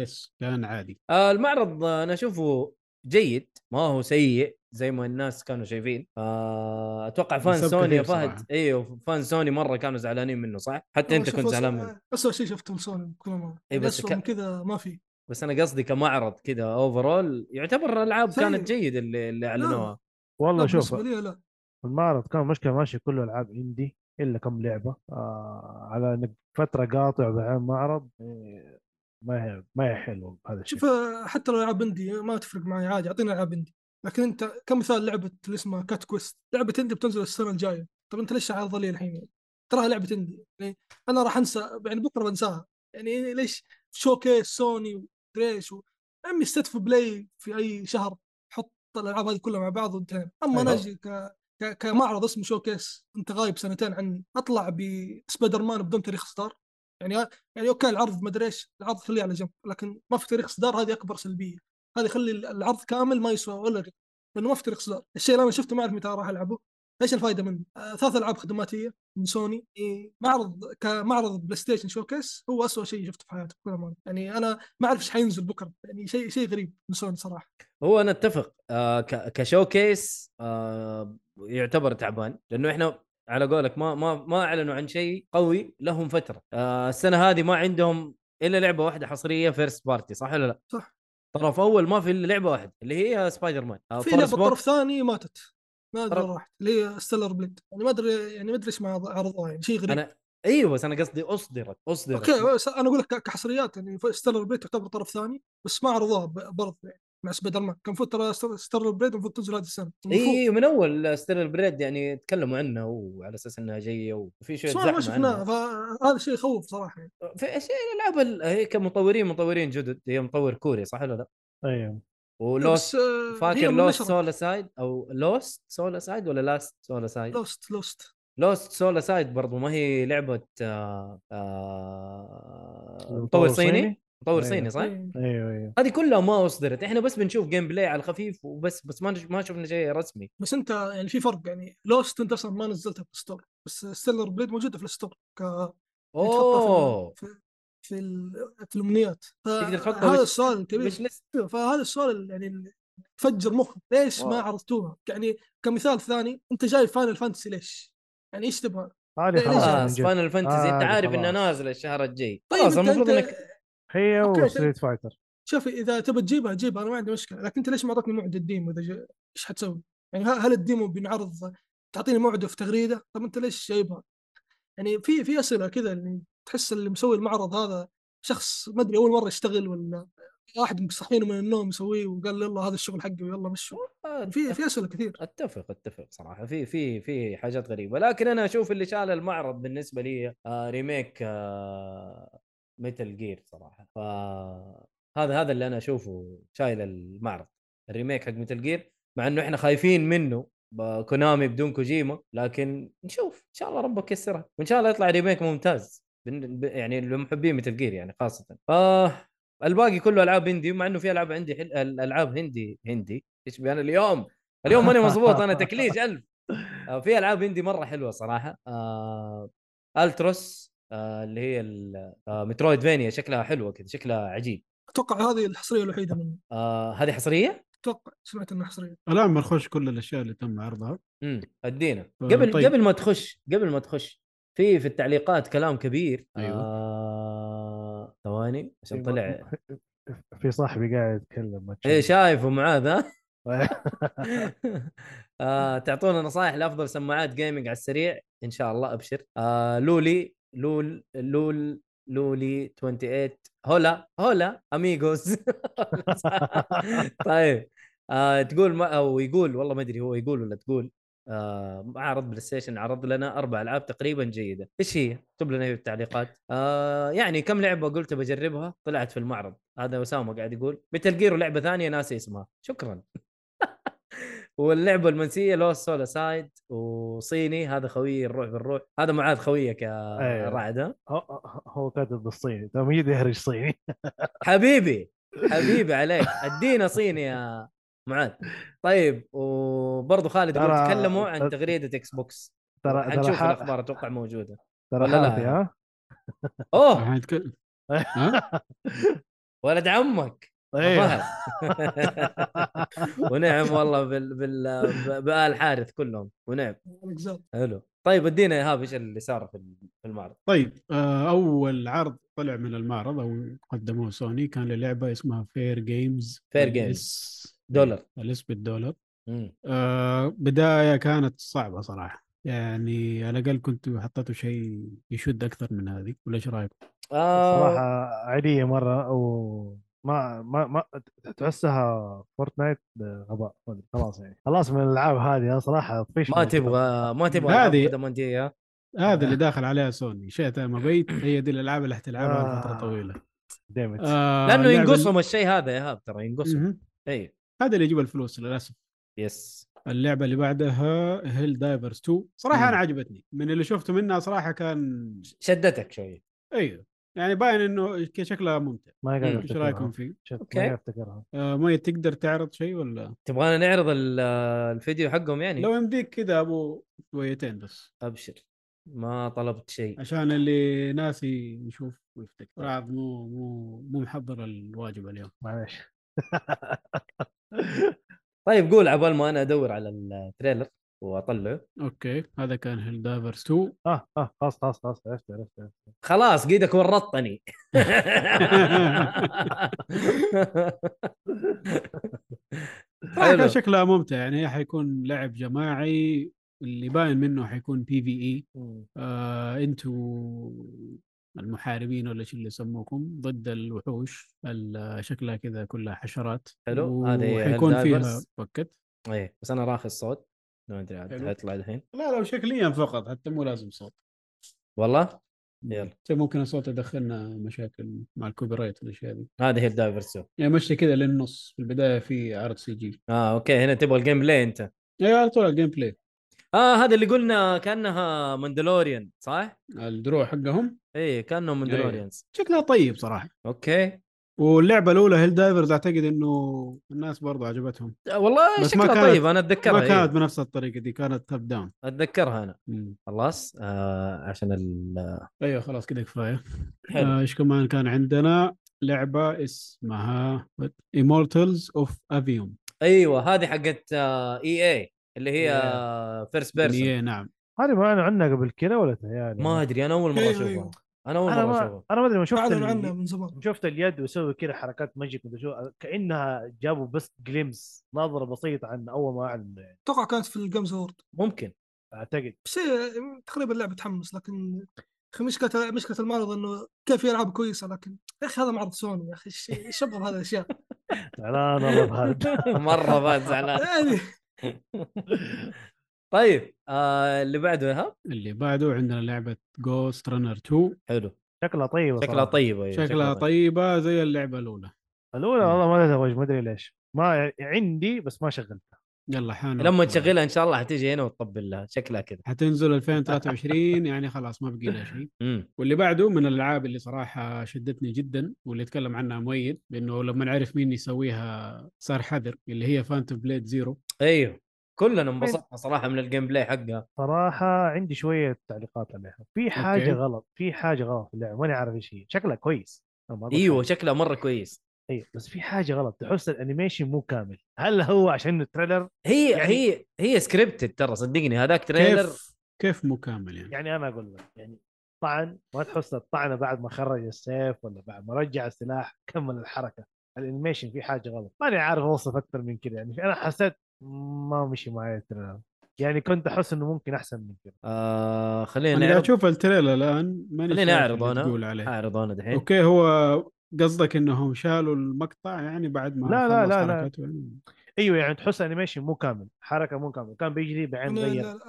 فيس كان عادي
آه، المعرض آه، انا اشوفه جيد ما هو سيء زي ما الناس كانوا شايفين آه، اتوقع فان
انسب
سوني
كثير
يا فهد
صراحة.
ايوه فان سوني مره كانوا زعلانين منه صح؟ حتى انت كنت زعلان منه
اسوء شيء شفته من سوني كل ما
إي بس
اسوء
ك-
من كذا ما في
بس انا قصدي كمعرض كذا اوفرول يعتبر الالعاب
سيء.
كانت جيده اللي, اللي اعلنوها
والله
لا،
شوف
بالنسبه لي لا
المعرض كان مشكله ماشي كله العاب اندي الا كم لعبه آه على انك فتره قاطع بعين معرض إيه، ما هي ما هي حلوه هذا الشيء
شوف آه، حتى لو العاب اندي ما تفرق معي عادي اعطينا العاب اندي لكن انت كمثال لعبه اللي اسمها كات كويست لعبه اندي بتنزل السنه الجايه طب انت ليش عارضه لي الحين يعني؟ تراها لعبه اندي يعني انا راح انسى يعني بكره بنساها يعني ليش شوكيس سوني ودريش و... عمي استدفي بلاي في اي شهر حط الالعاب هذه كلها مع بعض وانتهينا اما انا
أيوة.
اجي ك... ك... كمعرض اسمه شوكيس انت غايب سنتين عني اطلع بسبايدر مان بدون تاريخ اصدار يعني يعني اوكي العرض ما ادري ايش العرض خليه على جنب لكن ما في تاريخ اصدار هذه اكبر سلبيه هذه خلي العرض كامل ما يسوى ولا ريال لانه ما في تاريخ اصدار الشيء اللي انا شفته ما اعرف متى راح العبه ايش الفائده منه؟ آه ثلاث العاب خدماتيه من سوني إيه معرض كمعرض بلاي ستيشن شوكيس هو أسوأ شيء شفته في حياتي بكل امانه يعني انا ما اعرف ايش حينزل بكره يعني شيء شيء غريب من سوني صراحه
هو انا اتفق آه ك- كشوكيس آه يعتبر تعبان لانه احنا على قولك ما ما ما اعلنوا عن شيء قوي لهم فتره آه السنه هذه ما عندهم الا لعبه واحده حصريه فيرست بارتي صح ولا لا؟
صح.
طرف اول ما في الا لعبه واحده اللي هي سبايدر مان آه
في
Forest
لعبه
Box.
طرف ثاني ماتت ما ادري
طرف-
وين راحت اللي هي ستيلر بليد يعني ما ادري يعني ما ادري ايش مع- عرضوها يعني شيء غريب
انا ايوه بس انا قصدي اصدرت اصدرت
اوكي بس انا اقول لك كحصريات يعني ستيلر بريد تعتبر طرف ثاني بس ما عرضوها ب- برضه يعني مع سبايدر مان كان المفروض ترى ستيلر بريد المفروض تنزل هذه السنه المفروض.
اي من اول ستيلر بريد يعني تكلموا عنها وعلى اساس انها جايه وفي شويه
بس ما ما
زحمه عنها
شفناها فهذا شيء يخوف صراحه يعني
في ايش الالعاب ال- هي كمطورين مطورين جدد هي مطور كوري صح ولا لا؟
ايوه
بس،
ولوس
آه، هي
فاكر
من
لوست
نشرت.
سولا سايد او لوست سولا سايد ولا لاست سولا سايد؟
لوست لوست
لوست سولا سايد برضو ما هي لعبه آه، آه، مطور
مطور
صيني
صيني؟
مطور
أيوة.
صيني صح؟
إيه.
ايوه ايوه
هذه كلها ما اصدرت احنا بس بنشوف جيم بلاي على الخفيف وبس بس ما نش- ما شفنا شيء رسمي
بس انت يعني في فرق يعني لوست انت اصلا ما نزلتها في الستور بس ستيلر بريد موجوده في الستور ك يعني تحطها
اوه
في ال- في في, ال- في الامنيات
تقدر تحطها
هذا
وش-
السؤال الكبير
وش لسه
فهذا السؤال يعني تفجر مخك ليش ما
واو.
عرضتوها يعني كمثال ثاني انت جايب فاينل فانتسي ليش يعني ايش تبغى
هذه
خلاص،
خلاص
خلاص من جد.
فاينل فانتزي انت
آه،
عارف
خلاص.
انها نازله الشهر الجاي
طيب
خلاص
انت,
المفروض انك
انت
هي
أوكي،
طيب.
وستريت فايتر
شوف اذا تبى تجيبها جيبها انا ما عندي مشكله لكن انت ليش ما اعطتني موعد الديمو اذا جا- ايش حتسوي؟ يعني ه- هل الديمو بينعرض تعطيني موعده في تغريده؟ طب انت ليش جايبها؟ يعني في في اسئله كذا يعني تحس اللي مسوي المعرض هذا شخص ما ادري اول مره يشتغل ولا واحد مصحينه من النوم يسويه وقال يلا هذا الشغل حقي ويلا مشوا يعني
آه،
في في اسئله كثير
اتفق اتفق صراحه في في في حاجات غريبه لكن انا اشوف اللي شال المعرض بالنسبه لي آه ريميك آه ميتال جير صراحه ف هذا هذا اللي انا اشوفه شايل المعرض الريميك حق ميتال جير مع انه احنا خايفين منه ب- كونامي بدون كوجيما لكن نشوف ان شاء الله ربك يسرها وان شاء الله يطلع ريميك ممتاز بن- ب- يعني لمحبين ميتال جير يعني خاصه آه الباقي كله العاب هندي مع انه في العاب عندي حل... العاب هندي هندي ايش بي- انا اليوم اليوم ماني مظبوط انا تكليج الف آه، في العاب هندي مره حلوه صراحه آه... التروس آه اللي هي ال- آه مترويد فينيا شكلها حلوه كذا شكلها عجيب
اتوقع هذه الحصريه الوحيده منه
آه هذه حصريه؟
اتوقع سمعت انها حصريه
الان بنخش كل الاشياء اللي تم عرضها
امم ادينا
آه،
قبل
طيب.
طيب. قبل ما تخش قبل ما تخش في في التعليقات كلام كبير
أيوة.
آه... ثواني عشان طلع
في صاحبي قاعد يتكلم ما تشوف.
ايه شايفه معاذ ها *laughs* آه، تعطونا نصائح لافضل سماعات جيمنج على السريع ان شاء الله ابشر آه، لولي لول لول لولي 28 هولا هولا اميغوز *laughs* طيب آه، تقول ما او يقول والله ما ادري هو يقول ولا تقول آه، معرض بلاي ستيشن عرض لنا اربع العاب تقريبا جيده ايش هي اكتب لنا هي في التعليقات آه يعني كم لعبه قلت بجربها طلعت في المعرض هذا اسامه قاعد يقول متل جير ولعبه ثانيه ناسي اسمها *laughs* شكرا واللعبه المنسيه لو سولا سايد وصيني هذا خويي الروح بالروح هذا معاذ خويك يا
أيوه.
رعد ها؟
*laughs* هو- هو كاتب بالصيني تمييز يهرج صيني *laughs*
حبيبي حبيبي عليك ادينا صيني يا معاذ طيب وبرضه خالد يقول
ترى-
تكلموا عن تغريده اكس بوكس
ترى ترى
حنشوف
حا-
الاخبار اتوقع موجوده
ترى
ولا لا؟
حافي ها
اوه
راح نتكلم
ولد عمك
ايوه إيه.
فهد. *laughs* ونعم والله بال بال ب- بآل حارث كلهم ونعم
الاجزاء
حلو طيب ادينا ايهاب ايش اللي صار في ال- في المعرض
طيب آه، اول عرض طلع من المعرض او قدموه سوني كان للعبه اسمها فير جيمز
Fair Games.
إيه.
دولار.
الاس بالدولار
مم.
آه، بدايه كانت صعبه صراحه يعني على الاقل كنت حطيته شيء يشد اكثر من هذه ولا ايش رايك؟
آه
صراحه عاديه مره او ما ما ما تحسها فورتنايت غباء ما أدري، خلاص يعني خلاص من الالعاب هذه صراحه طفيش
ما
من كذا.
تبغى ما إيه. تبغى
هذه- آه،
ألعاب مدمجية.
هذا
آه.
اللي داخل عليها سوني شئتها ما بيت هي دي الالعاب اللي حتلعبها
آه.
لفتره طويله
ديمت
آه،
لانه
اللعبة-
ينقصهم الشيء هذا يا ايهاب ترى ينقصهم
مهم.
اي
هذا اللي يجيب الفلوس للاسف
يس
اللعبه اللي بعدها هيل دايفرز 2 صراحه
مم.
انا عجبتني من اللي شفته منها صراحه كان
شدتك شوي
ايوه يعني باين انه ك- شكلها ممتع
ما
مم.
قاعد
ايش رايكم فيه؟
إيه، أوكي.
اوكي ما قاعد افتكرها
آه ما تقدر تعرض شيء ولا؟
تبغانا نعرض ال- الفيديو حقهم يعني
لو يمديك كذا ابو شويتين بس
ابشر ما طلبت شيء
عشان اللي ناسي يشوف ويفتكر راض مو مو مو محضر الواجب اليوم
*laughs* معلش
طيب قول عبال ما انا ادور على التريلر واطلعه
اوكي هذا كان هيل دايفرز 2
اه اه خلاص خلاص خلاص عرفت عرفت عرفت.
خلاص قيدك
*laughs*
ورطتني
صراحه كان
*laughs* حلو.
شكلها ممتع يعني هي حيكون لعب جماعي اللي باين منه حيكون بي في اي
مم.
آه انتوا المحاربين ولا شو اللي يسموكم ضد الوحوش ال- شكلها كذا كلها حشرات
حلو، هذه هي
وحيكون فيها
Helldivers.
وقت
ايه بس انا راخي الصوت ما ادري عاد
حلو.
حيطلع الحين
لا لو شكليا فقط حتى مو لازم صوت
والله يلا
طيب ممكن الصوت يدخلنا مشاكل مع الكوبي رايت والاشياء دي
هذه هي الدايفر سو
يعني مشي كذا للنص في البدايه في عرض سي جي
اه اوكي هنا تبغى الجيم بلاي انت
ايوه على طول الجيم بلاي
اه هذا اللي قلنا كانها مندلوريان صح؟
الدروع حقهم
ايه
إيه،
كانهم مندلوريانز
شكلها طيب صراحه
اوكي
واللعبه الاولى هيل دايفرز اعتقد انه الناس برضه عجبتهم
آه، والله
بس
شكلها
ما كانت-
طيب انا
ما
اتذكرها
كانت
إيه.
بنفس الطريقه دي كانت توب داون
اتذكرها انا
مم.
خلاص آه عشان ال
ايوه خلاص كده كفايه
حلو.
آه، ايش كمان كان عندنا لعبه اسمها ايمورتلز اوف افيوم
ايوه هذه حقت اي اي اللي هي فيرست بيرسون
إيه، نعم
هذه ما انا عنا قبل كذا ولا تهيألي
ما ادري انا اول مره
أيوه،
اشوفها
أيوه.
انا اول
انا
مره
ما
اشوفها
انا ما ادري ما شفت
اعلنوا
ال-
عنها من زمان
شفت اليد ويسوي كذا حركات ماجيك مدري شو كانها جابوا بس جليمس نظره بسيطه عن اول ما اعلنوا يعني
اتوقع كانت في الجيمز اوورد
ممكن *laughs*
اعتقد
بس هي تقريبا اللعبه تحمس لكن أخي مشكله مشكله المعرض انه كيف في العاب كويسه لكن يا اخي هذا معرض سوني يا اخي إيش- ايش ابغى هذه الاشياء
*laughs* زعلان والله
*laughs*
بهذا
مره فات زعلان
يعني
طيب آه اللي بعده ايهاب
اللي بعده عندنا لعبه جوست رانر 2
حلو
شكلها طيبه
شكلها
صراحة.
طيبه أيوه،
أيوة، شكلها طيب. طيبه زي اللعبه الاولى
الاولى والله ما لها وجه ما ادري ليش ما عندي بس ما شغلتها
يلا حان
لما
وقتها.
تشغلها ان شاء الله حتيجي هنا وتطبل لها شكلها كذا
حتنزل 2023 يعني خلاص ما بقي لها شيء
امم
واللي بعده من الالعاب اللي صراحه شدتني جدا واللي اتكلم عنها مؤيد لانه لما نعرف مين يسويها صار حذر اللي هي فانتوم بليد زيرو
ايوه كلنا انبسطنا صراحه من الجيم بلاي حقها
صراحه عندي شويه تعليقات عليها في حاجه
أوكي.
غلط في حاجه غلط في اللعبه ماني عارف ايش هي شكلها كويس أنا ما أقول
ايوه
حاجة.
شكلها مره كويس
ايوه بس في حاجه غلط تحس الانيميشن مو كامل هل هو عشان التريلر
هي
يعني-
هي هي سكريبتد ترى صدقني هذاك تريلر
كيف كيف مو كامل يعني
يعني انا اقول لك يعني طعن ما تحس الطعنه بعد ما خرج السيف ولا بعد ما رجع السلاح كمل الحركه الانيميشن في حاجه غلط ماني عارف اوصف اكثر من كذا يعني انا حسيت ما مشي معي التريلر يعني كنت احس انه ممكن احسن من كذا
آه
انا
خلينا
قاعد
نعرض
اشوف التريلر الان ماني
خليني
شايف
أعرض
اللي
أنا.
تقول عليه
اعرض انا دحين
اوكي هو قصدك انهم شالوا المقطع يعني بعد ما
لا، لا،
خلص
لا، لا.
حركته يعني.
ايوه يعني تحس انيميشن مو كامل حركه مو كامل كان بيجري بعين
أنا-
غير
لا-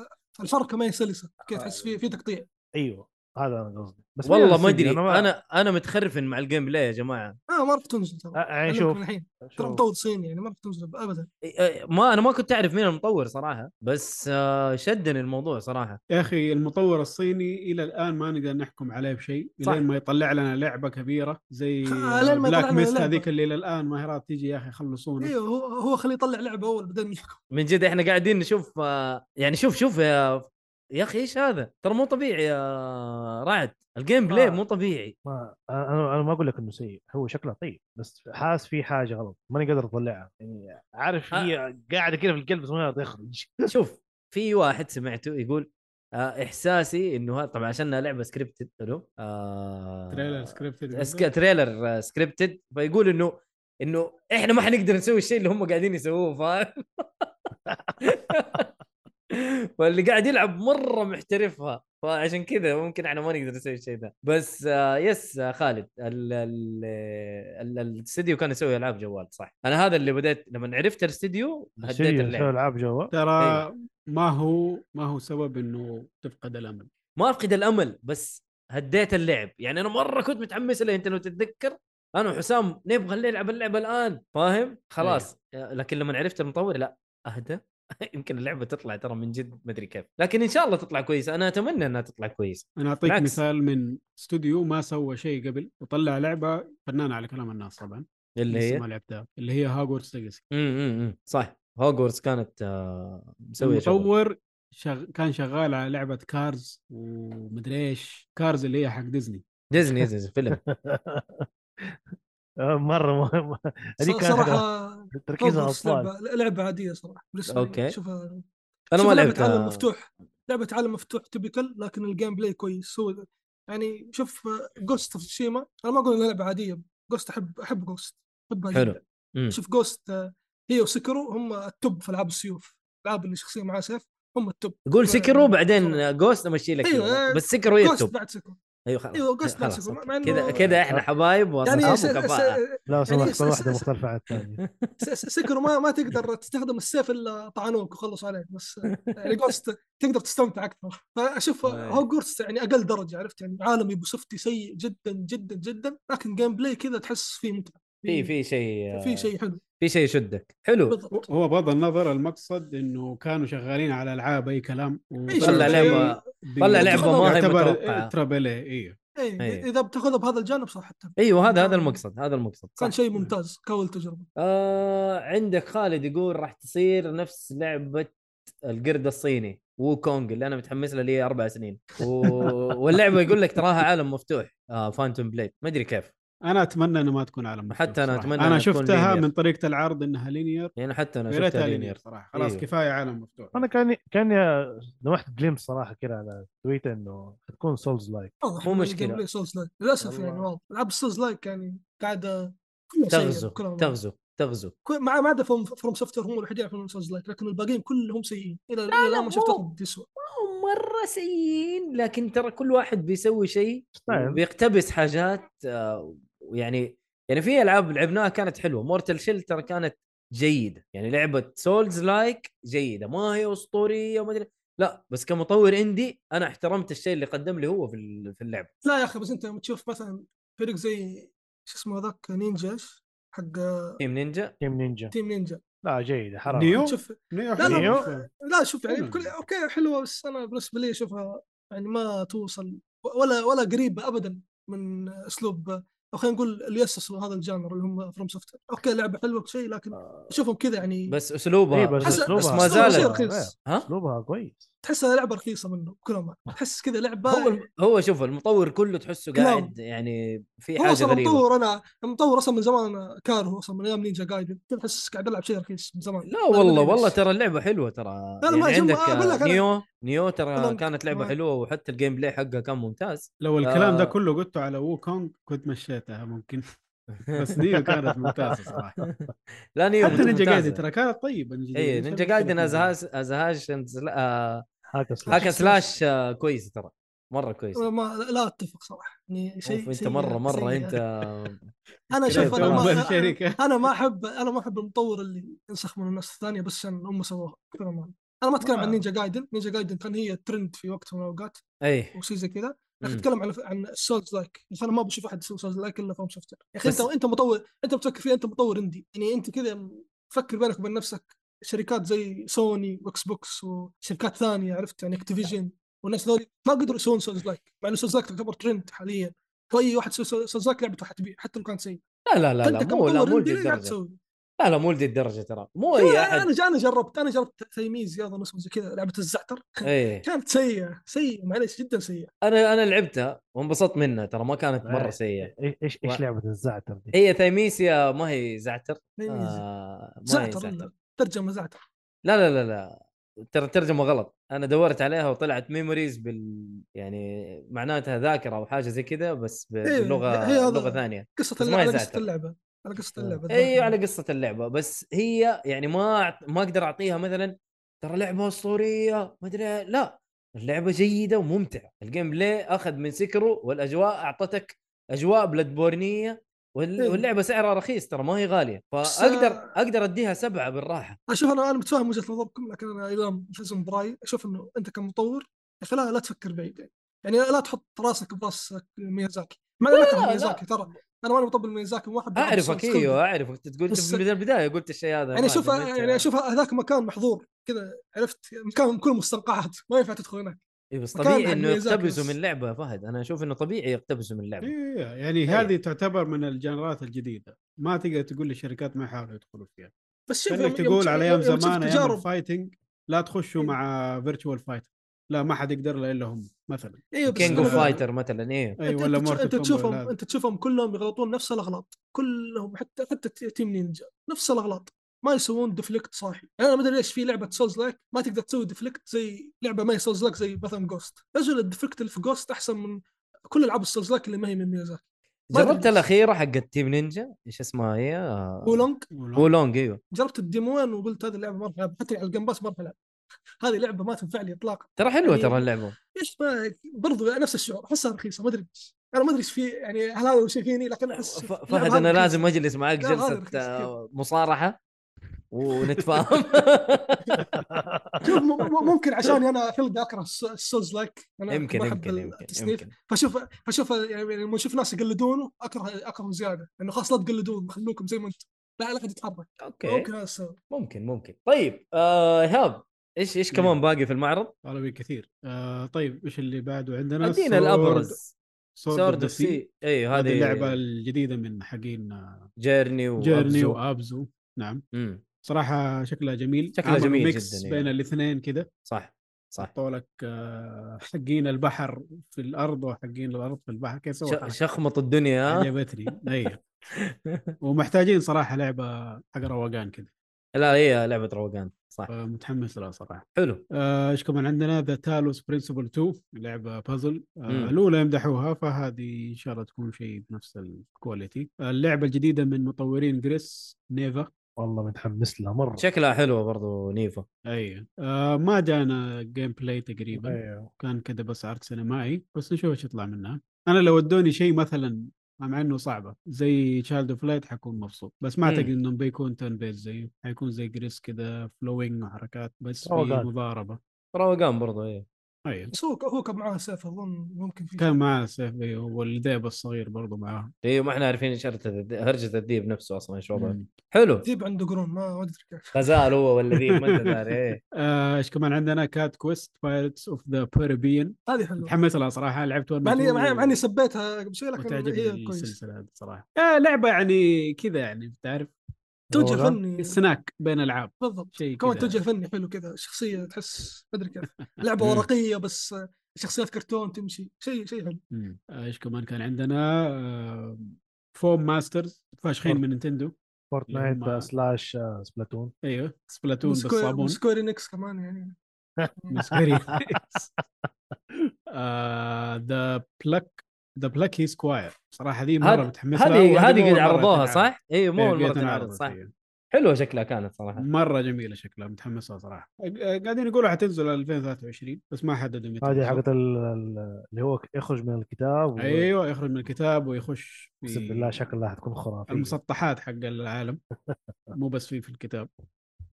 الفرقه ما هي سلسه كيف تحس في في تقطيع
ايوه هذا انا قصدي بس مين
والله ما
السيدي؟
ادري انا انا متخرفن مع الجيم بلاي يا جماعه
اه ما راح تنزل ترى
أ- يعني
أقول لك
شوف
من الحين ترى
شوف.
مطور صيني يعني ما راح تنزل ابدا
إي- إي، إيه، ما انا ما كنت اعرف مين المطور صراحه بس آه شدني الموضوع صراحه
يا اخي المطور الصيني الى الان ما نقدر نحكم عليه بشيء
صح.
الين ما يطلع لنا لعبه كبيره
*laughs*
زي
آه، لين ما يطلع
بلاك
لنا
ميست
لعبة.
هذيك اللي الى الان ما هي راضية تيجي يا اخي خلصونا
أيوه.
ايوه هو هو خليه يطلع لعبه اول بعدين نحكم
من جد احنا قاعدين نشوف آه يعني شوف شوف يا يا اخي ايش هذا ترى مو طبيعي يا رعد الجيم بلاي
آه.
مو طبيعي
ما انا انا ما اقول لك انه سيء هو شكله طيب بس حاسس في حاجه غلط ماني قادر اطلعها يعني عارف هي قاعده كذا في القلب بس ما قادر يخرج
شوف في واحد سمعته يقول آه احساسي انه هذا طبعا عشان لعبه سكريبتد حلو آه
تريلر سكريبتد
اسك... تريلر سكريبتد فيقول انه انه احنا ما حنقدر نسوي الشيء اللي هم قاعدين يسووه فاهم *laughs* فاللي قاعد يلعب مره محترفها فعشان كذا ممكن احنا ما نقدر نسوي الشيء ده بس آه يس آه خالد ال- ال- ال- الاستديو كان يسوي العاب جوال صح انا هذا اللي بديت لما عرفت الاستديو هديت
سيريوس يسوي
اللعب
العاب جوا *laughs*
ترى
أيوة.
ما هو ما هو سبب انه تفقد الامل
ما افقد الامل بس هديت اللعب يعني انا مره كنت متحمس له انت لو تتذكر انا وحسام نبغى نلعب اللعبه الان فاهم خلاص
إيه.
آه، لكن لما عرفت المطور لا اهدى *laughs* يمكن اللعبه تطلع ترى من جد ما ادري كيف لكن ان شاء الله تطلع كويسه انا اتمنى انها تطلع كويسه
انا اعطيك
بالعكس.
مثال من استوديو ما سوى شيء قبل وطلع لعبه فنانه على كلام الناس طبعا
اللي
لسه
هي
ما لعبتها اللي هي هاجورس ليجاسي
أمم، أمم، أمم. صح هوجورتس كانت آه، مسويه شغل
المطور شغ... كان شغال على لعبه كارز ومدري ايش كارز اللي هي حق ديزني
ديزني
*laughs*
ديزني فيلم
آه، مره مهمه هذيك كانت *laughs*
صراحه
تركيز على
Roblox
الاطفال
لعبه لعبه عاديه صراحه بالنسبه
أوكي.
لي يعني شوفها
انا
شوف
ما
لعبه عالم
لعبت
مفتوح لعبه عالم مفتوح تبكل لكن الجيم بلاي كويس هو يعني شوف جوست اوف تشيما انا ما اقول انها لعبه عاديه جوست احب احب جوست احبها
حلو.
جدا
أمم.
شوف جوست آه، هي وسكرو هم التوب في العاب السيوف العاب اللي شخصيه معاها سيف هم التوب
قول
ف-
سيكرو بعدين جوست امشي لك
أيوة،
إياه.
آه،
بس سيكرو هي التوب
جوست بعد سكرو
ايوه خلاص
ايوه جوست بعد
خلاص،
سكرو
أوكي.
مع إنه-
كذا كده احنا حبايب
يعني
واصحاب
س-
وكفاءه
س-
لو سمحت
س-
كل واحده
س-
مختلفه عن الثانيه
س- س- سكروا ما ما تقدر تستخدم السيف الا طعنوك وخلصوا عليك بس يعني جوست تقدر تستمتع اكثر فاشوف
أي.
هوجورتس يعني اقل درجه عرفت يعني عالم يبو سفتي سيء جدا جدا جدا لكن جيم بلاي كذا تحس فيه متعه
في في شيء
إيه. في شيء حلو
في شيء يشدك حلو
هو-
بالضبط
هو بغض النظر المقصد انه كانوا شغالين على العاب اي كلام
طلع
شغال.
لعبه طلع
لعبة ما هي
متوقعة.
ترابل اي
أي.
أي.
اذا إيه، بتاخذها بهذا الجانب صح حتى
ايوه هذا هذا المقصد هذا المقصد صح
نعم. كان شيء ممتاز كاول تجربه
آه عندك خالد يقول راح تصير نفس لعبه القرد الصيني وكونج اللي انا متحمس
*laughs*
له لي اربع سنين و... واللعبه يقول لك تراها عالم مفتوح آه فانتوم بليد ما ادري كيف
انا اتمنى انها ما تكون عالم مفتوح
حتى أنا
صراحة.
أتمنى
انا
إنها تكون
شفتها
linear.
من طريقه العرض انها لينير
يعني حتى انا
يا ريتها
شفتها
لينير
لينير
صراحه خلاص
إيه.
كفايه عالم مفتوح
انا كاني كاني لمحت جليم صراحه كده على تويتر انه حتكون سولز لايك
واضح
مو
إن
مشكلة.
الجيم بلاي سولز لايك للاسف
والله.
يعني واضح العاب السولز لايك يعني قاعده كلها سيئة،
تغزو
كلها-
تغزو تغزو
كل- مع ما عدا فروم فروم سوفت هم الوحيدين اللي يعرفون سولز لايك لكن الباقيين كلهم سيئين الى الى الان
مو.
ما شفت واحد يسوى
هم مره سيئين لكن ترى كل واحد بيسوي شيء
ستايل.
بيقتبس حاجات آه، ويعني يعني في العاب لعبناها كانت حلوه مورتال شيل ترى كانت جيده يعني لعبه سولز لايك جيده ما هي اسطوريه وما ادري لا بس كمطور اندي انا احترمت الشيء اللي قدم لي هو في ال- في اللعبه
لا يا اخي بس انت لما تشوف مثلا فريق زي شو اسمه هذاك نينجا إيش؟ حق
تيم نينجا
تيم نينجا
تيم نينجا
لا جيده حرام
نيو؟
تشوف
نيو
لا،
لا.
حلوة.
لا شوف يعني
حلو.
بكل اوكي حلوه بس انا بالنسبه لي اشوفها يعني ما توصل ولا ولا قريبه ابدا من اسلوب او خلينا نقول اللي اسسوا هذا الجانر اللي هم فروم سوفت اوكي لعبه حلوه وكل شيء لكن اشوفهم كذا يعني
آه. بس اسلوبها
إيه، بس
بس,
حس-
بس
أسلوبها-
ما
أسلوبها شيء
زالت
رخيص
ها
اسلوبها كويس
تحسها لعبه رخيصه منه كل ما تحس كذا لعبه
هو الم- هو شوف المطور كله تحسه
كلام.
قاعد يعني في
هو
حاجه
اصلا
غريبه
مطور انا مطور اصلا من زمان انا كاره اصلا من ايام نينجا جايدن كنت احس قاعد العب شيء رخيص من زمان
لا
ما أدري
والله
ليش.
والله ترى اللعبه حلوه ترى
لا،
يعني
ما- شوف،
عندك
أقول لك
آه،
أنا-
نيو نيو ترى
أظن-
كانت لعبه
آه.
حلوه وحتى الجيم بلاي حقها كان ممتاز
لو الكلام ده
آه.
كله قلته على وو كونغ كنت مشيتها
*laughs*
ممكن بس نيو كانت ممتازه صراحه
لا نيو
حتى نينجا
إيوه، ممتازة.
جايدن ترى كانت طيبه نينجا
اي
جايدن.
نينجا جايدن ازهاش ازهاش آه،
هاك
هاكا
سلاش.
هاك
سلاش آه، كويسه ترى مره كويسه
ما لا- لا اتفق صراحه يعني
اوف
شيء
انت
سيء-
مره مره
سيء. *laughs*
انت
إيه،
انا شوف انا
تمام.
ما أنا-
الشركه
انا ما احب انا ما احب المطور اللي ينسخ من الناس الثانيه بس عشان هم سووها كثر ما أنا. انا ما اتكلم عن نينجا جايدن نينجا جايدن كان هي ترند في وقت من الاوقات
اي
وشيء زي كذا يا اخي
إيه. مم.
اتكلم عن عن السولز لايك يا اخي انا ما بشوف احد يسوي سولز لايك الا فروم سوفت يا اخي
بس-
انت انت مطور انت بتفكر فيها انت مطور اندي يعني انت كذا فكر بينك وبين نفسك شركات زي سوني واكس بوكس وشركات ثانيه عرفت يعني اكتيفيجن والناس ذولي ما قدروا يسوون سولز لايك مع انه سولز لايك تعتبر ترند حاليا واي واحد يسوي سولز لايك لعبته حتبيع حتى لو كانت سيئه
لا لا لا لا
فانت
مو طيب، لا
كمطور
مو
اندي
لدي
ليه قاعد
الدرجه
تسوي؟
لا لا مو لدي الدرجه ترى مو
شوف،
اي
انا
احد
انا جربت انا جربت تيميز يا اسمه زي كذا لعبه الزعتر
اي
*laughs* كانت سيئه سيئه معليش جدا سيئه
انا انا لعبتها وانبسطت منها ترى ما كانت مره
إيه.
سيئه
إيش- ايش
وا-
ايش لعبه الزعتر دي؟
هي ثيميسيا ما هي زعتر
تيميز
آه ما هي
زعتر
زعتر
ولا ترجمه زعتر
لا لا لا لا ترى الترجمه غلط انا دورت عليها وطلعت ميموريز بال يعني معناتها ذاكره او حاجه زي كذا بس ب-
إيه،
باللغه
هي هذا-
لغه ثانيه
قصه
بس ما آه.
اللعبه على
هي
قصه
زعتر.
اللعبه على قصه اللعبه
اي إيه، على قصه اللعبه بس هي يعني ما أعط- ما اقدر اعطيها مثلا ترى لعبه اسطوريه ما ادري لا اللعبه جيده وممتعه الجيم بلاي اخذ من سكره والاجواء اعطتك اجواء بلاد بورنيه وال-
إيه.
واللعبه سعرها رخيص ترى ما هي غاليه
بس- آه.
فاقدر اقدر اديها سبعه بالراحه
اشوف انا انا متفاهم وجهه نظركم لكن انا الى جزم براي اشوف انه انت كمطور يا اخي لا لا تفكر بعيد يعني. يعني لا تحط راسك براس ميازاكي ما انا
لا،
اكره
لا.
ميازاكي ترى انا ماني مطبل ميازاكي واحد بيلعب
اعرفك
سولز كلهم.
ايوه اعرفك انت قلت
بس-
من البدايه قلت الشيء هذا
يعني
ما
اشوف
أدري متى.
يعني اشوف هذاك مكان محظور كذا عرفت مكان كله مستنقعات ما ينفع تدخل هناك
إيه بس
مكانها
طبيعي انه
ميازاكي
يقتبسوا
بس.
من لعبه يا فهد انا اشوف انه طبيعي يقتبسوا من لعبه
إيه، يعني
أيوه.
هذه تعتبر من الجنرات الجديده ما تقدر تقول للشركات ما يحاولوا يدخلوا فيها
بس شوف
كانك
يوم- يوم
تقول
تشوف-
على ايام
يوم تشوف
زمان ايام
تجارب
الفايتنج لا تخشوا
إيه.
مع فيرتشوال فايت لا ما حد يقدر له الا هم مثلا
ايوه بس
كينج
أنا
اوف
فاهم.
فايتر مثلا ايه
اي
أنت-
ولا
انت, تش- انت
مورتال
تشوفهم انت تشوفهم كلهم يغلطون نفس الاغلاط كلهم حتى حتى ت- تيم نينجا نفس الاغلاط ما يسوون ديفليكت صاحي يعني انا ما ادري ليش في لعبه سولز لايك ما تقدر تسوي ديفليكت زي لعبه ما هي سولز لايك زي مثلا جوست رجل الديفليكت اللي في جوست احسن من كل العاب السولز لايك اللي ما هي من ميازاكي ما أدري
جربت
ليش.
الاخيره حقت تيم نينجا ايش اسمها هي؟
وولونج
ولا
وولونج ايوه
جربت الديموين وقلت هذه اللعبه ما راح العبها حتى على الجيم باس ما راح العبها *laughs* هذه لعبه ما تنفع لي اطلاقا
ترى حلوه
يعني-
ترى اللعبه
ايش ما برضو نفس الشعور احسها رخيصه ما ادري ليش. انا ما ادري ايش في يعني هل هذا شيء فيني لكن احس
ف-
اللعبة
فهد
هذه
انا
رخيصة.
لازم اجلس معك
لا، هذا
جلسه
رخيص
آه،
*laughs*
مصارحه ونتفاهم
شوف م- م-
*laughs*
ممكن عشاني انا في البداية اكره الس- السولز لايك انا
يمكن
ما أحب
يمكن يمكن
التصنيف
يمكن
فشوف فشوف يعني لما اشوف ناس يقلدونه اكره اكره زياده انه خلاص لا تقلدون خلوكم زي ما انتم لا لا حد يتحرك
اوكي
ممكن هذا السبب
ممكن ممكن طيب آه، ايهاب ايش
إيه.
ايش كمان باقي في المعرض؟
بي كثير آه طيب ايش اللي بعده عندنا
ادينا الابرز سورد اوف سي اي
هذه
إيه، هذه
اللعبه الجديده من حقين
جيرني و
جيرني
أبزو.
وابزو نعم
مم،
صراحه شكلها جميل
شكلها
عملوا
جميل
ميكس
جداً، إيه.
بين الاثنين كذا
صح صح
حطوا لك آه، حقين البحر في الارض وحقين الارض في البحر كيف سووا
ش-
حركة؟
شخمط الدنيا ها؟ *laughs*
عجبتني اي ومحتاجين صراحه لعبه حق روقان كذا
لا هي لعبه روقان صح
متحمس لها صراحه
حلو
آه، ايش كمان عندنا ذا تالوس برنسبل 2 لعبه بازل
مم.
آه، الاولى يمدحوها فهذه ان شاء الله تكون شيء بنفس الكواليتي آه، اللعبه الجديده من مطورين جريس نيفا
*laughs* والله متحمس لها مره
شكلها حلوه برضو نيفا
اي آه، ما جانا جيم بلاي تقريبا
ايوه
كان كذا بس عرض سينمائي بس نشوف ايش يطلع منها انا لو ادوني شيء مثلا مع انه صعبه زي تشايلد اوف لايت حكون مبسوط بس ما
مم.
اعتقد انه بيكون تيرن بيز زيه حيكون زي جريس كذا فلوينج وحركات
Oh
بس في
روقان.
مضاربه
روقان برضو ايه
ايوه
بس هو هو كان معاه سيف اظن ممكن في
كان معاه سيف أيوه، والذئب الصغير برضو معاه
ايوه ما احنا عارفين ايش هرجة الد- هرجه الذيب نفسه اصلا ايش وضعه
مم.
حلو
ذيب عنده قرون ما ما ادري كيف
غزال هو ولا ذيب ما انت داري ايه
*laughs* آه، ايش كمان عندنا كات كويست بايرتس اوف ذا بيربيان
هذه حلوه
متحمس لها صراحه لعبت
مع اني مع مع
معني
اني سبيتها قبل شوي لكن هي
وتعجبني
كويسه
السلسله هذه صراحه آه، لعبه يعني كذا يعني تعرف
توجه
روقان.
فني
سناك بين العاب
بالضبط
شيء
كمان
كذا.
توجه فني حلو كذا شخصيه تحس ما ادري كيف
مم.
لعبه ورقيه بس شخصيات كرتون تمشي شيء شيء حلو
مم. ايش كمان كان عندنا آه، فوم ماسترز فاشخين
فورت-
من نينتندو
فورتنايت
اللي هم-
سلاش آه، سبلاتون
ايوه سبلاتون
وسكوير-
بالصابون
وسكوير انكس كمان يعني
من *laughs*
*laughs*
سكوير ذا بلاك ذا بلاكي سكواير صراحه هذه مره
هذه-
متحمس لها
هذه
وهذه أول
هذه قد
مرة
عرضوها
تنعرض.
صح؟ ايوه مو
إيه،
اول مره
قد
تنعرض
تنعرض
صح
إيه.
حلوه شكلها كانت صراحه
مره جميله شكلها متحمس لها صراحه قاعدين يقولوا حتنزل 2023 بس ما حددوا متى
هذه
بالضبط.
حقت ال- ال- اللي هو يخرج من الكتاب و-
ايوه يخرج من الكتاب ويخش في
اقسم بالله شكلها حتكون خرافيه
المسطحات حق
*laughs*
العالم مو بس في في الكتاب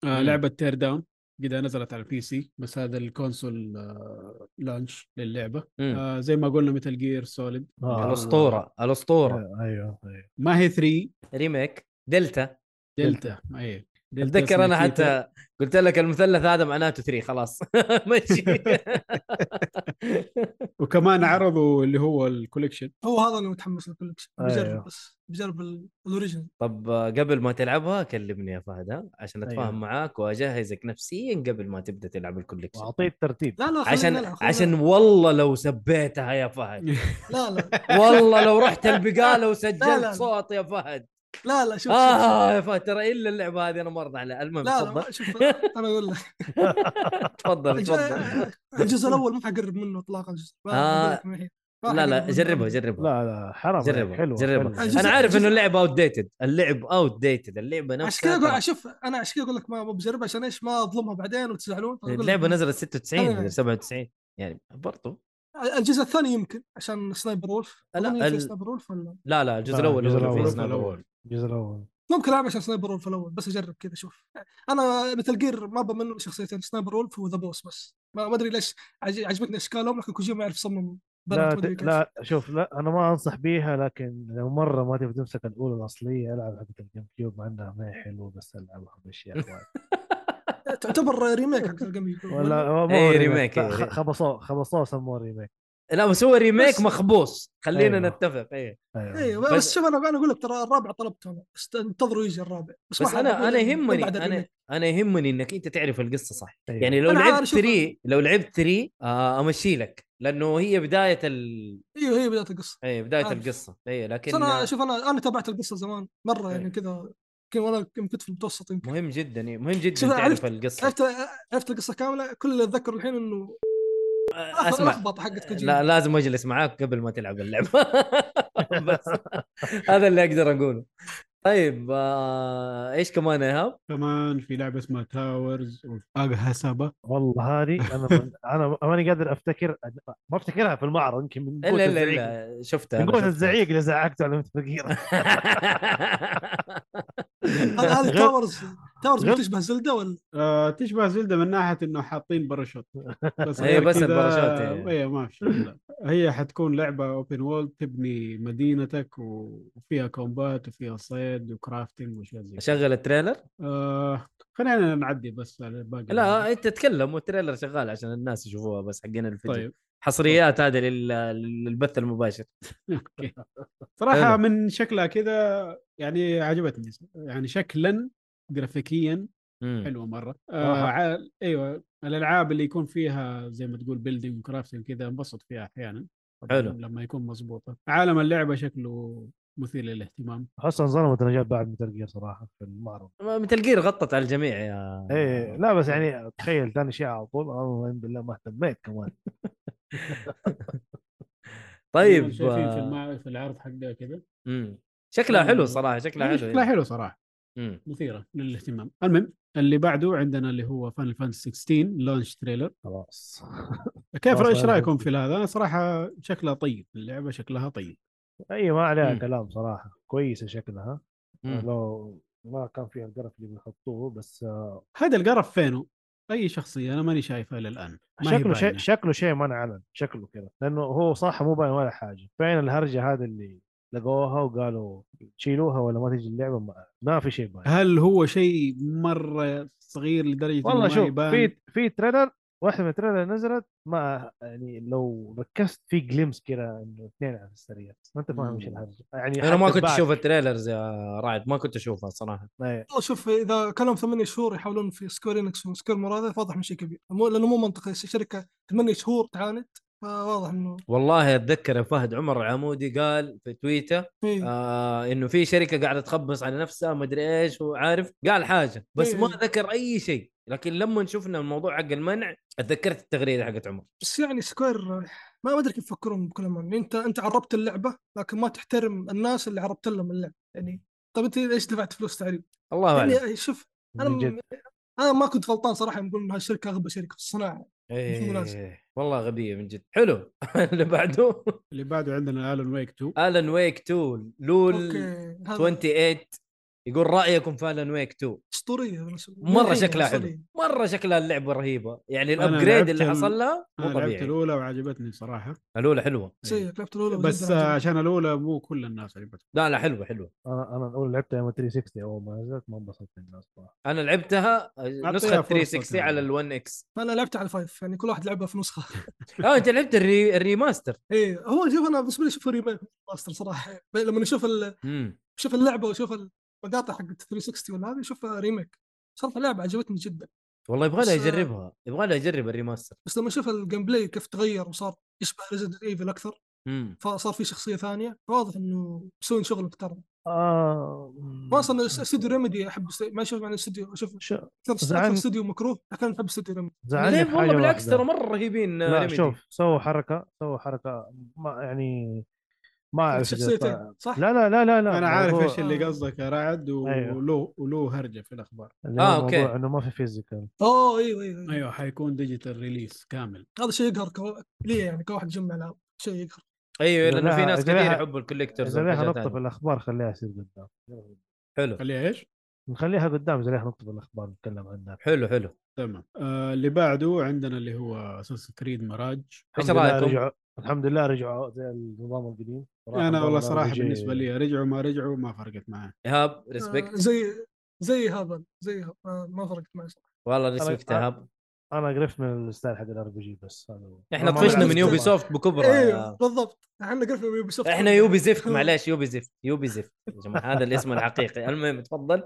آه
مم.
لعبه تير داون قد نزلت على البي سي بس هذا الكونسول آه لانش للعبه
مم.
آه زي ما قلنا مثل جير سوليد
آه.
الاسطوره الاسطوره
آه، ايوه ايوه
ما هي 3
ريميك دلتا
دلتا اي دلتا
اتذكر انا
اسمها كيتا.
حتى قلت لك المثلث هذا معناته 3 خلاص *laughs* ماشي
وكمان عرضوا اللي هو الكوليكشن
هو هذا اللي متحمس له كلش
أيوه.
بجرب بس بجرب ال- الاوريجن
طب آه، قبل ما تلعبها كلمني يا فهد ها؟ عشان اتفاهم
أيوه.
معاك واجهزك نفسيا قبل ما تبدا تلعب الكوليكشن
واعطيه الترتيب
لا لا خلينا
عشان
نلعب، خلينا
عشان
نلعب.
والله لو سبيتها يا فهد
لا لا
والله لو رحت البقاله
لا، لا.
وسجلت صوت يا فهد
لا لا شوف شوف.
اه يا فهد ترى الا اللعبه هذه انا مرضى عليها المهم
لا لا ما-
تفضل
شوف انا اقول لك
تفضل تفضل
الج- الجزء الاول ما حقرب منه اطلاقا الجزء ما
آه.
أقول لك من هي. ما
لا لا
حقرب منه.
جربها جربها
لا لا حرام عليك،
جربها،
حلوه
جربها.
حلوة.
الجزء-
انا عارف انه
جزء-
اللعب اوت ديتد اللعب اوت ديتد اللعبه
عشان كذا
نفسها
اقول
ترى-
شوف انا عشان كذا اقول لك ما ما بجرب عشان ايش ما اظلمها بعدين وتزعلون أقول لك
اللعبه
ما-
نزلت 96
أنا-
مدري 97 يعني برضو
الجزء الثاني يمكن عشان سنايبر وولف
لا،
لا
ال-
ال... سنايبر وولف ولا
لا لا
آه،
الجزء
لا،
الاول هو
الجزء
اللي فيه
الأول.
سناب
الأول.
الجزء الاول
ممكن العب عشان سنايبر وولف الاول بس اجرب كذا اشوف انا مثل جير ما ابغى منه شخصيتين سنايبر وولف وذا بوس بس ما ما ادري ليش عج- عجبتني اشكالهم لكن كوجيما يعرف يصمم
لا
بنات
ت...
مدري كيف.
لا شوف لا انا ما انصح بيها لكن لو مره ما تبي تمسك الاولى الاصليه العب حقت الجيم كيوب مع انها ما هي حلوه بس العبها باشياء
تعتبر ريميك حق الجيم
*laughs*
كيوب.
*laughs*
ولا هو مو
إيه،
هو
ريميك، إيه،
خ-
ريميك.
خبصوه خبصوه سموه ريميك
لا بس هو ريميك
بس- أيوه.
مخبوص خلينا
أيوة.
نتفق ايه
ايوه
ايوه
بس-
بس شوف انا انا اقول لك ترى الرابع طلبته انا است- انتظروا يجي الرابع
بس
ما حد- إيه
انا انا يهمني
بعد
انا
الريميك. أيوه.
انا يهمني انك انت تعرف القصه صح
أيوة.
يعني لو
أنا
لعبت
عارف، شوف-
3 لو لعبت 3 آه، امشي لك لانه هي بدايه ال إيه،
ايوه هي بدايه القصه
اي بدايه
عارف.
القصه اي
آه. بس
إيه، لكن آه،
انا شوف انا انا تابعت القصه زمان مره يعني
إيه.
كذا يمكن وانا كنت في المتوسط يمكن
مهم جدا إيه، مهم جدا
شوف،
تعرف
عرفت-
القصه
عرفت عرفت القصه كامله كل اللي اتذكره الحين انه
آه، اسمع
لخبطه حقت كوجيما
لا لازم اجلس معاك قبل ما تلعب اللعبه
*laughs*
*laughs* بس هذا اللي اقدر اقوله طيب آه، ايش كمان يا ايهاب؟
كمان في لعبه اسمها تاورز اوف اغهسبا
والله هذه انا من... انا ماني قادر افتكر ما افتكرها في المعرض يمكن من قوة
الا الا
الزعيق.
الا شفتها
من قوة
أنا، شفتها. *laughs*
الزعيق اللي زعقته على *laughs* الفقير
هذا هذه
غير-
تاورز تاورز
غير-
بتشبه زلدة ولا
آه تشبه زلدة من ناحيه انه حاطين
*laughs*
باراشوت بس
هي
إيه،
غير
إيه، بس
كذا-
الباراشوت يعني.
اي ما في شيء، لا. هي حتكون لعبه اوبن وولد تبني مدينتك وفيها كومبات وفيها صيد وكرافتنج واشياء زي كذا.
شغل التريلر؟
آه خلينا نعدي بس على الباقي
لا انت تتكلم والتريلر شغال عشان الناس يشوفوها بس حقين الفيديو
طيب
حصريات هذه لل- للبث المباشر
*laughs* اوكي صراحه
حلو.
من شكلها كذا يعني عجبتني يعني شكلا جرافيكيا
مم.
حلوه مره
صراحة.
آه ع... ايوه الالعاب اللي يكون فيها زي ما تقول بيلدينج وكرافتنج كذا انبسط فيها احيانا طبعاً
حلو.
لما يكون مضبوطه عالم اللعبه شكله مثير للاهتمام
احس انظلمت انا جاب بعد متل جير صراحه في المعرض
مثل جير غطت على الجميع يا
ايه لا بس يعني تخيل ثاني شيء على طول اعوذ بالله ما اهتميت كمان
طيب
أيوة، شايفين في,
آه،
المع... في العرض حقه كذا
مم. شكلها حلو
مم.
صراحه شكلها حلو
شكلها
يعني.
حلو صراحه
مم.
مثيره للاهتمام المهم اللي بعده عندنا اللي هو فان فانتسي 16 لونش تريلر
خلاص
كيف
آه،
خلاص،
ايش
أنا
رايكم
شفته.
في هذا؟ انا صراحه شكلها طيب اللعبه شكلها طيب
اي ما عليها
مم.
كلام صراحه كويسه شكلها
مم.
لو ما كان فيها القرف اللي بيحطوه بس آه،
هذا القرف فينه؟ اي شخصيه انا ماني شايفها الى الان ما هي
شكله شيء
باينة.
شكله شيء ما انعلن شكله كذا لانه هو صح مو باين ولا حاجه فين الهرجه هذه اللي لقوها وقالوا شيلوها ولا ما تجي اللعبه ما, ما في شيء باين
هل هو شيء مره صغير لدرجه
والله
إنه ما
شوف
يبان
في في تريلر واحده من التريلر نزلت ما يعني لو ركزت في جليمس كذا انه اثنين على السريع ما انت فاهم ايش
مم.
الهرجه يعني
انا ما
حتى
كنت
بعد-
اشوف التريلرز يا رعد ما كنت اشوفها صراحه
إيه.
والله شوف اذا كانوا ثمانية شهور يحاولون في سكوير انكس وسكوير مرادف واضح من شيء كبير مو لانه مو منطقي شركه ثمانية شهور تعاندت فواضح انه
والله اتذكر يا فهد عمر العمودي قال في تويتر
إيه.
آه انه في شركه قاعده تخبص على نفسها ما ادري ايش وعارف قال حاجه بس ما
إيه.
ذكر اي شيء لكن لما شفنا الموضوع حق المنع اتذكرت التغريده حقت عمر
بس يعني سكوير ما ما ادري كيف يفكرون بكل امان انت انت عربت اللعبه لكن ما تحترم الناس اللي عربت لهم اللعبه يعني طب انت ليش دفعت فلوس تعريب؟
الله اعلم
يعني شوف انا
من
م...
جد
انا ما كنت غلطان صراحه يوم نقول انها شركه اغبى شركه في الصناعه مناسب.
إيه. والله غبيه من جد حلو *laughs* اللي بعده
اللي بعده عندنا الون ويك 2
آه،
الان ويك 2 لول
اوكي هذا
28 يقول رايكم في الان ويك 2
اسطوريه بالنسبة لي.
مره
مرعبة
شكلها
إيه، أسطورية.
حلو مره شكلها اللعبه رهيبه يعني
أنا
الابجريد اللي
لعبت ال-
حصل لها مو
انا لعبت
طبيعي
الاولى وعجبتني صراحه
الاولى حلوه
سيء لعبت الاولى
بس
وجداً
آه،
عجبتني.
عشان الاولى مو كل الناس عجبتها
لا لا حلوه حلوه
انا انا الاول لعبتها يوم 360 اول ما نزلت ما انبسطت الناس صراحه
انا لعبتها
فرصة
نسخه 360 على ال1 اكس
انا لعبت على الفايف يعني كل واحد لعبها في *laughs* نسخه
اه انت لعبت الري... الريماستر
ايه هو شوف انا بالنسبه لي اشوف ريميك ماستر صراحه لما نشوف ال...
امم
شوف اللعبه وشوف المقاطع حقت 360 ولا هذه اشوفها ريميك صراحه لعبه عجبتني جدا
والله يبغى لها
بس-
يجربها يبغى لها يجرب الريماستر
بس لما اشوف الجيم بلاي كيف تغير وصار يشبه ريزدنت ايفل اكثر
امم
فصار في شخصيه ثانيه واضح انه مسوين شغل محترم
آه
ما اصلا استوديو ريميدي احب است- ما اشوف عن استوديو اشوف
شو-
اكثر أكثر
زعلان-
استوديو مكروه لكن احب استوديو ريميدي
زعلني
ليه
في
والله
حاجة
بالعكس
واحدة.
ترى مره رهيبين آه،
لا
ريميدي.
شوف سووا حركه سووا حركه ما يعني ما اعرف إذا طلع-
شخصيتين صح؟
لا لا لا لا لا
انا عارف
موضوع-
ايش اللي قصدك يا رعد
أيوه.
ولو ولو هرجه في الاخبار
اللي
آه،
آه
أوكي.
موضوع انه ما في فيزيكال
اوه ايوه ايوه, أيوة.
ايوه حيكون ديجيتال ريليس كامل
هذا شيء يقهر كو... ليه يعني كواحد يجمع العاب شيء يقهر
ايوه
إذا
لانه في
لها-
ناس
إذا
كثير
لها-
يحبوا الكوليكترز
اذا لها
والحاجات
نقطه في
هذه.
الاخبار خليها يصير قدام
حلو
خليها ايش؟
نخليها قدام اذا لها نقطه في الاخبار نتكلم عنها
حلو حلو
تمام آه اللي بعده عندنا اللي هو اساس كريد مراج
ايش
الحمد لله
رايكم؟
رجعوا الحمد لله رجعوا زي النظام القديم صراحة
انا والله
لا
صراحه
بيجي-
بالنسبه لي رجعوا ما رجعوا ما فرقت معي
ايهاب
آه
ريسبكت
زي زي هذا زي هذا آه ما فرقت معي صراحه
والله ريسبكت
أنا-
ايهاب
انا قرفت من الستايل حق الار بي جي بس هذا هو.
احنا
ما
طفشنا
بلعب
من
عرفت
يوبي
ستايل.
سوفت بكبره
ايوه
إيه.
يا-
بالضبط احنا قلنا يوبي سوفت
آه. احنا يوبي زفت معليش يوبي زفت يوبي زفت يا جماعه هذا الاسم الحقيقي المهم تفضل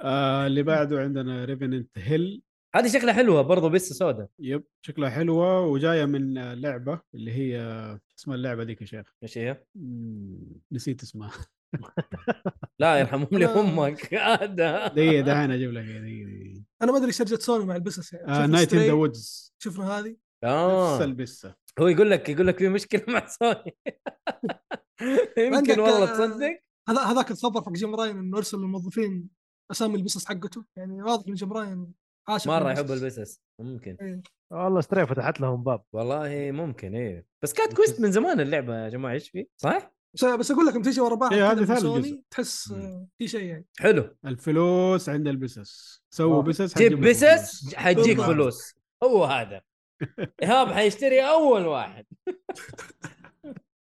آه اللي بعده عندنا ريفننت هيل
هذه شكلها حلوه برضو بس سودا
يب شكلها حلوه وجايه من آه، لعبه اللي هي آه، اسمها اللعبه ذيك يا شيخ
ايش هي؟
مم، نسيت
*laughs*
اسمها
لا يرحمهم لي
أنا-
امك *laughs* هذا
دقيقه دحين اجيب لك إياها، دقيقة، آه، دقيقه
انا ما ادري شرجت سوني مع البسس يعني شفنا
نايت ان ذا
Stray،
وودز
شفنا هذه
نفس
آه.
البسه
هو يقول لك يقول لك في مشكله *laughs* مع سوني
عندك،
يمكن والله
آه،
تصدق
هذا هذاك الخبر حق جيم راين انه ارسل للموظفين اسامي البسس حقته يعني واضح ان جيم راين عاشق
مره
للبسس.
يحب البسس ممكن
والله ستري فتحت لهم باب
والله ممكن ايه بس كات كويست من زمان اللعبه يا جماعه ايش في صح؟
بس بس اقول لك لما تيجي ورا بعض
إيه،
كذا
هذه
من
ثالث
سوني
جزء.
تحس آه، في شيء يعني
حلو
الفلوس عند البسس سووا
آه.
بسس
جيب
حتجيب لكم فلوس.
بسس حتجيك
بالضبط.
فلوس هو هذا ايهاب حيشتري اول واحد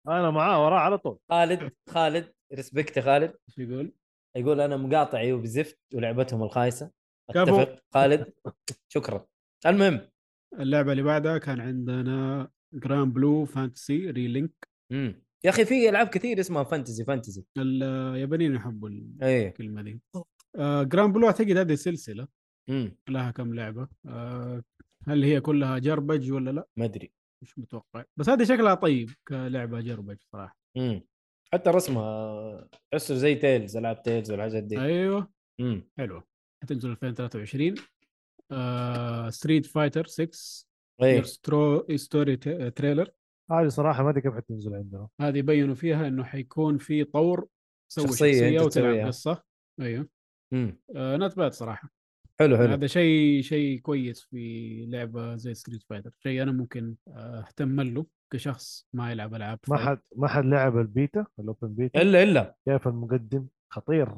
انا معاه وراه على طول
خالد خالد ريسبكت يا خالد
ايش يقول؟
يقول انا مقاطع يوب زفت ولعبتهم الخايسه
كفو.
اتفق خالد شكرا المهم
اللعبه اللي بعدها كان عندنا جران بلو فانتسي ريلينك
مم. يا اخي في العاب كثير اسمها فانتزي فانتزي
اليابانيين يحبوا
ايه
الكلمه دي
بالضبط.
آه جران بلو اعتقد هذه سلسله
امم
لها كم لعبه آه، هل هي كلها جربج ولا لا؟
ما ادري
مش متوقع بس هذه شكلها طيب كلعبه جربج صراحه
امم حتى رسمها تحسه زي تيلز العاب تيلز والحاجات دي
ايوه
امم
حلوه حتنزل 2023 ستريت فايتر 6
ايه
Your سترو ستوري ت- تريلر
هذه صراحه ما ادري كيف حتنزل عندنا
آه، هذه بينوا فيها انه حيكون في طور تسوي
شخصية
شخصيه,
أنت تسويها.
وتلعب آه، قصه ايوه
امم
نوت باد صراحه
حلو حلو
هذا شيء شيء كويس في لعبه زي ستريت فايتر شيء انا ممكن آه، اهتم له كشخص ما يلعب العاب
ما
فايت.
حد ما حد لعب البيتا الاوبن بيتا *laughs*
الا الا
كيف المقدم خطير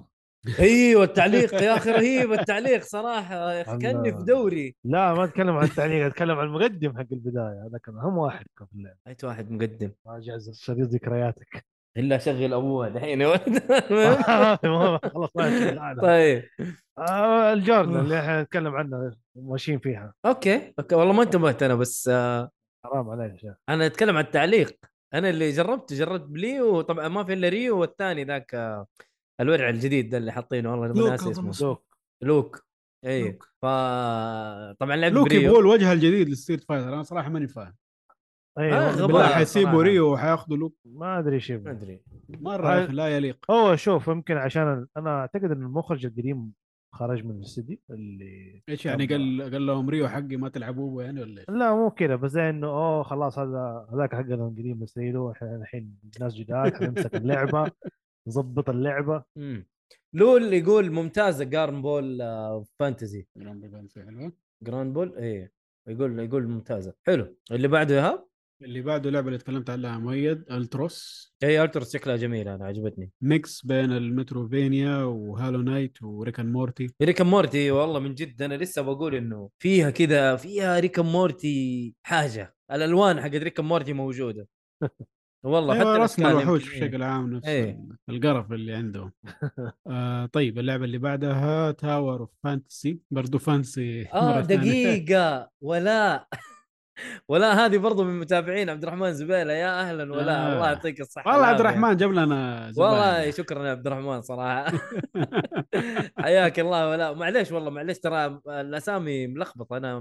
ايوه التعليق يا اخي رهيب التعليق صراحه يا اخي كاني في دوري
لا ما اتكلم عن التعليق اتكلم عن المقدم حق البدايه هذا كان اهم واحد كان في اللعبه
ايت واحد مقدم
راجع شريط
*laughs*
ذكرياتك *laughs*
الا شغل ابوه *laughs* دحين يا ولد
ما- خلاص ما أتكلم عنها.
طيب
آه، الجوردن اللي احنا نتكلم عنه ماشيين فيها
اوكي اوكي والله ما انتبهت انا بس آه،
حرام عليك يا شيخ
انا اتكلم عن التعليق انا اللي جربته جربت بلي وطبعا ما في الا ريو والثاني ذاك آه، الورع الجديد ده اللي حاطينه والله
لوك
ما ناسي
أظن
اسمه
اسمه.
لوك
لوك إيه. اي
لوك.
فطبعا لعبت
لوك
بريو
يبغوا الوجه الجديد لستريت فايتر انا صراحه ماني فاهم
اي
آه،
والله
غباء
بالله
بالله حس-
حيسيبوا
صراحة.
ريو وحياخذوا لوك
ما ادري ايش
ما
يبغى.
ادري
مره يا أخي لا يليق
هو شوف يمكن عشان ال- انا اعتقد ان المخرج القديم خرج من الاستديو اللي
ايش يعني قال قال لهم ريو حقي ما تلعبوه يعني ولا ايش؟
لا مو كذا بس زي انه اوه خلاص هذا هذاك حقنا القديم نسيله احنا الحين ناس جداد حنمسك اللعبه نظبط اللعبه
مم. لول يقول ممتازه جارن بول آه، فانتزي جراند بول اي يقول يقول ممتازه حلو اللي بعده ايهاب
اللي بعده لعبه اللي تكلمت عنها مؤيد التروس
هي الترس شكلها جميله انا عجبتني
ميكس بين المتروفينيا وهالو نايت وريكان مورتي
ريكا مورتي والله من جد انا لسه بقول انه فيها كذا فيها ريكا مورتي حاجه الالوان حقت ريكا مورتي
*laughs*
موجوده والله
أيوة
حتى
رسم
الأشكال
الوحوش
يمكن إيه.
بشكل عام نفس
إيه.
القرف اللي
*laughs*
عندهم آه طيب اللعبه اللي بعدها تاور اوف فانتسي برضه فانسي *laughs*
اه
مرة ثانية. *laughs*
دقيقه ولا *laughs* ولا هذه برضو من متابعين عبد الرحمن زبيله يا اهلا ولا
آه.
الله يعطيك الصحه
والله عبد
والعافية.
الرحمن جاب لنا زبالة.
والله شكرا يا عبد الرحمن صراحه
*laughs*
حياك الله ولا معليش والله معليش ترى الاسامي ملخبطه انا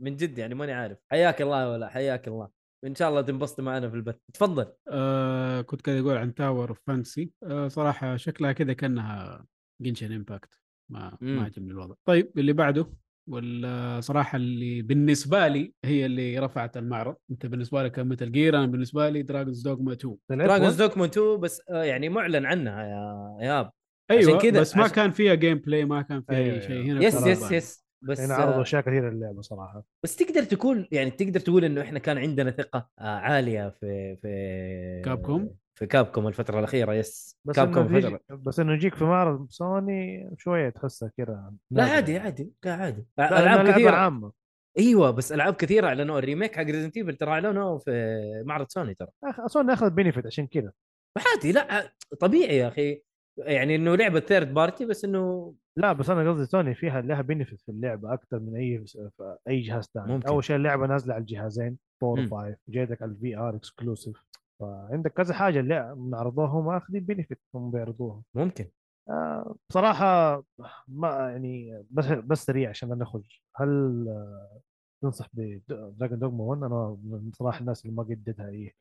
من جد يعني ماني عارف حياك الله ولا حياك الله ان شاء الله تنبسط معنا في البث تفضل
آه كنت كذا اقول عن تاور اوف فانسي آه صراحه شكلها كذا كانها جنشن امباكت ما
مم.
ما عجبني الوضع طيب اللي بعده ولا صراحه اللي بالنسبه لي هي اللي رفعت المعرض انت بالنسبه لك كان مثل جير انا بالنسبه لي دراجونز دوغما 2
دراجونز
تلعب
دوكما 2 بس آه، يعني معلن عنها يا اياب
ايوه
عشان كذا-
بس ما
عشان-
كان فيها جيم بلاي ما كان فيها
أيوة،
اي شيء
أيوة.
هنا
يس
كان
يس
رهبان.
يس بس
هنا عرضوا
آه،
اشياء كثيره اللعبه صراحه
بس تقدر تقول يعني تقدر تقول انه احنا كان عندنا ثقه آه، عاليه في في
كابكوم؟
في كابكوم الفتره الاخيره يس
بس
كابكوم
انه
الفتره
يجي بس انه يجيك في معرض سوني شويه تحسها كذا
لا
نازلة.
عادي عادي لا عادي
لا، لأنها
العاب
لعبة
كثيره
عامه
ايوه بس العاب كثيره اعلنوا الريميك حق ريزنت ايفل ترى اعلنوه في معرض سوني ترى
أخ- سوني اخذ بينفيت عشان كذا
عادي لا طبيعي يا اخي يعني انه لعبه ثيرد بارتي بس انه
لا بس انا قصدي سوني فيها لها بينفيت في اللعبه اكثر من اي في اي جهاز ثاني
ممكن.
اول شيء اللعبه نازله على الجهازين 4
مم.
5 جايتك على الفي ار اكسكلوسيف فعندك كذا حاجه اللي من عرضوها هم اخذين بينفيت هم بيعرضوها
ممكن
آه، بصراحه ما يعني بس بس سريع عشان لا نخرج هل آه، تنصح بدراجون دوغما 1 انا من صراحه الناس اللي ما إيه. قدتها اي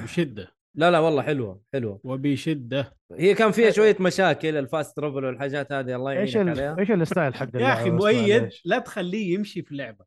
وبشده
لا لا والله حلوه حلوه
وبشده
هي كان فيها شويه مشاكل الفاست ترافل والحاجات هذه الله
ايش
يعينك
ال...
طيب، عليها
ايش الستايل
*laughs*
حق
يا اخي
اللعبة بس
مؤيد
معليش.
لا تخليه يمشي في لعبه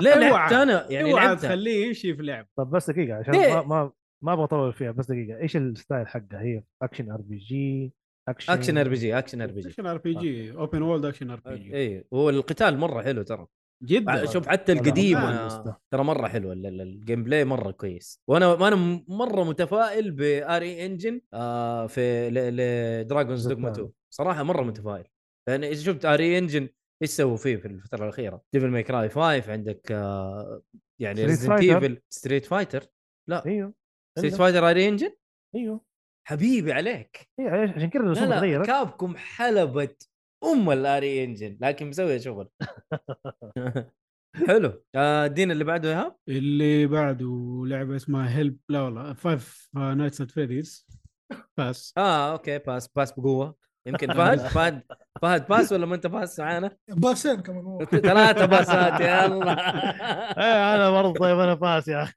ليه
اوعى.
لعبت انا يعني
اوعى
لعبتها
تخليه يمشي في لعبه
طب بس دقيقه عشان
ليه؟
ما ما ما ابغى اطول فيها بس دقيقه ايش الستايل حقها هي اكشن ار بي جي اكشن
اكشن ار بي جي اكشن ار بي جي
اكشن ار بي جي اوبن وولد اكشن ار بي جي
اي إيه، والقتال مره حلو ترى
أيوه. جدا
شوف حتى
لا،
القديم آه.
لا،
أنا-
لسه.
ترى مره حلو ال- ال- الجيم بلاي مره كويس وانا انا م- مره متفائل باري انجن آه في لدراجونز دوغما 2 صراحه مره متفائل لان اذا شفت اري انجن ايش سووا فيه في الفتره الاخيره ديفل ماي كراي 5 عندك آه يعني
Street
ريزنت
Fighter.
ايفل ستريت فايتر
ايوه
ستريت
إلا.
فايتر اري انجن
ايوه
حبيبي عليك
ايوه عش- عشان كذا الرسوم
لا لا
تغيرت
كابكم حلبت ام الاري انجن لكن مسويه شغل
*laughs*
*laughs* حلو آه دين اللي بعده ايهاب
اللي بعده لعبه اسمها هيلب لا والله فايف نايتس ات فيديز باس
اه اوكي آه، باس باس بقوه يمكن فهد فهد فهد باس ولا ما انت باس معانا؟
باسين كمان هو
ثلاثة باسات يلا
ايه انا برضه طيب انا فاس يا
*laughs*
اخي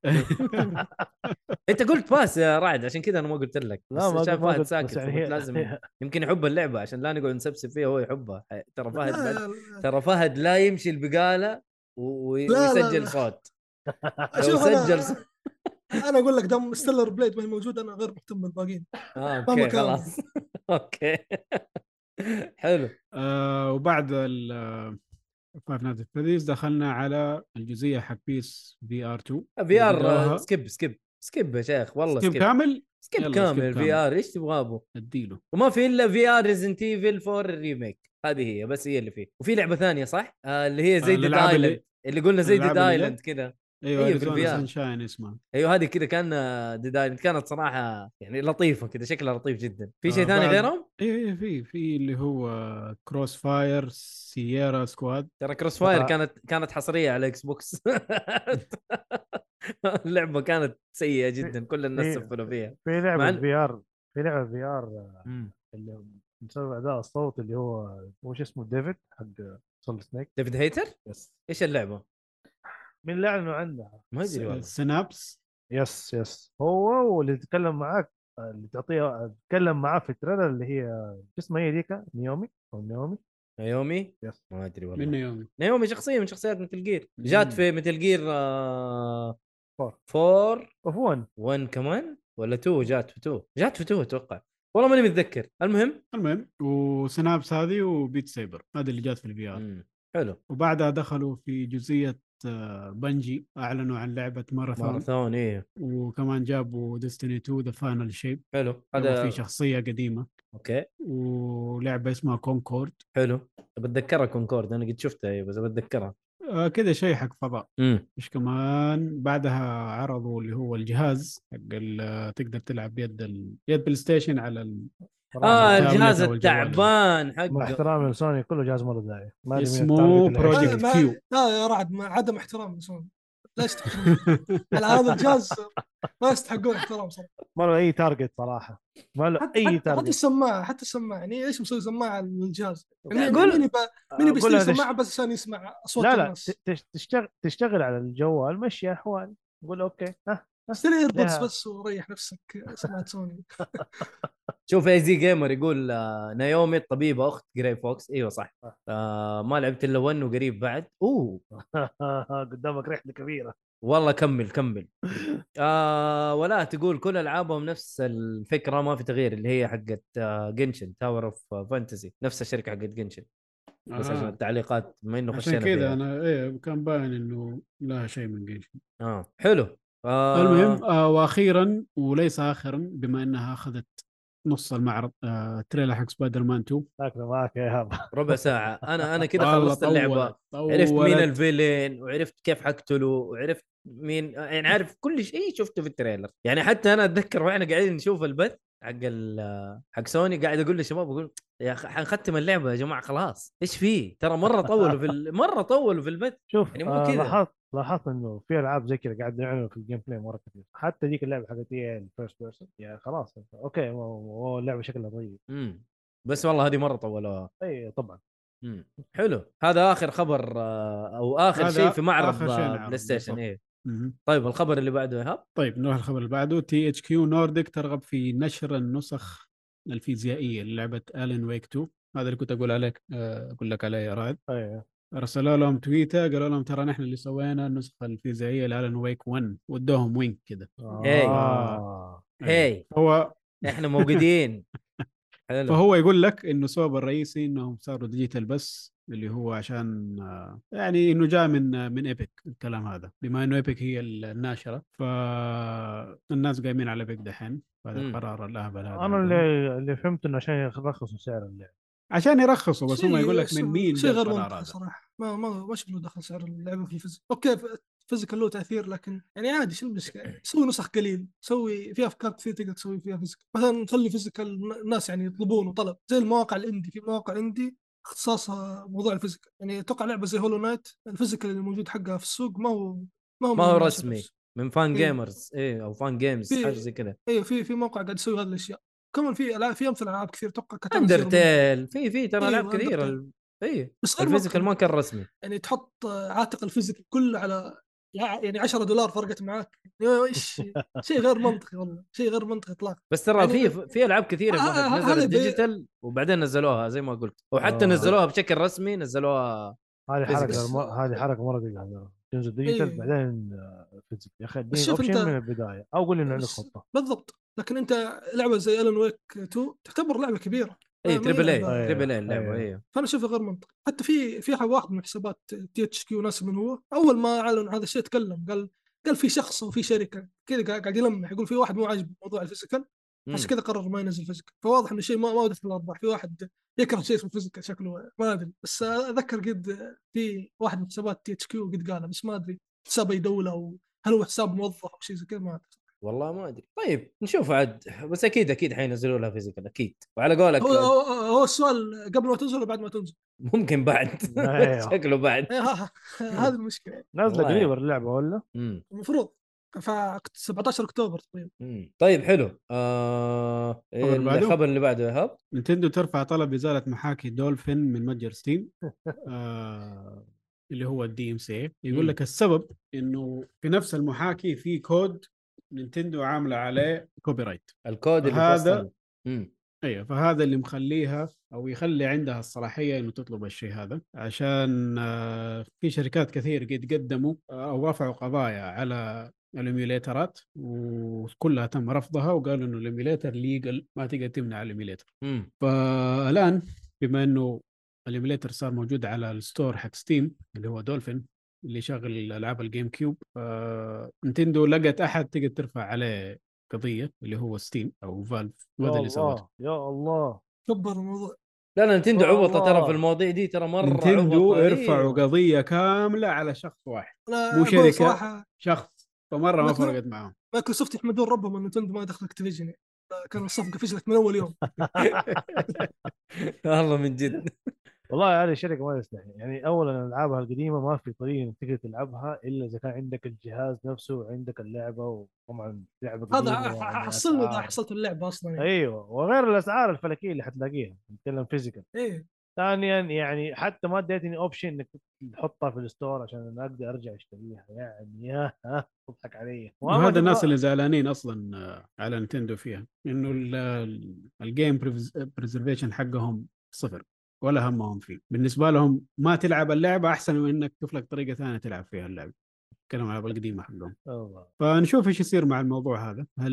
انت قلت باس يا رعد عشان كذا انا ما قلت لك
لا ما
بس عشان
ما
فهد
قلت-
ساكت
بس يعني
فقلت
هي-
لازم
هي-
يمكن يحب اللعبة عشان لا نقعد نسبسب فيها هو يحبها ترى فهد
لا-
بل...
لا-
*laughs* ترى فهد لا يمشي البقالة و... وي-
لا- لا-
ويسجل
لا.
صوت لو
شوف
سجل
انا *laughs*
صوت
انا اقول لك دام ستيلر بليد ما هي موجوده انا غير مهتم بالباقيين
آه،
مهما
اوكي
كان.
خلاص *laughs* اوكي حلو
آه وبعد ال فايف نايتس فيديز دخلنا على الجزئيه حق بيس في ار 2
في
بدوها.
ار سكيب سكيب سكيب يا شيخ والله
سكيب
سكيب
كامل يلا،
سكيب
skip
كامل
كامل.
في ار ايش تبغى ابو
اديله
وما في الا في ار ريزنت ايفل 4 الريميك هذه هي بس هي اللي فيه وفي لعبه ثانيه صح؟ آه اللي هي زي
آه،
ديد
الألعاب اللي-
ايلاند اللي قلنا زي
الألعاب
ديد
اللي-
ايلاند كذا
ايوه
أيوة، في
اريزونا
الVR.
سانشاين اسمها
ايوه هذه كذا كان ديد ايلاند كانت صراحه يعني لطيفه كذا شكلها لطيف جدا في شيء
آه،
ثاني
بعد-
غيرهم؟
ايوه ايوه في في اللي هو كروس فاير سييرا سكواد
ترى كروس فاير
آه.
كانت كانت حصريه على اكس *laughs* بوكس اللعبه كانت سيئه جدا كل الناس
في-
سفلوا فيها
في
مع
لعبه
إن-
في ار في لعبه في ار اللي مسوي اداء الصوت اللي هو وش اسمه ديفيد حق سول سنيك
ديفيد هيتر؟
يس
ايش اللعبه؟
مين اللي اعلنوا عنها؟
ما ادري والله
سينابس
يس يس هو واللي تتكلم معاك اللي تعطيه تتكلم معاه في التريلر اللي هي شو اسمها هي ذيك نيومي او نيومي
نيومي؟
يس.
ما ادري والله
من يومي
نيومي شخصيه يعني من شخصيات مثل جير جات
مم.
في مثل جير
Four.
4
اوف ون
1 كمان ولا 2 جات في 2 جات في 2 اتوقع والله ماني متذكر المهم
المهم وسنابس هذه وبيت سيبر هذه اللي جات في الفي ار
مم. حلو
وبعدها دخلوا في جزئيه آه، بنجي اعلنوا عن لعبه ماراثون
ماراثون ايه
وكمان جابوا ديستني 2 ذا فاينل شيب
حلو
هذا
هذا
في شخصيه قديمه
اوكي
ولعبه اسمها كونكورد
حلو بتذكرها كونكورد انا قد شفتها ايه بس بتذكرها
آه كذا شيء حق فضاء
امم
ايش كمان بعدها عرضوا اللي هو الجهاز حق ال- آه، تقدر تلعب يد ال... يد بلاي ستيشن على ال...
آه،
اه
الجهاز
الجهاز
أو الجوال.
التعبان
مع
حقه
احترامي لسوني كله جهاز مره داعي ما أدري مين
اسمه
التارجت اللي
Project
عنده.
ما-
Q.
لا يا رعد مع عدم احترام لسوني لا
*laughs*
يستحقون على هذا الجهاز ما يستحقون احترام صراحه
ما له اي تارجت صراحه ما له
حتى,
اي
حتى, حتى
تارجت
السماعه حتى السماعه يعني ايش مسوي سماعه للجهاز؟ يعني
قول-
مين يبى- مين
أقول
بيشتري
آه، هذا الش-
سماعه بس عشان يسمع اصوات
لا لا
الناس؟
تش- تشتغل تشتغل على الجوال مشي احوال قول *laughs* اوكي ها
اشتري ايربودز
لها.
بس وريح نفسك سماعه سوني
شوف اي زي جيمر يقول آه، نايومي الطبيبه اخت جراي فوكس ايوه صح آه ما لعبت الا 1 وقريب بعد اوه
*laughs* قدامك رحله كبيره
والله كمل
*laughs*
كمل آه ولا تقول كل العابهم نفس الفكره ما في تغيير اللي هي حقت آه جنشن تاور اوف فانتسي نفس الشركه حقت جنشن بس عشان
آه.
التعليقات ما انه خشينا
عشان
فيها.
كذا انا ايه كان باين انه لها شيء من جيش
اه حلو آه
المهم آه واخيرا وليس اخرا بما انها اخذت نص المعرض آه تريلر حق سبايدر مان 2
معك معك يا هاب
ربع ساعه انا انا كذا
*laughs* والله
خلصت اللعبه
طولت-
عرفت مين
طولت.
الفيلين وعرفت كيف حقتله وعرفت مين يعني عارف كل شيء شفته في التريلر يعني حتى انا اتذكر واحنا قاعدين نشوف البث حق ال- حق سوني قاعد اقول للشباب اقول يا اخي حنختم اللعبه يا جماعه خلاص ايش فيه ترى مره طولوا في
*laughs*
ال- مره طولوا في البث
شوف
يعني مو
آه،
كذا.
لاحظت لاحظت انه في العاب زي كذا قاعد يعملوا في الجيم بلاي مره كثير حتى ذيك اللعبه حقت اي الفيرست بيرسون يعني خلاص اوكي و- و- اللعبه شكلها طيب
امم بس والله هذه مره طولوها
اي طبعا
امم حلو هذا اخر خبر آه، او اخر
هذا
شيء في معرض
آخر شيء
آه،
نعرض
بلاي ستيشن
بالضبط.
ايه
مهم.
طيب الخبر اللي بعده ايهاب
طيب نروح الخبر اللي بعده تي اتش كيو نورديك ترغب في نشر النسخ الفيزيائيه للعبه الين ويك 2 هذا اللي كنت اقول عليك آه، اقول لك عليه يا رائد
اي
رسلوا لهم تويتر قالوا لهم ترى نحن اللي سوينا النسخه الفيزيائيه لالن ويك 1 وادوهم وينك كذا
إيه.
آه.
أيوه.
هي
هو
احنا
*laughs*
موجودين حلو
فهو يقول لك انه السبب الرئيسي انهم صاروا ديجيتال بس اللي هو عشان آه، يعني انه جاء من آه، من ايبك الكلام هذا بما انه ايبك هي الناشره فالناس قايمين على ايبك دحين هذا
مم.
القرار الاهبل هذا
انا اللي اللي فهمت انه عشان يرخصوا سعر اللعبه
عشان يرخصوا بس هم
شيء-
يقول لك من مين
شيء
جاء
غير
القرار
منطقي
هذا
صراحه ما ما ما شفت له دخل سعر اللعبه في الفيزيك اوكي فيزيكال له تاثير لكن يعني عادي شو
إيه.
المشكله؟ سوي نسخ قليل، سوي في افكار كثير تقدر تسوي فيها فيزيكال، مثلا خلي فيزيكال الناس يعني يطلبونه طلب زي المواقع الاندي، في مواقع اندي اختصاصها موضوع الفيزيكال، يعني اتوقع لعبه زي هولو نايت الفيزيكال اللي موجود حقها في السوق ما هو ما هو
ما هو
من-
رسمي. من فان
إيه.
جيمرز ايه او فان جيمز
في-
حاجه زي كذا
إيه، ايوه في في موقع قاعد يسوي هذه الاشياء كمان في العاب في امثله العاب كثير اتوقع كتبت
اندرتيل في في ترى
أيوة،
العاب كثيره ال- اي
بس غير
الفيزيكال
مقنع.
ما كان رسمي
يعني تحط عاتق الفيزيك كله على يعني 10 دولار فرقت معاك ايش شيء غير منطقي والله شيء غير منطقي اطلاقا
بس ترى
يعني-
في في العاب كثيره
آه، آه،
آه
آه،
نزلت
هذا بي-
ديجيتال وبعدين نزلوها زي ما قلت وحتى
آه.
نزلوها بشكل رسمي نزلوها
هذه
Physics.
حركه الم- هذه حركه مره دقيقه هذا. تنزل ديجيتال
إيه.
بعدين فيزيك يا اخي اديني
بس شوف
اوبشن
أنت-
من البدايه او قول لي انه عندك
بس-
خطه
بالضبط لكن انت لعبه زي الون ويك 2 تعتبر لعبه كبيره
اي
آه، ما هي
تريبل اي
لعبة-
تريبل اي اللعبه
أيوة.
اي
فانا اشوفه غير منطقي حتى في في واحد من حسابات تي اتش كيو ناس من هو اول ما اعلن هذا الشيء تكلم قال قال في شخص وفي شركه كذا قاعد قاعد يلمح يقول في واحد مو عاجبه موضوع الفيزيكال
مم.
عشان كذا قرر ما ينزل فيزيكال فواضح انه شيء ما ما ودت الارباح في واحد يكره شيء اسمه فيزيكال شكله ما ادري بس اتذكر قد في واحد من حسابات تي اتش كيو قد قالها بس ما ادري حساب اي دوله او هل هو حساب موظف او شيء زي كذا ما ادري
والله ما ادري طيب نشوف عاد بس اكيد اكيد حينزلوا لها فيزيكال اكيد وعلى قولك
هو, هو, هو السؤال قبل ما تنزل ولا بعد ما تنزل؟
ممكن بعد
*laughs*
*laughs*
أيوة.
شكله بعد
إيه، ها- ها- هذه المشكله
نازله
والله.
قريبه اللعبه ولا؟
مم.
المفروض ف 17 اكتوبر تقريبا
مم. طيب حلو آه...
الخبر اللي بعده؟
الخبر اللي بعده يا هاب
نينتندو ترفع طلب ازاله محاكي دولفين من متجر ستيم
*laughs*
آه اللي هو الدي ام سي يقول
مم.
لك السبب انه في نفس المحاكي في كود نينتندو عامله عليه كوبي رايت
الكود اللي إمم،
هذا-
فصل مم.
ايوه فهذا اللي مخليها او يخلي عندها الصلاحيه انه تطلب الشيء هذا عشان آه، في شركات كثير قد قدموا آه، او رفعوا قضايا على الايميوليترات وكلها تم رفضها وقالوا انه الايميوليتر ليجل ما تقدر تمنع الايميوليتر
مم.
فالان بما انه الايميوليتر صار موجود على الستور حق ستيم اللي هو دولفين اللي شغل العاب الجيم كيوب فنتندو آه، لقت احد تقدر ترفع عليه قضيه اللي هو ستيم او فالف
يا
وهذا اللي سوته
الله يا الله
كبر الموضوع
لا لا نتندو
والله.
عبطه ترى في المواضيع دي ترى مره
نينتندو
عبطة.
يرفعوا
إيوه.
قضيه كامله على شخص واحد
انا
مو
أقول
شركة.
صراحه
شخص فمره ما
مثلاً؟
فرقت معاهم
مايكروسوفت يحمدون ربهم ان نتندو ما دخل اكتيفيجن يعني. كانوا الصفقه فشلت من اول يوم
*laughs* والله من جد
والله هذه الشركه ما تستحي يعني اولا العابها القديمه ما في طريقه انك تقدر تلعبها الا اذا كان عندك الجهاز نفسه وعندك اللعبه وطبعا لعبه قديمه
هذا
يعني
ح- حصلنا اذا
أسعار.
حصلت اللعبه اصلا يعني.
ايوه وغير الاسعار الفلكيه اللي حتلاقيها نتكلم فيزيكال
ايه
ثانيا يعني حتى ما اديتني اوبشن انك تحطها في الستور عشان انا اقدر ارجع اشتريها يعني يا ها، تضحك علي وأما
وهذا الناس
تبغى-
اللي زعلانين اصلا آه، على نينتندو فيها انه ال- ال- الجيم بريزرفيشن حقهم صفر ولا همهم فيه بالنسبه لهم ما تلعب اللعبه احسن من انك تشوف لك طريقه ثانيه تلعب فيها اللعبه كلام الالعاب القديمه حقهم
الله
فنشوف ايش يصير مع الموضوع هذا هل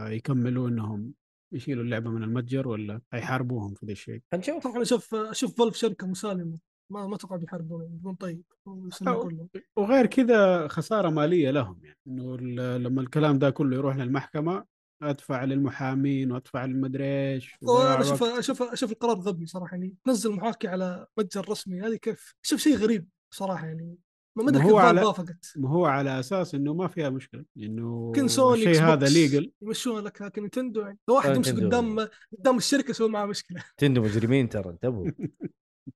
حيكملوا انهم يشيلوا اللعبه من المتجر ولا حيحاربوهم في ذا الشيء
هنشوف
طبعا اشوف اشوف فولف شركه مسالمه ما ما اتوقع بيحاربون بيكون طيب ويسلمون
أو-
كلهم.
وغير كذا خساره ماليه لهم يعني انه ال- لما الكلام ده كله يروح للمحكمه ادفع للمحامين وادفع للمدري ايش
وانا اشوف اشوف اشوف القرار غبي صراحه يعني تنزل محاكي على متجر رسمي هذه كيف اشوف شيء غريب صراحه يعني ما ما ادري
هو
كيف
على-
فالف وافقت
ما هو على اساس انه ما فيها مشكله انه
يمكن سوني
الشيء
إكس
هذا
بوكس
ليجل
يمشون لك لكن نتندو يعني لو واحد يمشي
نتندو.
قدام قدام الشركه يسوي معاه مشكله
نتندو مجرمين ترى انتبهوا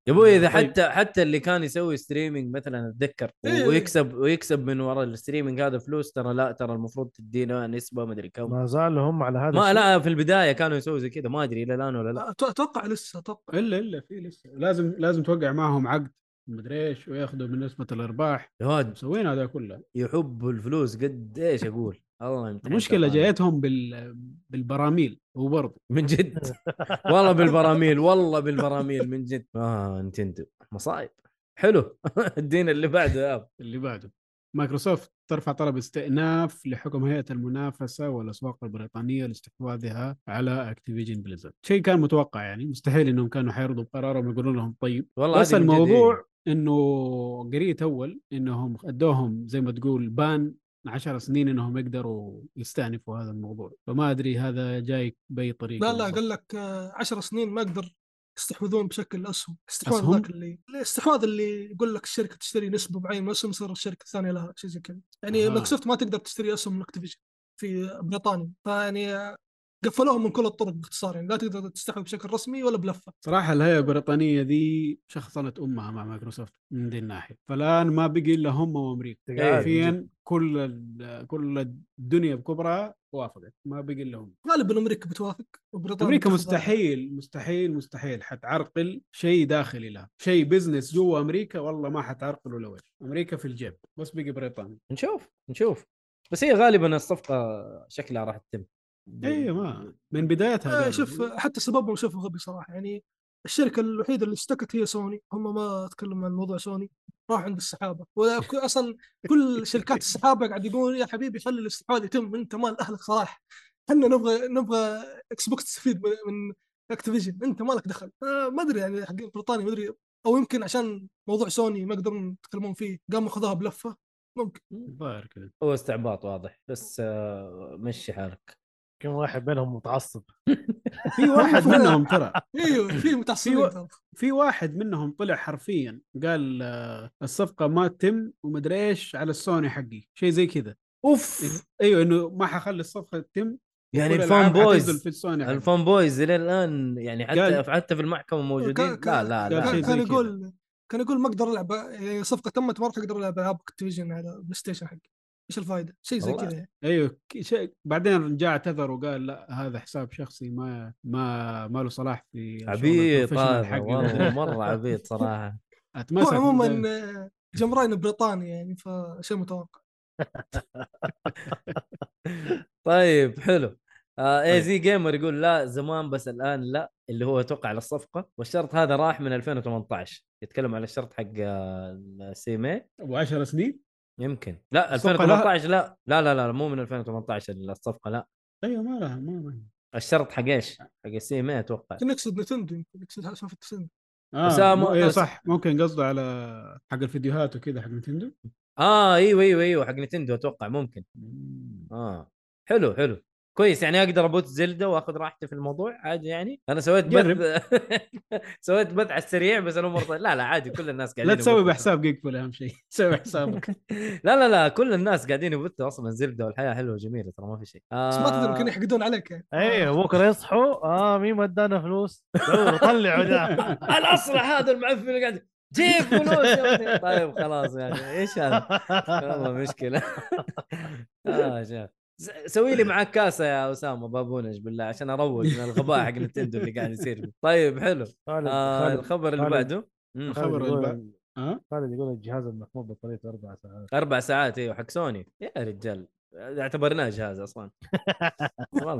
يا ابوي اذا
طيب.
حتى حتى اللي كان يسوي ستريمينج مثلا اتذكر
إيه.
ويكسب ويكسب من وراء الستريمينج هذا فلوس ترى لا ترى المفروض تدينا نسبه ما ادري كم
ما زالوا هم على هذا
ما
الشيء.
لا في البدايه كانوا يسووا زي كذا ما ادري الى الان ولا لا
أت- اتوقع لسه اتوقع
الا الا في لسه لازم لازم توقع معهم عقد مدري ايش وياخذوا من نسبه الارباح
يا واد
مسوين هذا
يعني
كله
يحبوا الفلوس قد ايش اقول الله يمتحن
المشكله
سلطان.
جايتهم بال... بالبراميل وبرضه
من
*laughs*
جد والله بالبراميل والله بالبراميل من جد اه نتندو مصايب حلو *laughs* الدين اللي بعده يا أب.
اللي بعده مايكروسوفت ترفع طلب استئناف لحكم هيئه المنافسه والاسواق البريطانيه لاستحواذها على اكتيفيجن بليزرد شيء كان متوقع يعني مستحيل انهم كانوا حيرضوا بقرارهم ويقولون لهم طيب
والله
بس
هذه من جد إيه.
الموضوع انه قريت اول انهم ادوهم زي ما تقول بان 10 سنين انهم يقدروا يستانفوا هذا الموضوع فما ادري هذا جاي باي طريقه
لا لا
إيه، بالضبط.
قال لك 10 سنين ما اقدر يستحوذون بشكل اسهم استحواذ
أسهم؟
ذاك اللي الاستحواذ اللي يقول لك الشركه تشتري نسبه معينه من الاسهم يصير الشركه الثانيه لها شيء زي كذا يعني
آه.
آه. مايكروسوفت ما تقدر تشتري اسهم من اكتيفيجن في بريطانيا فيعني آه، قفلوهم من كل الطرق باختصار يعني لا تقدر تستحوذ بشكل رسمي ولا بلفه
صراحه الهيئه البريطانيه ذي شخصنت امها مع مايكروسوفت من ذي الناحيه فالان ما بقي الا هم وامريكا
تقعد.
حرفيا كل ال- كل الدنيا بكبرها وافقت ما بقي لهم
غالبا امريكا بتوافق وبريطانيا
امريكا
بتاخذ-
مستحيل مستحيل مستحيل حتعرقل شيء داخلي لها شيء بزنس جوا امريكا والله ما حتعرقل ولا وجه امريكا في الجيب بس بقي بريطانيا
نشوف نشوف بس هي غالبا الصفقه شكلها راح تتم إيه،
اي إيه، ما من بدايتها
آه
قالوا.
شوف حتى سببهم شوفه غبي صراحه يعني الشركه الوحيده اللي اشتكت هي سوني هم ما تكلموا عن موضوع سوني راح عند السحابه ولا ك- اصلا كل شركات السحابه قاعد يقول يا حبيبي خلي الاستحواذ يتم انت مال اهلك صلاح احنا نبغى نبغى اكس بوكس تستفيد من- من اكتيفيجن انت مالك دخل آه ما ادري يعني حقين بريطانيا ما ادري او يمكن عشان موضوع سوني ما يقدرون يتكلمون فيه قاموا خذوها بلفه ممكن
الظاهر كذا
هو استعباط واضح بس آه، مشي حالك
كم واحد بينهم متعصب
*laughs* في واحد منهم ترى
ايوه في متعصبين
في-
ترى.
في واحد منهم طلع حرفيا قال آه، الصفقه ما تتم ومدري ايش على السوني حقي شيء زي كذا
اوف
ايوه انه ما حخلي الصفقه تتم
يعني
ولا
الفان
الألعاب حتنزل
بويز
في السوني حقي.
الفان بويز الى الان يعني حتى
قال-
حتى في المحكمه موجودين
كان-
لا
كان-
لا
قال شيء
لا
زي
كان
كذا.
يقول كان يقول ما اقدر العب يعني صفقه تمت ما راح اقدر العب العاب اكتيفيجن على بلاي ستيشن حقي ايش الفائده؟ شيء زي
والله.
كذا يعني.
ايوه ك- شيء بعدين جاء اعتذر وقال لا هذا حساب شخصي ما ما ما له صلاح في شغل
عبيط
البروفيشنال
هذا
حقي.
والله مره عبيط صراحه
*laughs* اتمسك
هو
من
عموما
ذلك.
آه، جمران بريطاني يعني فشيء متوقع
طيب حلو اي
طيب.
زي جيمر يقول لا زمان بس الان لا اللي هو توقع على الصفقه والشرط هذا راح من 2018 يتكلم على الشرط حق آه، السيمي
ابو 10 سنين
يمكن لا
الصفقة لها-
2018 لا لا لا لا مو من 2018 الصفقه لا
ايوه ما لها ما ما
الشرط حق ايش؟ حق السيمي اتوقع
كان يقصد نتندو يمكن يقصد سالفه نتندو
اه
أسامة-
مو- ايوه
أس-
صح ممكن قصده على حق الفيديوهات وكذا حق نتندو
اه ايوه ايوه ايوه حق نتندو اتوقع ممكن اه حلو حلو كويس يعني اقدر ابوت زلدة واخذ راحتي في الموضوع عادي يعني انا سويت بث
جرب.
*laughs* سويت بث على السريع بس الامور طيب. لا لا عادي كل الناس قاعدين
لا تسوي
يبثوا.
بحساب جيك فول اهم شيء *laughs* سوي حسابك
لا لا لا كل الناس قاعدين يبثوا اصلا زبده والحياه حلوه وجميله ترى ما في شيء آه أيوه.
بس ما تدري يمكن يحقدون عليك يعني
ايوه بكره يصحوا اه مين ما ادانا فلوس دوروا طلعوا ده
الاصلع هذا المعفن اللي قاعد جيب فلوس يا ولدي. طيب خلاص يعني ايش هذا والله *laughs* مشكله اه شاف س- سوي لي معك كاسه يا اسامه بابونج بالله عشان اروق من الغباء حق نتندو اللي قاعد يصير فيه. طيب حلو
خالد
آه
خالد-
الخبر اللي
خالد.
بعده مم.
خبر
خالد يقول-
الب- ها
خالد يقول الجهاز المحمول بطاريته اربع ساعات
اربع ساعات ايوه حق سوني يا رجال اعتبرناه
*laughs*
جهاز اصلا والله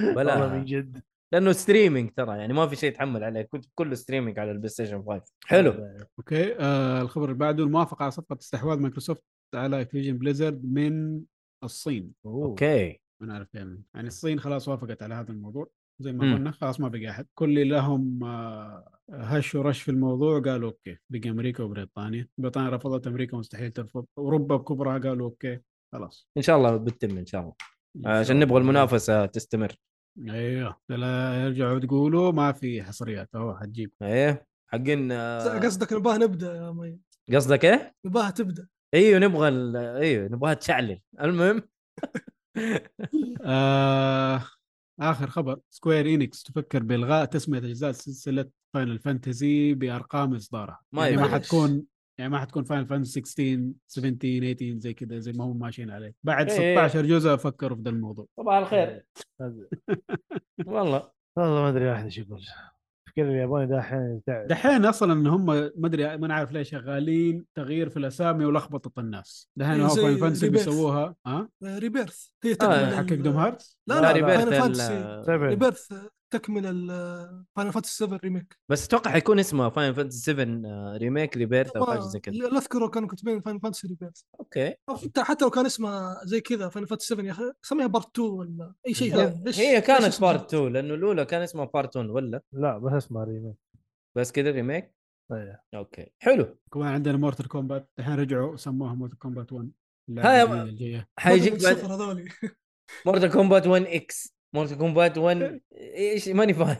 والله
بلا
من جد
لانه ستريمينج ترى يعني ما في شيء يتحمل عليه كنت كله ستريمينج على البلاي ستيشن 5 حلو
اوكي آه الخبر اللي بعده الموافقه على صفقه استحواذ مايكروسوفت على اكتيفيجن بليزرد من الصين
اوكي
اوكي
ما نعرف يعني يعني الصين خلاص وافقت على هذا الموضوع زي
مم.
ما قلنا خلاص ما بقى احد كل اللي لهم آه، هش ورش في الموضوع قالوا اوكي بقى امريكا وبريطانيا بريطانيا رفضت امريكا مستحيل ترفض اوروبا بكبرها قالوا اوكي خلاص
ان شاء الله بتتم ان شاء الله عشان
الله.
نبغى المنافسه تستمر
ايوه لا يرجعوا تقولوا ما في حصريات اهو حتجيب
ايه حقين آه،
قصدك نباها نبدا يا مي
قصدك ايه؟
نباها تبدا
ايوه نبغى ال- ايوه نبغاها تشعلل المهم *laughs*
آه اخر خبر سكوير انكس تفكر بالغاء تسميه اجزاء سلسله فاينل فانتزي بارقام اصدارها
ما
يعني ما
يبغى.
حتكون يعني ما حتكون فاينل فانتسي 16 17 18 زي كذا زي ما هم ماشيين عليه بعد
إيه إيه.
16 جزء فكروا في ذا الموضوع
صباح الخير *laughs* والله
والله ما ادري واحد ايش يقول التفكير الياباني ده احيانا يتعب
دحين اصلا ان هم ما ادري ما نعرف ليه شغالين تغيير في الاسامي ولخبطه الناس دحين
إيه،
هو
زي إيه.
فاينل فانتسي
Rebirth.
بيسووها ها
ريبيرث هي
آه،
حق كينجدوم
ال-
هارت
لا
لا،
لا
ريبيرث
فاينل
ال-
فانتسي
سبع
ريبيرث تكمل فاينل فانتسي 7 ريميك
بس اتوقع حيكون اسمه فاين فانتسي 7 ريميك ريبيرث او حاجه زي كذا
لا اذكره كانوا كاتبين فاينل فانتسي ريبيرث
اوكي
أو حتى حتى لو كان اسمها زي كذا فاينل فانتسي 7 يا اخي سميها بارت 2 ولا اي شيء ثاني ليش
هي
ليش
كانت
اسمها؟
بارت 2 لانه الاولى كان اسمها بارت 1 ولا
لا بس اسمها ريميك
بس كذا ريميك
طيب.
اوكي حلو
كمان عندنا مورتال كومبات دحين رجعوا سموها مورتال كومبات 1
هاي
اللعبة
يا-
الجديدة الجايه
حيجيك
بدهم
بعد
الصفر هذولي
مورتال كومبات 1 اكس مورتال كومبات 1 ايش ماني فاهم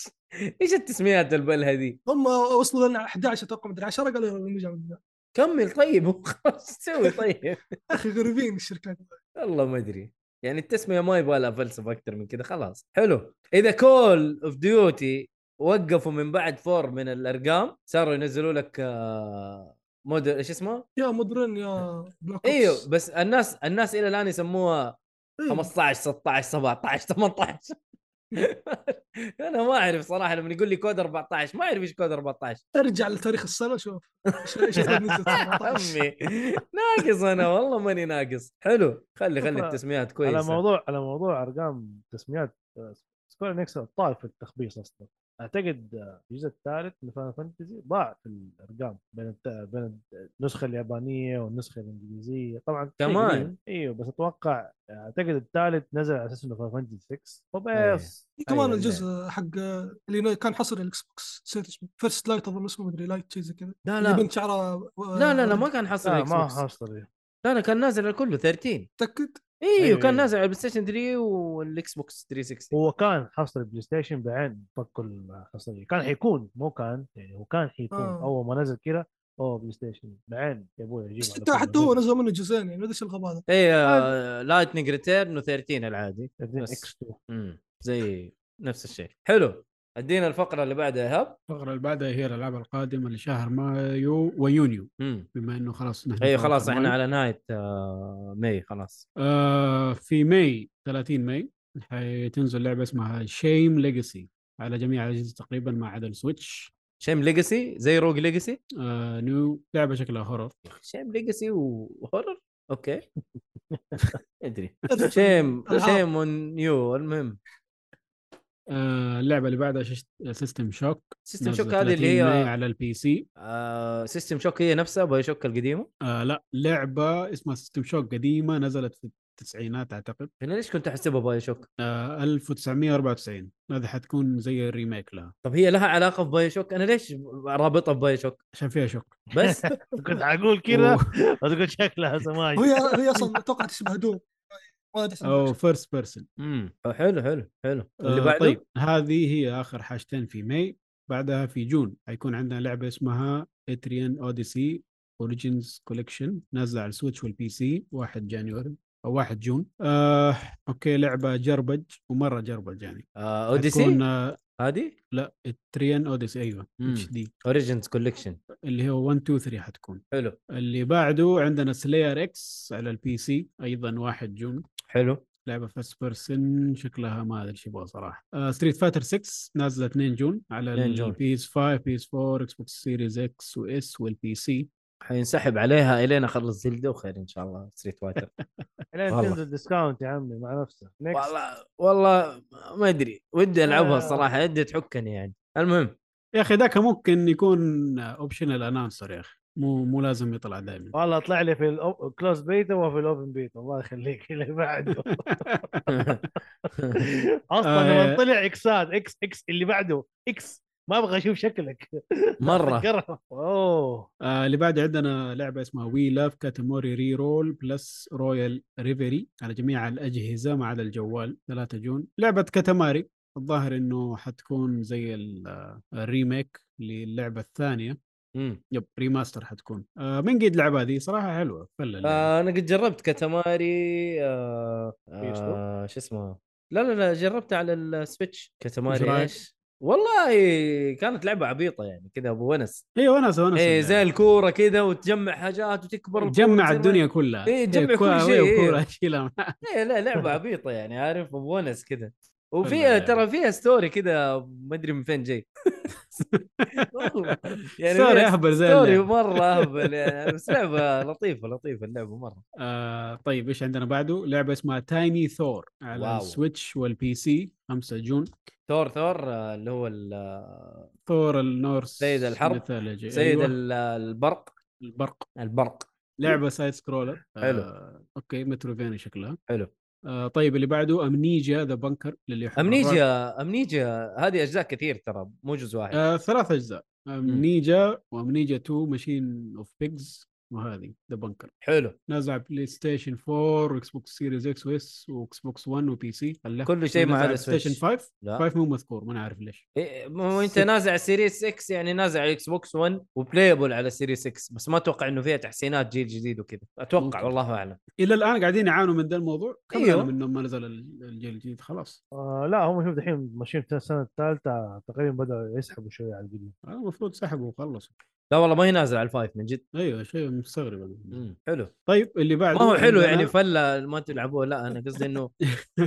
*laughs* ايش التسميات البلهه دي
هم وصلوا لنا 11 اتوقع مدري 10 قالوا نرجع من جديد.
كمل طيب خلاص إيش تسوي طيب
يا اخي غريبين الشركات
والله ما ادري يعني التسميه ما يبغى لها فلسفه اكثر من كذا خلاص حلو اذا كول اوف ديوتي وقفوا من بعد فور من الارقام صاروا ينزلوا لك آه، مود ايش اسمه؟
يا مدرن يا بلاك
ايوه
أوبس.
بس الناس الناس الى الان يسموها
إيه.
15 16 17 *laughs* 18 انا ما اعرف صراحه لما يقول لي كود 14 ما اعرف ايش كود 14
ارجع لتاريخ السنه شوف ايش إيش قد نزلت
*laughs*
17.
عمي ناقص انا والله ماني ناقص حلو خلي خلي
شوف،
التسميات
على
كويسه
موضوع على موضوع آه، ارقام تسميات سكوير انكس طال في التخبيص اصلا اعتقد آه، الجزء الثالث من فان فانتزي ضاع في الارقام بين الت... بين النسخه اليابانيه والنسخه الانجليزيه طبعا شيء
كمان.
قليل. ايوه بس اتوقع اعتقد الثالث نزل على اساس انه فان فانتزي 6 وبس
في إيه. كمان
أيوة،
الجزء حق اللي كان حصري الاكس بوكس نسيت اسمه فيرست لايت اظن اسمه مدري لايت شيء زي كذا
لا
اللي
لا
بنت شعرها آه، و-
لا لا لا ما كان حصري
لا
اكس
آه، ما
بوكس
حصل
لا لا كان نازل على كله 13
متاكد
ايوه
أيوة،
كان
أيوة.
نازل على البلاي ستيشن 3 والاكس بوكس 360
هو كان حصري بلاي ستيشن بعين فك الحصريه كان حيكون مو كان يعني هو كان حيكون
آه.
اول ما نزل كذا اوه بلاي ستيشن بعين يا ابوي
إيوه،
اجيب
بس
على
حتى
كل
حتى هو
نزل.
نزل منه جزئين يعني ما ادري ايش الغباء هذا
اي آه،
آه.
لايتنج ريتيرن و13 العادي
بعدين
بس.
اكس 2
امم زي نفس الشيء حلو ادينا الفقره اللي بعدها يا هب
الفقره اللي بعدها هي الالعاب القادمه لشهر مايو ويونيو
امم
بما انه خلاص نحن
ايوه
في
خلاص
آخر
احنا
مايو.
على نهايه آه، ماي خلاص
آه في ماي 30 ماي حتنزل لعبه اسمها شيم ليجاسي على جميع الاجهزه تقريبا ما عدا السويتش
شيم ليجاسي زي روج ليجاسي
آه نيو لعبه شكلها هورر
شيم ليجاسي وهورر اوكي ادري
أدري.
شيم
ألعاب.
شيم ونيو المهم
آه اللعبه اللي بعدها سيستم شوك
سيستم شوك هذه اللي هي
على البي سي
آه سيستم شوك هي نفسها باي شوك القديمه
آه لا لعبه اسمها سيستم شوك قديمه نزلت في التسعينات اعتقد
انا ليش كنت احسبها باي شوك؟
آه 1994 هذه حتكون زي الريميك لها
طب هي لها علاقه بباي شوك انا ليش رابطها بباي شوك؟
عشان فيها شوك
بس
*laughs* كنت حقول كذا وتقول شكلها سماج
وهي هي اصلا اتوقع تشبه دوم ما ادري اسمها.
او فيرست بيرسون
امم حلو حلو حلو اللي
آه،
بعده
طيب هذه هي اخر حاجتين في ماي بعدها في جون حيكون عندنا لعبه اسمها اتريان اوديسي اوريجينز كوليكشن نازله على السويتش والبي سي 1 جانيوري او 1 جون آه، اوكي لعبه جربج ومره جربج يعني
آه
حتكون،
اوديسي
آه،
هذه
لا اتريان اوديسي ايوه
مم.
اتش دي
اوريجنز كوليكشن
اللي هو 1 2 3 حتكون
حلو
اللي بعده عندنا سلاير اكس على البي سي ايضا 1 جون
حلو
لعبه فيرست بيرسن شكلها ما ادري ايش يبغى آه، صراحه ستريت فاتر 6 نازله 2 جون على
2 جون.
البي اس 5 بي اس 4 اكس بوكس سيريز اكس واس والبي سي
حينسحب عليها الين اخلص زلده وخير ان شاء الله ستريت
*laughs*
فايتر
لين
والله.
تنزل ديسكاونت يا عمي مع نفسه Next.
والله والله ما ادري ودي العبها
آه.
الصراحه ودي تحكني يعني المهم
يا اخي ذاك ممكن يكون اوبشنال انانسر يا اخي مو مو لازم يطلع دائما
والله طلع لي في الكلوز بيتا وفي الاوبن بيتا الله يخليك اللي بعده اصلا
آه.
لما طلع اكسات اكس اكس اللي بعده اكس ما ابغى اشوف شكلك
*laughs*
مره
أتذكرها. اوه
آه اللي بعد عندنا لعبه اسمها وي لاف كاتاموري ري رول بلس رويال ريفري على جميع الاجهزه ما عدا الجوال 3 جون لعبه كاتاماري الظاهر انه حتكون زي ال- آه، الريميك للعبه الثانيه *laughs*
مم.
يب ريماستر حتكون آه من قد اللعبه هذه صراحه حلوه فله اللعبة.
آه انا قد جربت كاتاماري آه
PS4
آه شو اسمه لا لا لا جربتها على السويتش
إيش
كاتاماري
رأيك؟
ايش والله كانت لعبه عبيطه يعني كذا ابو
*laughs*
ونس
اي ونس ونس
ايه زي الكوره كذا وتجمع حاجات وتكبر الكورة
تجمع
زي ما-
الدنيا كلها
إيه، تجمع
إيه،
كل
كوة-
شيء، إيه.
وكورة اشيلها معاك.
ايه لا
*laughs*
لعبه عبيطه يعني عارف بونس كذا وفيها
والله.
ترى فيها ستوري كذا ما ادري من فين جاي *laughs* والله يعني
ستوري
فيها
اهبل زي
ستوري
اللعبة.
مره اهبل يعني بس لعبه لطيفه لطيفه اللعبه مره
آه طيب ايش عندنا بعده لعبه اسمها تايني ثور على
واو.
السويتش والبي سي 5 جون
ثور ثور آه، اللي هو ال-
ثور النورس
سيد الحرب.
الثلجي
سيد
أيوة.
ال- البرق
البرق
البرق
لعبه سايد سكرولر
حلو.
آه اوكي متروفينيا شكلها
حلو
آه طيب اللي بعده امنيجا ذا بنكر للي يحب الرعب.
امنيجيا امنيجيا هذه اجزاء كثير ترى مو جزء واحد
آه ثلاث اجزاء امنيجا وامنيجا 2 ماشين اوف بيجز وهذه ذا بنكر
حلو
نازل على بلاي ستيشن 4 واكس بوكس سيريز اكس واس واكس بوكس 1 وبي سي هلا
كل شيء ما عدا
بلاي ستيشن
سويتش
5
لا
5 مو مذكور ما عارف ليش
إيه، مو انت
ست-
نازع سيريس 6 يعني نازع على اكس بوكس 1 وبلايبل على سيريس 6 بس ما اتوقع انه فيها تحسينات جيل جديد وكذا اتوقع
ممكن.
والله اعلم
الى الان قاعدين يعانوا من ذا الموضوع كم
أيوه.
أيوه. من لما نزل ال- الجيل الجديد خلاص
آه لا هم شوف دحين ماشيين في السنه الثالثه تقريبا بداوا يسحبوا شويه على القديم
آه، المفروض سحبوا وخلصوا
لا والله ما هي نازله على الفايف من جد
ايوه شيء مستغرب أنا.
مم. حلو
طيب اللي بعده
ما هو حلو
عندنا-
يعني فله ما تلعبوه لا انا قصدي
*laughs*
انه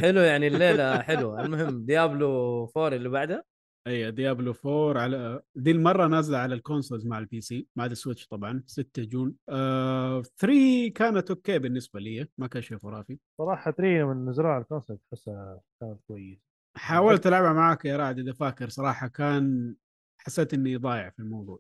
حلو يعني الليله حلو المهم ديابلو 4 اللي بعدها
اي ديابلو 4 على دي المره نازله على الكونسولز مع البي سي ما عدا السويتش طبعا 6 جون آه 3 كانت اوكي بالنسبه لي ما كان شيء خرافي
صراحه تري من زراعه الكونسبت تحسها كانت كويس
حاولت العبها معاك يا رعد اذا فاكر صراحه كان حسيت اني ضايع في الموضوع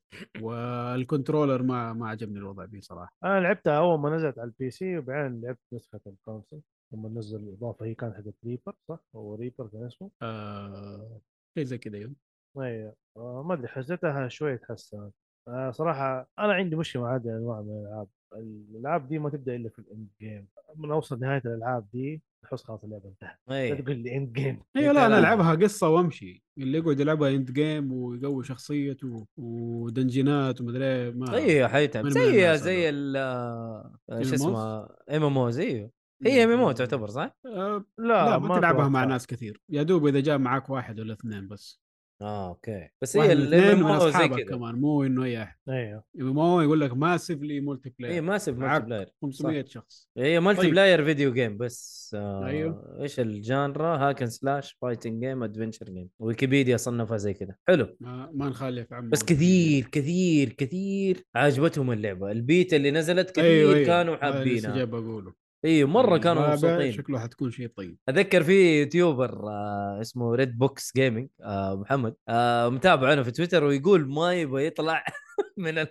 والكنترولر ما ما عجبني الوضع فيه صراحه
انا لعبتها اول ما نزلت على البي سي وبعدين لعبت نسخه الكونسل لما نزل الاضافه هي كانت حقت ريبر صح؟ هو ريبر كان اسمه
آه شيء زي كذا يوم
اي آه، ما ادري حسيتها شويه تحسنت آه، صراحه انا عندي مشكله مع هذه الانواع من الالعاب الالعاب دي ما تبدا الا في الاند جيم من اوصل نهايه الالعاب دي تحس خلاص اللعبه انتهت لا
إيه.
اي
تقول لي اند جيم
ايوه لا انا
كلام.
العبها قصه وامشي اللي يقعد يلعبها اند جيم ويقوي شخصيته ودنجينات ومدري إيه، ما
ايوه حيتعب
من- من
زي
الناس
زي
هذول.
ال آه،
MMOs؟
شو اسمه ام ام اوز ايوه هي ام ام او تعتبر صح؟
آه
لا,
لا ما تلعبها مع
أتوقع.
ناس كثير يا دوب اذا جاء معاك واحد ولا اثنين بس آه،
اه اوكي بس
واحد
هي
ولا اثنين
الام
من
ام او زي
اصحابك
كذا
كمان مو انه اي احد
ايوه
ما هو يعني يقول لك ماسفلي مولتي
هي
بلاير
ماسف مالتي
معاك
بلاير
500 شخص
هي مالتي
طيب.
بلاير فيديو جيم بس آه
أيوه.
ايش الجانرا هاكن سلاش فايتنج جيم ادفنشر جيم ويكيبيديا صنفها زي كذا حلو
ما, ما نخالف عمه
بس كثير كثير كثير عجبتهم اللعبه البيتا اللي نزلت كثير
أيوه، أيوه.
كانوا
هذا لسه
حابينها
جاي بقوله
ايوه مره
الرابع
كانوا مبسوطين
شكله حتكون شيء طيب
اتذكر في يوتيوبر آه اسمه ريد بوكس جيمنج آه محمد آه متابع انا في تويتر ويقول ما يبغى يطلع *laughs* من ال...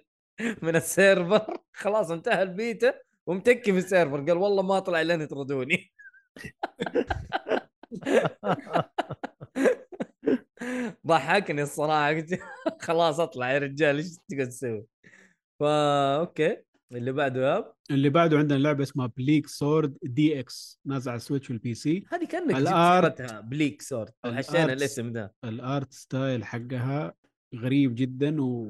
من السيرفر خلاص انتهى البيتا ومتكي في السيرفر قال والله ما اطلع لين يطردوني *laughs* ضحكني الصراحه قلت *laughs* خلاص اطلع يا رجال ايش تقعد تسوي؟ فا اوكي اللي بعده يا اب
اللي بعده عندنا لعبه اسمها بليك سورد دي اكس نازله على السويتش والبي سي
هذه كانك جبت
الآرت-
سيرتها بليك سورد او
الآرت-
حشينا الاسم ذا
الارت ستايل حقها غريب جدا و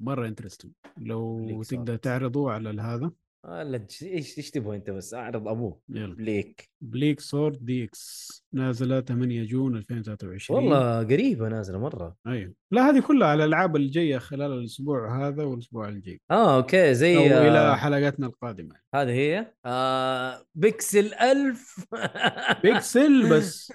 مره انترستنج لو
بليك
تقدر
سورد.
تعرضه على هذا
آه، لا تج- ايش ايش تبغى انت بس اعرض ابوه
يلا
ليك
بليك سورد دي اكس نازله 8 جون 2023
والله قريبه نازله مره
ايوه لا هذه كلها على الالعاب الجايه خلال الاسبوع هذا والاسبوع الجاي
اه اوكي زي
او
آه،
الى حلقتنا القادمه
هذه هي آه بيكسل 1000 *laughs*
بيكسل بس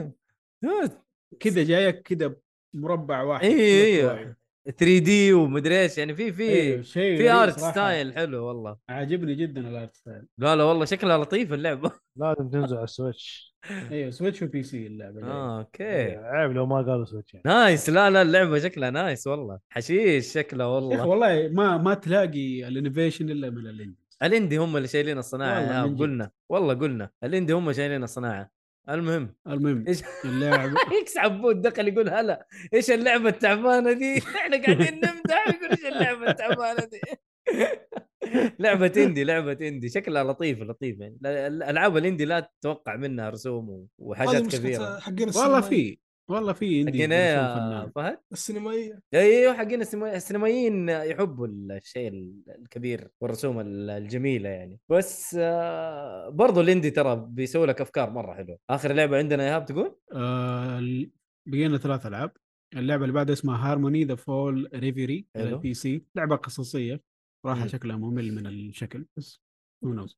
كذا جايك كذا مربع واحد
إيه، إيه.
مطوعي.
3 دي ومدري ايش يعني في
إيه،
في
شيء
في
غريب
ارت
صراحة.
ستايل حلو والله
عاجبني جدا الارت ستايل
لا لا والله شكلها لطيفه *laughs* اللعبه
إيه،
لازم تنزل على السويتش
ايوه سويتش وبي سي اللعبه جاية.
اه
إيه.
اوكي
أيوة، عيب لو ما قالوا سويتش يعني
نايس لا لا اللعبه شكلها نايس والله حشيش شكلها
يا اخي
والله
والله ما ما تلاقي الانوفيشن الا من الانديز
الاندي هم اللي شايلين الصناعه
والله
يا
من
آه
جد.
قلنا والله قلنا الاندي هم شايلين الصناعه المهم
المهم
ايش
اللعبه
يكس عبود دخل يقول هلا ايش اللعبه التعبانه دي؟ *laughs* احنا قاعدين نمدح ويقول ايش اللعبه التعبانه دي؟ *laughs* لعبة اندي لعبة اندي شكلها لطيفة لطيفة يعني لا- الالعاب الاندي لا تتوقع منها رسوم و- وحاجات
هذه مشكلة
كبيرة
حقين
*laughs*
والله
السينمائية-
في والله في اندي
حقين ايه
يكون
يا
فنان.
فهد؟
السينمائية
ايوه حقين السينما- السينمائيين يحبوا الشيء ال- الكبير والرسوم ال- الجميله يعني بس آه، برضو الاندي ترى بيسوي لك افكار مره حلوه اخر لعبه عندنا يا هاب تقول
آه، ال- بقينا ثلاث العاب اللعبه اللي بعدها اسمها هارموني ذا فول ريفيري على
حلو.
البي سي لعبه قصصيه صراحه
مم.
شكلها ممل من الشكل بس
*laughs*
who knows.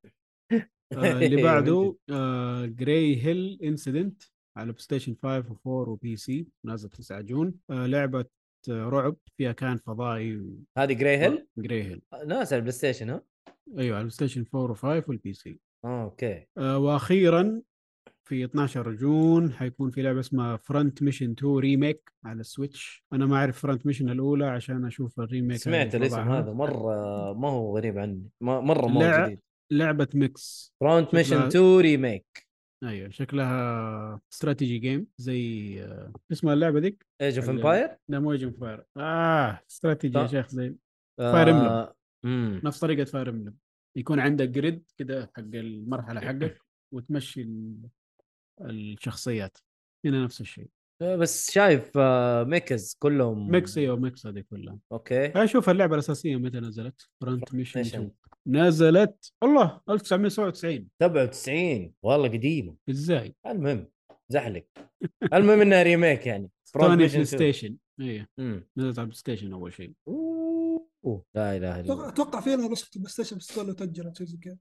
آه،
أيوة،
اللي بعده آه، جراي هيل انسيدنت على بلاي ستيشن 5 و4 وبي سي نازل 9 جون آه، لعبه آه، رعب فيها كان فضائي
هذه جراي هيل
جراي هيل
ناس على البلاي ستيشن ها
ايوه على البلاي ستيشن 4 و5 والبي سي
آه، اوكي
آه، واخيرا في 12 جون حيكون في لعبه اسمها فرونت ميشن 2 ريميك على السويتش انا ما اعرف فرونت ميشن الاولى عشان اشوف الريميك
سمعت
اللي
الاسم
طلعها.
هذا مره ما هو غريب عني ما- مره ما هو
لا.
جديد
لعبه ميكس
فرونت
شكلها-
ميشن 2 ريميك
ايوه شكلها استراتيجي جيم زي آه، اسمها اللعبه ذيك
ايج اوف
ال-
امباير
لا مو ايجن فاير اه استراتيجي يا
صح.
شيخ زي Fire Emblem.
آه،
نفس طريقه فاير امبلم يكون عندك جريد كده حق المرحله
*coughs*
حقك وتمشي ال- الشخصيات هنا نفس الشيء
بس شايف آه، ميكز كلهم
ميكس ايوه ميكس هذه كلها *laughs*
اوكي
اشوف اللعبه الاساسيه متى نزلت فرونت ميشن
ميشن.
2 نزلت الله 1997
97 والله قديمه
ازاي؟
المهم
*laughs*
زحلق المهم انها ريميك يعني Front
ثاني
Mission
بلاي
2.
ستيشن ايه
أمم.
نزلت على البلاي ستيشن اول شيء
اوه لا اله الا
*laughs*
أتوقع-
الله
اتوقع في لها نسخه البلاي ستيشن بس لو تاجلت شيء زي كذا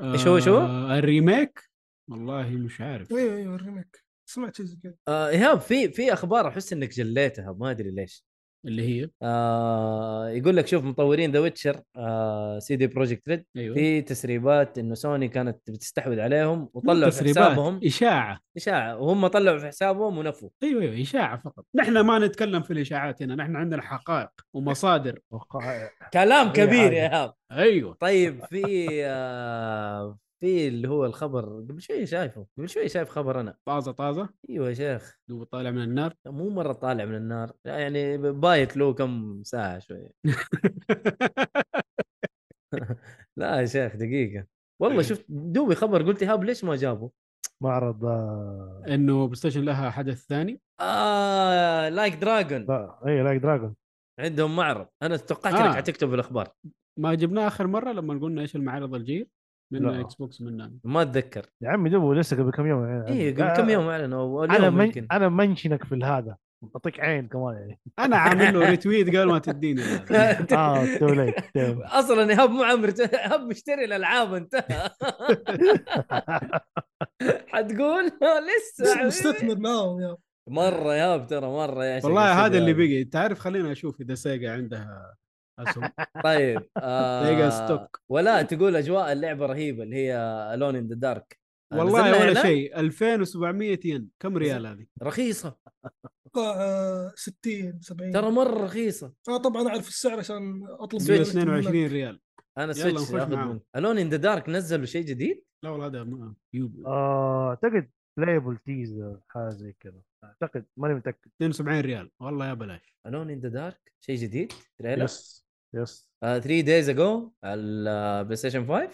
إيش هو- إيش هو؟ إيه.
آه، الريميك والله مش عارف
ايوه ايوه الريميك سمعت شيء زي كذا
آه ايهاب في في اخبار احس انك جليتها ما ادري ليش
اللي هي
آه يقول لك شوف مطورين ذا ويتشر آه سي دي بروجكت ريد
ايوه
في تسريبات انه سوني كانت بتستحوذ عليهم
مو
وطلعوا في
تسريبات،
حسابهم
اشاعه
اشاعه وهم طلعوا في حسابهم ونفوا
ايوه ايوه اشاعه فقط نحن ما نتكلم في الاشاعات هنا نحن عندنا حقائق ومصادر
وقع-
كلام
إيه
كبير
عادي.
يا ايهاب
ايوه *laughs*
طيب في آه في اللي هو الخبر قبل شوي شايفه قبل شوي شايف خبر انا
طازه طازه
ايوه يا شيخ
دوب طالع من النار
مو مره طالع من النار يعني بايت له كم ساعه شوي *laughs* لا يا شيخ دقيقه
إيه.
والله شفت دوبي خبر قلت ايهاب ليش ما جابه
معرض آه،
انه بلاي ستيشن لها حدث ثاني
اه لايك دراجون
لا، إيه، اي لايك دراجون
عندهم معرض انا توقعت
آه.
انك حتكتب الاخبار
ما جبناه اخر مره لما قلنا ايش المعارض الجيل من
لا.
اكس بوكس من
ما اتذكر
يا عمي دوبه لسه قبل كم يوم
آه،
يعني
اي قبل كم يوم اعلنوا
انا انا
اليوم
من...
يمكن
انا منشنك في هذا اعطيك عين كمان
*laughs*
يعني
انا عامل له ريتويت قال ما تديني
إيه،
اه تو ليت
اصلا ايهاب *laughs* معمر ايهاب مشتري
*laughs*
الالعاب انتهى حتقول *laughs* لسه
بس
حبيبي.
مستثمر معاهم يا
مره ايهاب ترى مره يا شيخ
والله هذا اللي
استدعاء.
بقي انت عارف خلينا اشوف اذا سيجا عندها
*laughs*
اسهم
*laughs* طيب آه،
سيجا ستوك
ولا تقول اجواء اللعبه رهيبه اللي هي الون ان ذا دارك
والله ولا شيء 2700 ين كم ريال هذه؟
رخيصه
اتوقع آه، 60 70
ترى مره رخيصه
انا طبعا اعرف السعر عشان اطلب
سويتش.
22 ريال
انا
يلا
سويتش
نخش
اخذ
معاهم.
منك الون ان ذا دارك نزلوا شيء جديد
لا والله هذا ما- يوب-
آه، اعتقد بلايبل تيزر حاجه زي كذا اعتقد ماني متاكد
72 ريال والله يا بلاش
الون ان ذا دارك شيء جديد تريلر
يس يس
3 دايز اجو على البلاي ستيشن 5 آه،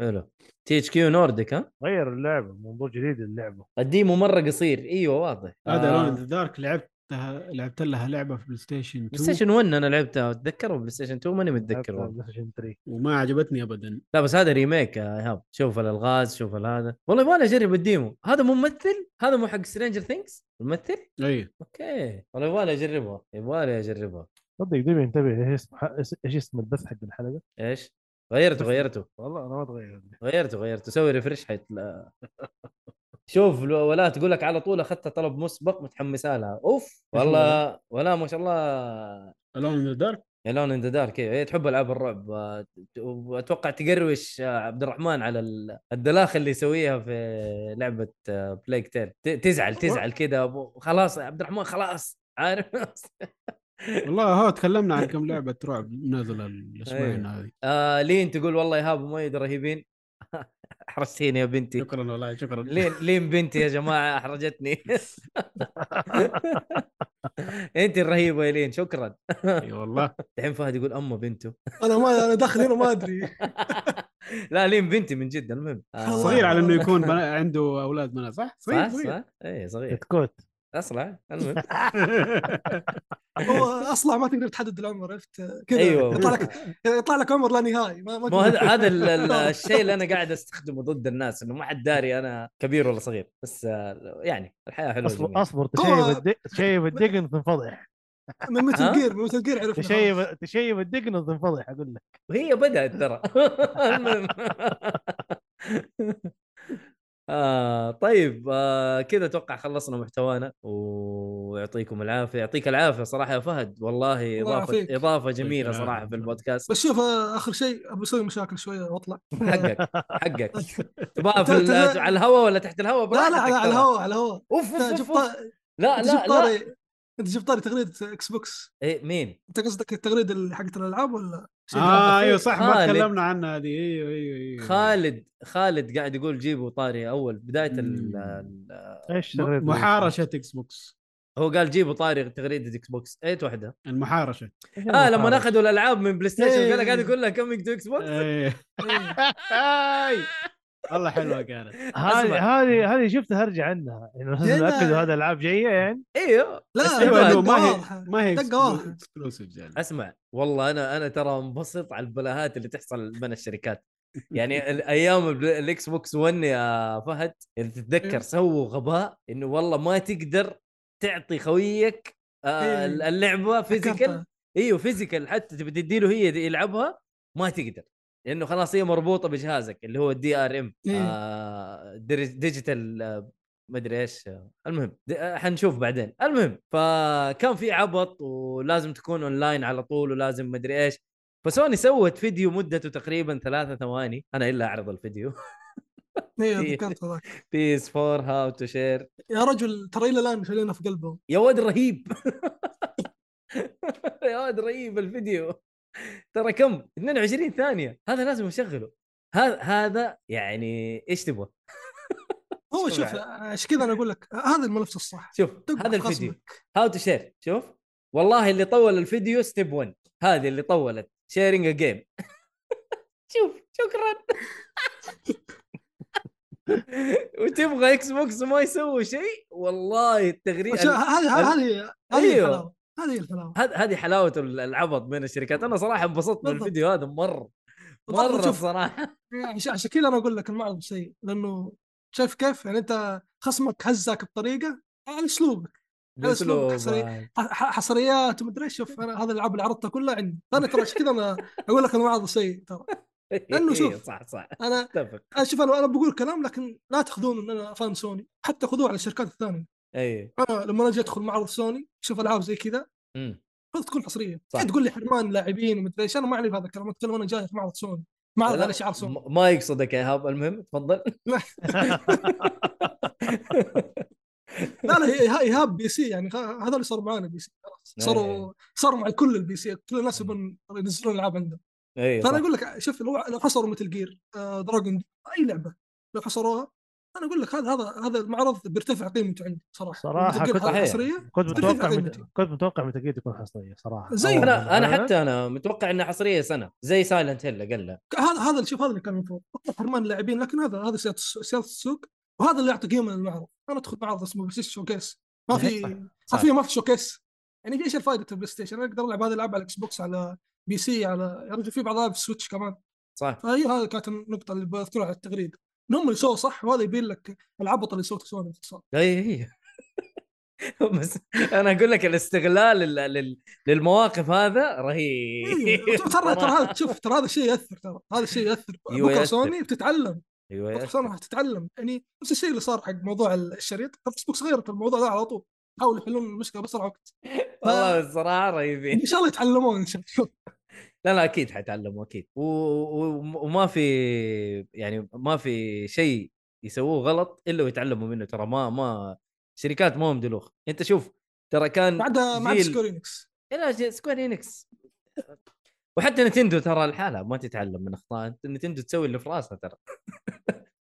حلو تي اتش كيو نورديك ها
غير اللعبه موضوع جديد للعبه
الديمو مره قصير ايوه واضح
هذا
آه،
لون ذا دارك لعبتها لعبت لها لعبه في بلاي ستيشن 2
بلاي ستيشن 1 انا لعبتها اتذكره بلاي ستيشن 2 ماني متذكر والله.
بلايستيشن 3
وما عجبتني ابدا
لا بس هذا ريميك يا ايهاب شوف الالغاز شوف ال- هذا والله يبغالي اجرب الديمو هذا مو ممثل هذا مو حق سترينجر ثينكس الممثل
اي
اوكي والله يبغالي اجربها يبغالي اجربها
صدق دوبي انتبه ايش اسم ايش اسم البث حق الحلقه
ايش غيرته غيرته
والله انا ما اتغير
غيرته غيرته سوي ريفرش حيت شوف لو- ولا تقول لك على طول اخذت طلب مسبق متحمسه لها اوف والله ولا ما شاء الله
لون ذا دارك
الون ان ذا دارك هي تحب العاب الرعب آه، ت- واتوقع تقروش آه، عبد الرحمن على ال- الدلاخ اللي يسويها في آه، لعبه بلايك تيل تزعل تزعل كذا أبو- خلاص يا عبد الرحمن خلاص عارف *laughs*
والله هو تكلمنا عن كم لعبه رعب نازله الاسبوعين
أيوة.
هذه
آه لين تقول والله ايهاب وميد رهيبين *laughs* احرجتيني يا بنتي
شكرا والله شكرا *laughs*
لين لين بنتي يا جماعه احرجتني انت الرهيبه يا لين شكرا
اي والله
الحين فهد يقول اما بنته
انا ما انا داخل هنا ما ادري
*laughs* لا لين بنتي من جد المهم آه،
صغير على انه يكون بنا... عنده اولاد بنات صح؟ صغير
صح *laughs*
صغير
صح اي صغير
كتكوت
اصلع إيه، المهم
هو اصلا ما تقدر تحدد العمر عرفت كذا
أيوه.
يطلع لك يطلع لك عمر لا نهائي ما, ما
مو هذا هذا ال- ال-
تقدر.
الشيء اللي انا قاعد استخدمه ضد الناس انه ما حد داري انا كبير ولا صغير بس آه، يعني الحياه حلوه
اصبر
جميلة.
اصبر
هو-
تشيب الدق تشيب الدقن
*laughs*
تنفضح
من
ها؟
متل جير من متل جير عرفنا خلاص.
تشيب تشيب الدقن تنفضح اقول لك
وهي بدات ترى *laughs* المهم *laughs* آه طيب آه كذا اتوقع خلصنا محتوانا ويعطيكم العافيه يعطيك العافيه صراحه يا فهد والله
الله
اضافه
يعافيك.
اضافه جميله
يعافيك.
صراحه في البودكاست
بس شوف آه، اخر شيء ابغى اسوي مشاكل شويه واطلع
حقك
*laughs*
حقك تبغى في
ترى-
ال-
ترى-
على الهواء ولا تحت الهواء
لا
براحتك
لا على
ترى.
على الهواء على الهواء
اوف
أنت
اوف
جبت
اوف لا
انت
لا
جبت
لا
طاري انت جبت طاري تغريده اكس بوكس
إيه مين
انت قصدك التغريده اللي حقت الالعاب ولا شيء
اه
بالعافية؟
ايوه صح ما
خالد.
تكلمنا عنها هذه ايوه ايوه ايوه
خالد خالد قاعد يقول جيبوا طاري اول بدايه ال-
مم.
ال-
ايش
م-
تغريدة؟
محارشه اكس بوكس
هو قال جيبوا طاري إيه، تغريده اكس بوكس ايت واحده
المحارشه
إيش
اه لما
المحاربة؟
اخذوا الالعاب من بلاي ستيشن
إيه.
قال قاعد يقول لها كم يقدوا اكس بوكس
إيه.
إيه.
أي. والله حلوه كانت
هذه
أسمع.
هذه هذه شفت هرجع عنها يعني لازم
يلا.
ناكد هذا العاب جايه يعني
ايوه
لا
ايوه
دقة
إنه ما
واضحة.
هي ما هي
دقة واحدة.
اكسكلوسيف يعني
اسمع والله انا انا ترى انبسط على البلاهات اللي تحصل من الشركات يعني ال- ايام ال- الاكس بوكس 1 يا فهد اذا تتذكر
إيه.
سووا غباء انه والله ما تقدر تعطي خويك آه،
إيه.
اللعبه فيزيكال
ذكرتها.
ايوه فيزيكال حتى تبي تديله هي دي يلعبها ما تقدر لانه خلاص هي مربوطه بجهازك اللي هو الدي ار ام
إيه.
آه، ديجيتال آه، مدري ايش آه، المهم د- آه، حنشوف بعدين المهم فكان في عبط ولازم تكون اونلاين على طول ولازم مدري ايش فسوني سوت فيديو مدته تقريبا ثلاثة ثواني انا الا اعرض الفيديو *laughs* إيه.
اي ذكرت هذاك
بيس فور هاو تو شير
إيه، يا رجل ترى الى الان شلينا في قلبه
يا واد رهيب *laughs* يا واد رهيب الفيديو ترى كم 22 ثانيه هذا لازم اشغله هذا هذا يعني ايش تبغى
هو
شو
شوف
يعني؟
عشان كذا انا اقول لك هذا الملف الصح
شوف
دق
هذا الفيديو
بخصمك.
هاو تو شير شوف والله اللي طول الفيديو ستيب 1 هذه اللي طولت شيرنج ا جيم *laughs* شوف شكرا *laughs* وتبغى اكس بوكس ما يسوي شيء والله التغريده
عشان- هذه هذه هذه هي
أيوه.
الحلاوه هذه هي الحلاوه
هذا هذه حلاوه ال- العبط بين الشركات انا صراحه انبسطت من
بالضبط.
الفيديو هذا مره
بالضبط،
مره
شوف. *laughs*
صراحه
عشان عشان كذا انا اقول لك المعرض سيء لانه شايف كيف يعني انت خصمك هزك بطريقه على اسلوبك هذا أسلوب
بأسلوب- *laughs*
حصري. ح- ح- حصريات ومدري ايش شوف انا هذا الالعاب اللي عرضتها كلها عندي انا ترى عشان كذا انا اقول لك المعرض سيء ترى لأنه شوف.
إيه، صح صح
انا
اتفق
أنا شوف انا انا بقول كلام لكن لا تاخذون ان انا فان سوني حتى خذوه على الشركات الثانيه
اي
انا لما انا اجي ادخل معرض سوني شوف العاب زي كذا
أمم.
المفروض تكون حصريه
صح.
صح. تقول لي حرمان لاعبين ومدري ايش انا ما اعرف هذا الكلام اتكلم انا جاي في معرض سوني معرض
لا،
على شعار سوني
م- ما يقصدك يا ايهاب المهم تفضل
لا لا هي- هي- ايهاب بي سي يعني ه- هذا اللي صار معانا بي سي خلاص
إيه.
صاروا صاروا مع كل البي سي كل الناس يبون ينزلون العاب عندهم
إيه،
اي
فانا
إيه، صح.
اقول لك شوف لو لو حصروا مثل جير آه دراجون اي لعبه لو حصروها انا اقول لك هذا هذا هذا المعرض بيرتفع قيمته عندي صراحه
صراحة
بتلقى
كنت-
صحيح.
حصريه
كنت متوقع
أتفق
مت...
معك.
كنت متوقع متى تكون حصريه صراحه
زي-
أول
انا انا
ما نزلت.
حتى انا متوقع انها حصريه سنه زي سايلنت هيل اقلها
هذا هذا شوف هذا اللي كان المفروض أوكي، حرمان اللاعبين لكن هذا هذا سياسه الس- سياسه السوق وهذا اللي يعطي قيمه للمعرض انا ادخل معرض اسمه بلاي ستيشن شوكيس ما في
صح.
حرفيا ما في شوكيس يعني ايش الفائده في البلاي ستيشن انا اقدر العب هذه الالعاب على الاكس بوكس على بي سي على يا رجل في بعضها في السويتش كمان
صح
فهي هذه كانت النقطه اللي بذكرها على التغريده ان هم اللي سووا صح وهذا يبين لك العبط اللي سوته سوني باختصار
اي اي إيه، *laughs* بس انا اقول لك الاستغلال لل- لل- للمواقف هذا رهيب
إيه،
*laughs*
ترى ترى هذا شوف ترى هذا الشيء ياثر ترى هذا الشيء ياثر
أيوة،
بكره
يأثر.
سوني بتتعلم
ايوه يا
اكس راح تتعلم يعني نفس الشيء اللي صار حق موضوع الشريط اكس بوكس غيرت الموضوع ده على طول حاولوا يحلون المشكله باسرع وقت
*laughs* والله الصراحه رهيبين
ان شاء الله يتعلمون ان شاء الله
لا لا اكيد حيتعلموا اكيد و... و... وما في يعني ما في شيء يسووه غلط الا ويتعلموا منه ترى ما ما شركات ما هم دلوخ انت شوف ترى
ما
كان
عدا ما عدا
جيل.
سكورينكس
الا سكوير انكس وحتى نتندو ترى الحالة ما تتعلم من اخطاء نتندو تسوي اللي في راسها ترى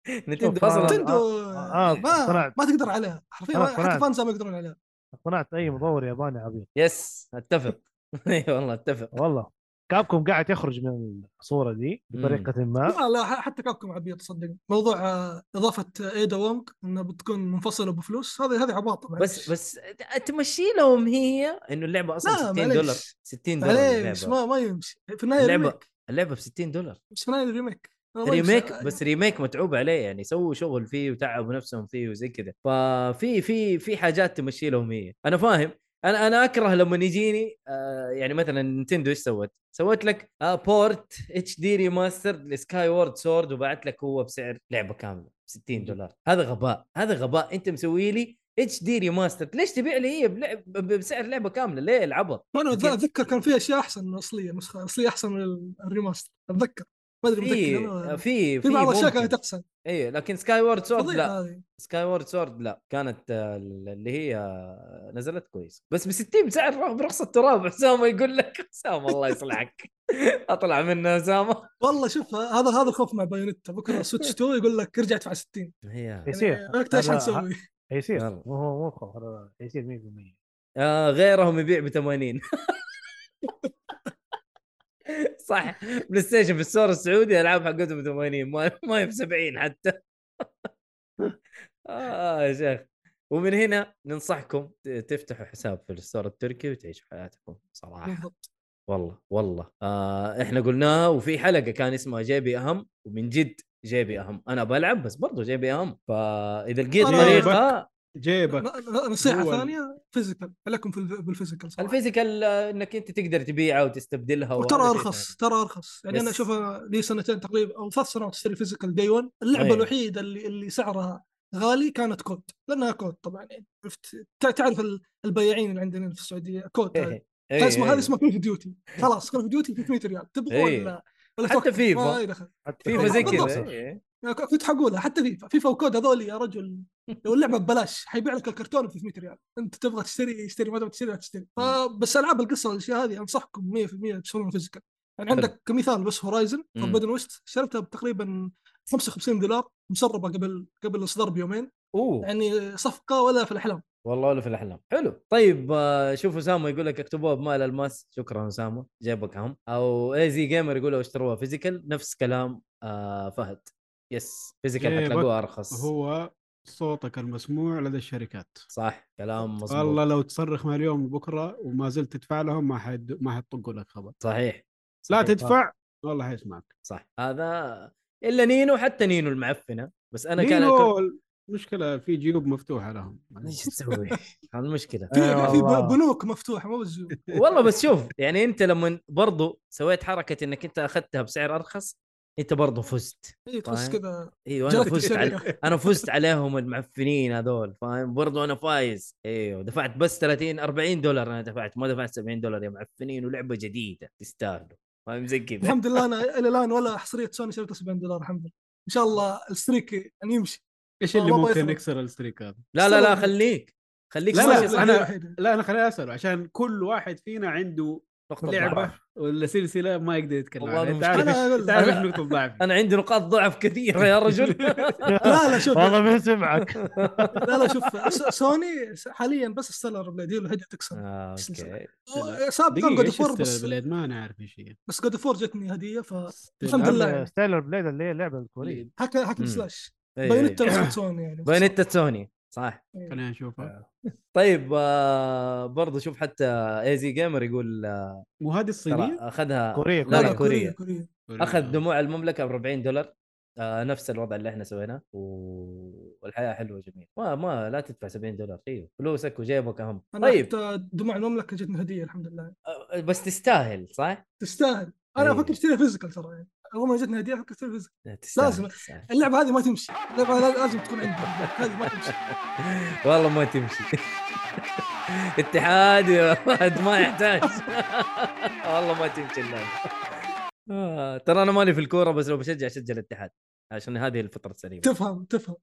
*laughs* نتندو
شوف،
اصلا
أنا-
نتندو
آه، آه،
ما,
طلعت.
ما تقدر عليها حرفيا
آه،
ما- حتى
طلعت.
فانز ما يقدرون عليها
اقتنعت اي مطور ياباني عبيط
يس *laughs* اتفق اي والله اتفق
والله كابكم قاعد يخرج من الصوره دي بطريقه
آه.
ما
لا لا ح- حتى كابكم عبيط صدق موضوع آه، اضافه ايدا وونك انها بتكون منفصله بفلوس هذه هذه عباطه معلش.
بس بس تمشي لهم هي انه اللعبة اصلا
لا،
60
معليش.
دولار 60 دولار
معليش ما
اللعبة
ما يمشي في النهايه
اللعبة-
ريميك
اللعبة ب 60 دولار
بس في النهايه ريميك أنا ما يمشي.
ريميك بس ريميك متعوب عليه يعني سووا شغل فيه وتعبوا نفسهم فيه وزي كذا ففي في في حاجات تمشي لهم هي انا فاهم انا انا اكره لما يجيني آه يعني مثلا نينتندو ايش سوت؟ سوت لك آه بورت اتش دي ريماسترد لسكاي وورد سورد وبعت لك هو بسعر لعبه كامله 60 دولار هذا غباء هذا غباء انت مسوي لي اتش دي ريماسترد ليش تبيع لي هي بلعب بسعر لعبه كامله ليه العبط؟
وانا
أكيد.
اتذكر كان في اشياء احسن من الاصليه النسخه الاصليه احسن من الريماستر اتذكر ما ادري
في آه،
متاكد أنا.
في
في بعض الاشياء
ممكن.
كانت احسن
ايوه لكن سكاي وورد سورد لا
فضيحه هذه
سكاي وورد سورد لا كانت آه، اللي هي آه، نزلت كويس بس ب 60 بسعر رغ- برخص التراب *laughs* اسامه يقول لك اسامه الله يصلحك *laughs* اطلع منه اسامه
والله شوف هذا هذا الخوف مع بايونيتا
*laughs*
بكره سويتش 2 يقول لك رجعت على 60
هي
يعني
يصير
انا ايش
هذا-
حنسوي؟
يصير
يلا.
مو هو مو خوف هذا يصير 100%
*laughs* آه غيرهم يبيع ب 80 *laughs* صح بلاي ستيشن في السور السعودي العاب حقتهم ب 80 ما ما هي ب 70 حتى *laughs* اه يا شيخ ومن هنا ننصحكم ت- تفتحوا حساب في الستور التركي وتعيشوا حياتكم صراحه
بالضبط
والله والله آه احنا قلناها وفي حلقه كان اسمها جيبي اهم ومن جد جيبي اهم انا بلعب بس برضو جيبي اهم فاذا لقيت
أنا
طريقه
جيبك
ن- ن- نصيحه
هو ال-
ثانيه فيزيكال لكم في الف- بالفيزيكال صراحه
الفيزيكال آه، انك انت تقدر تبيعه وتستبدلها
وترى
وهذا شيء
ارخص ترى ارخص يعني انا
يس.
اشوفها لي سنتين تقريبا او ثلاث سنوات اشتري فيزيكال دي 1 اللعبه
أي.
الوحيده اللي اللي سعرها غالي كانت كود لانها كود طبعا يعني عرفت تع- تعرف ال- البياعين اللي عندنا في السعوديه كود *laughs* هذه.
ثاني. إيه،
هذا طيب، اسمه
إيه.
هذا اسمه كول اوف ديوتي خلاص كول اوف ديوتي 300 ريال تبغى
إيه.
ولا ولا
حتى
توكل. ما
فيفا.
أي دخل.
حتى
*laughs*
فيفا زي
بالضبط.
كذا إيه.
كنت حقولها حتى فيفا فيفا وكود هذول يا رجل لو اللعبه ببلاش حيبيع لك الكرتون ب 300 ريال انت تبغى تشتري اشتري ما تبغى تشتري لا تشتري فبس العاب القصه والاشياء هذه انصحكم 100% تشترون فيزيكال يعني
حلو.
عندك كمثال بس هورايزن
مم.
فوربدن ويست شريتها بتقريبا 55 دولار مسربه قبل قبل الاصدار بيومين
اوه
يعني صفقه ولا في الاحلام
والله ولا في الاحلام حلو طيب آه، شوف اسامه يقول لك اكتبوها بمال الماس شكرا اسامه جيبك هم او اي زي جيمر يقولوا اشتروها فيزيكال نفس كلام آه فهد يس فيزيكال
جيبك
حتلاقوها ارخص
هو صوتك المسموع لدى الشركات
صح كلام مظبوط
والله لو تصرخ من اليوم لبكره وما زلت تدفع لهم ما حد ما حيطقوا لك خبر
صحيح
لا
صحيح.
تدفع والله حيسمعك
صح هذا الا نينو حتى نينو المعفنه بس انا
*laughs*
كان
لينو المشكله في جيوب مفتوحه لهم
ايش تسوي؟ المشكله
في
أيوة
في
والله.
بنوك مفتوحه مو بس
والله بس شوف يعني انت لما برضو سويت حركه انك انت اخذتها بسعر ارخص انت برضو فزت
إيه، تخش
طيب.
كذا
ايوه انا
جلت
فزت على...
الشركه
انا فزت عليهم المعفنين هذول فاهم برضو انا فايز ايوه دفعت بس 30 40 دولار انا دفعت ما دفعت 70 دولار يا معفنين ولعبه جديده تستاهلوا فاهم زي كذا
الحمد لله انا الى الان ولا حصريه سوني شريتها 70 دولار الحمد لله ان شاء الله الستريك يعني يمشي
ايش اللي
والله ما
ممكن
يفرق.
يكسر الستريك هذا؟
لا لا لا
سلام.
خليك خليك
لا، لا،
صاير
الصراحة
أنا-
الوحيدة.
لا انا خليني اسال عشان كل واحد فينا عنده
نقطة
لعبه
ضعف.
ولا سلسله ما يقدر يتكلم
والله
عنها انت
المشكلة-
عارف إيش-
أنا-
انت عارف
أنا-
ايش نقطه ضعفي
انا عندي نقاط ضعف كثيره يا رجل
لا لا شوف
والله ما سمعك
لا لا شوف س- سوني س- حاليا بس ستيلر بليد هي الوحيده تكسر
آه،
سلسلة.
اوكي
سابقا
دقيقه
جود
ايش
فور
استلر
بس
بلاد ما انا عارف ايش هي
بس جود فور جتني هديه فحكى *laughs* الحمد لله يعني.
أما ستايلر بليد اللي هي اللعبه الكوريه
حكى
مم.
سلاش
إيه،
بايونيتا
إيه.
مسكت سوني يعني إيه.
بايونيتا سوني صح
خلينا نشوفها
طيب آه برضه شوف حتى ايزي جيمر يقول آه،
وهذه
ترى
الصينيه؟
اخذها
كوريه
لا، لا،
كوريه
كوريا.
كوريا
اخذ دموع المملكه ب 40 دولار آه نفس الوضع اللي احنا سويناه و- والحياه حلوه جميله ما ما لا تدفع 70 دولار ايوه فلوسك وجيبك اهم
انا
طيب
حتى دموع المملكه جتني هديه الحمد لله
آه، بس تستاهل صح؟
تستاهل انا
إيه.
افكر اشتري فيزيكال ترى يعني اول ما جتني هديه افكر اشتري فيزيكال
تستاهل،
لازم.
تستاهل.
اللعبه هذه ما تمشي اللعبه هذه لازم تكون عندي هذه ما تمشي
*laughs* والله ما تمشي اتحاد يا فهد ما يحتاج *laughs* والله ما تمشي اللعبه آه، ترى انا ماني في الكوره بس لو بشجع اشجع الاتحاد عشان هذه الفتره
*laughs*
السليمه
تفهم تفهم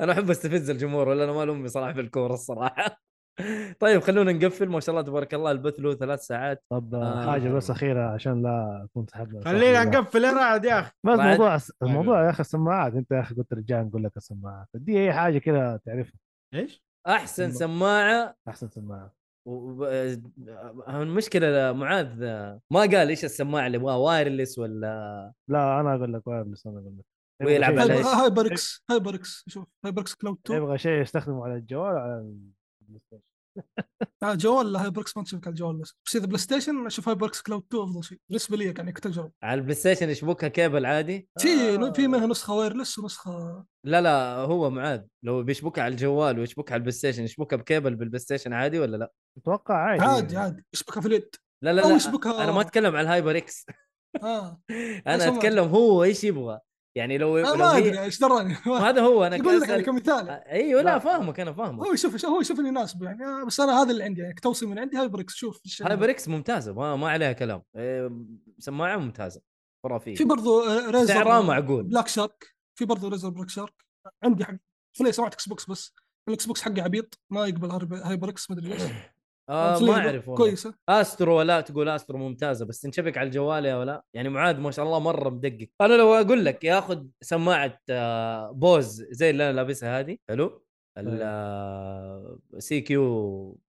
انا احب استفز الجمهور ولا انا ما لامي صراحه في الكوره الصراحه *laughs* طيب خلونا نقفل ما شاء الله تبارك الله البث له ثلاث ساعات
طب
آه.
حاجه بس اخيره عشان لا اكون سحبنا
خلينا نقفل يا رعد يا اخي
بس
بعد- أيوة.
موضوع الموضوع يا اخي السماعات انت يا اخي قلت رجال نقول لك السماعات ادي اي حاجه كذا تعرفها
ايش؟
احسن سماعه
احسن سماعه
و- و- المشكله معاذ آه، ما قال ايش السماعه اللي يبغاها وايرلس ولا
لا انا اقول لك وايرلس انا اقول لك
ويلعب
يبغى
على
شيء-
إيش؟
هايبركس هايبركس شوف هايبركس كلاود 2
يبغى شيء يستخدمه على الجوال على البلاي ستيشن.
على الجوال لا هايبركس ما تشبك على الجوال بس بس اذا بلاي ستيشن اشوف هايبركس كلاود 2 افضل شيء بالنسبه لي يعني كتجربه
على البلاي ستيشن يشبكها كيبل عادي
في
آه.
في منها نسخه وايرلس ونسخه
لا لا هو معاذ لو بيشبكها على الجوال ويشبكها على البلاي ستيشن يشبكها بكيبل بالبلاي ستيشن عادي ولا لا؟
اتوقع عادي يعني.
عادي عادي يشبكها في اليد
لا لا
أو
لا
يشبكها-
انا ما اتكلم على الهايبر اكس *laughs*
اه
انا
سمعت.
اتكلم هو ايش يبغى يعني لو,
أنا
لو
ما
هي-
ادري ايش دراني *laughs*
هذا هو انا
يقول لك
أسأل-
يعني كمثال
ايوه لا
لا.
فاهمك انا فاهمك
هو يشوف هو يشوف اللي يناسبه يعني آه، بس انا هذا اللي عندي يعني كتوصي من عندي هايبركس شوف إيش- يعني.
هايبركس ممتازه ما, ما عليها كلام إيه، سماعه ممتازه
في
خرافيه
برضو آه، ريزر
سعرها معقول
بلاك شارك في برضه ريزر بلاك شارك عندي حق خليه سماعه اكس بوكس بس الاكس بوكس حقي عبيط ما يقبل هارب- هايبركس مدري ليش
آه
خليه
ما اعرف والله كويس.
كويسه
استرو لا تقول استرو ممتازه بس تنشبك على الجوال يا ولا يعني معاذ ما شاء الله مره مدقق انا لو اقول لك ياخذ سماعه آه، بوز زي اللي انا لابسها هذه حلو
طيب.
السي كيو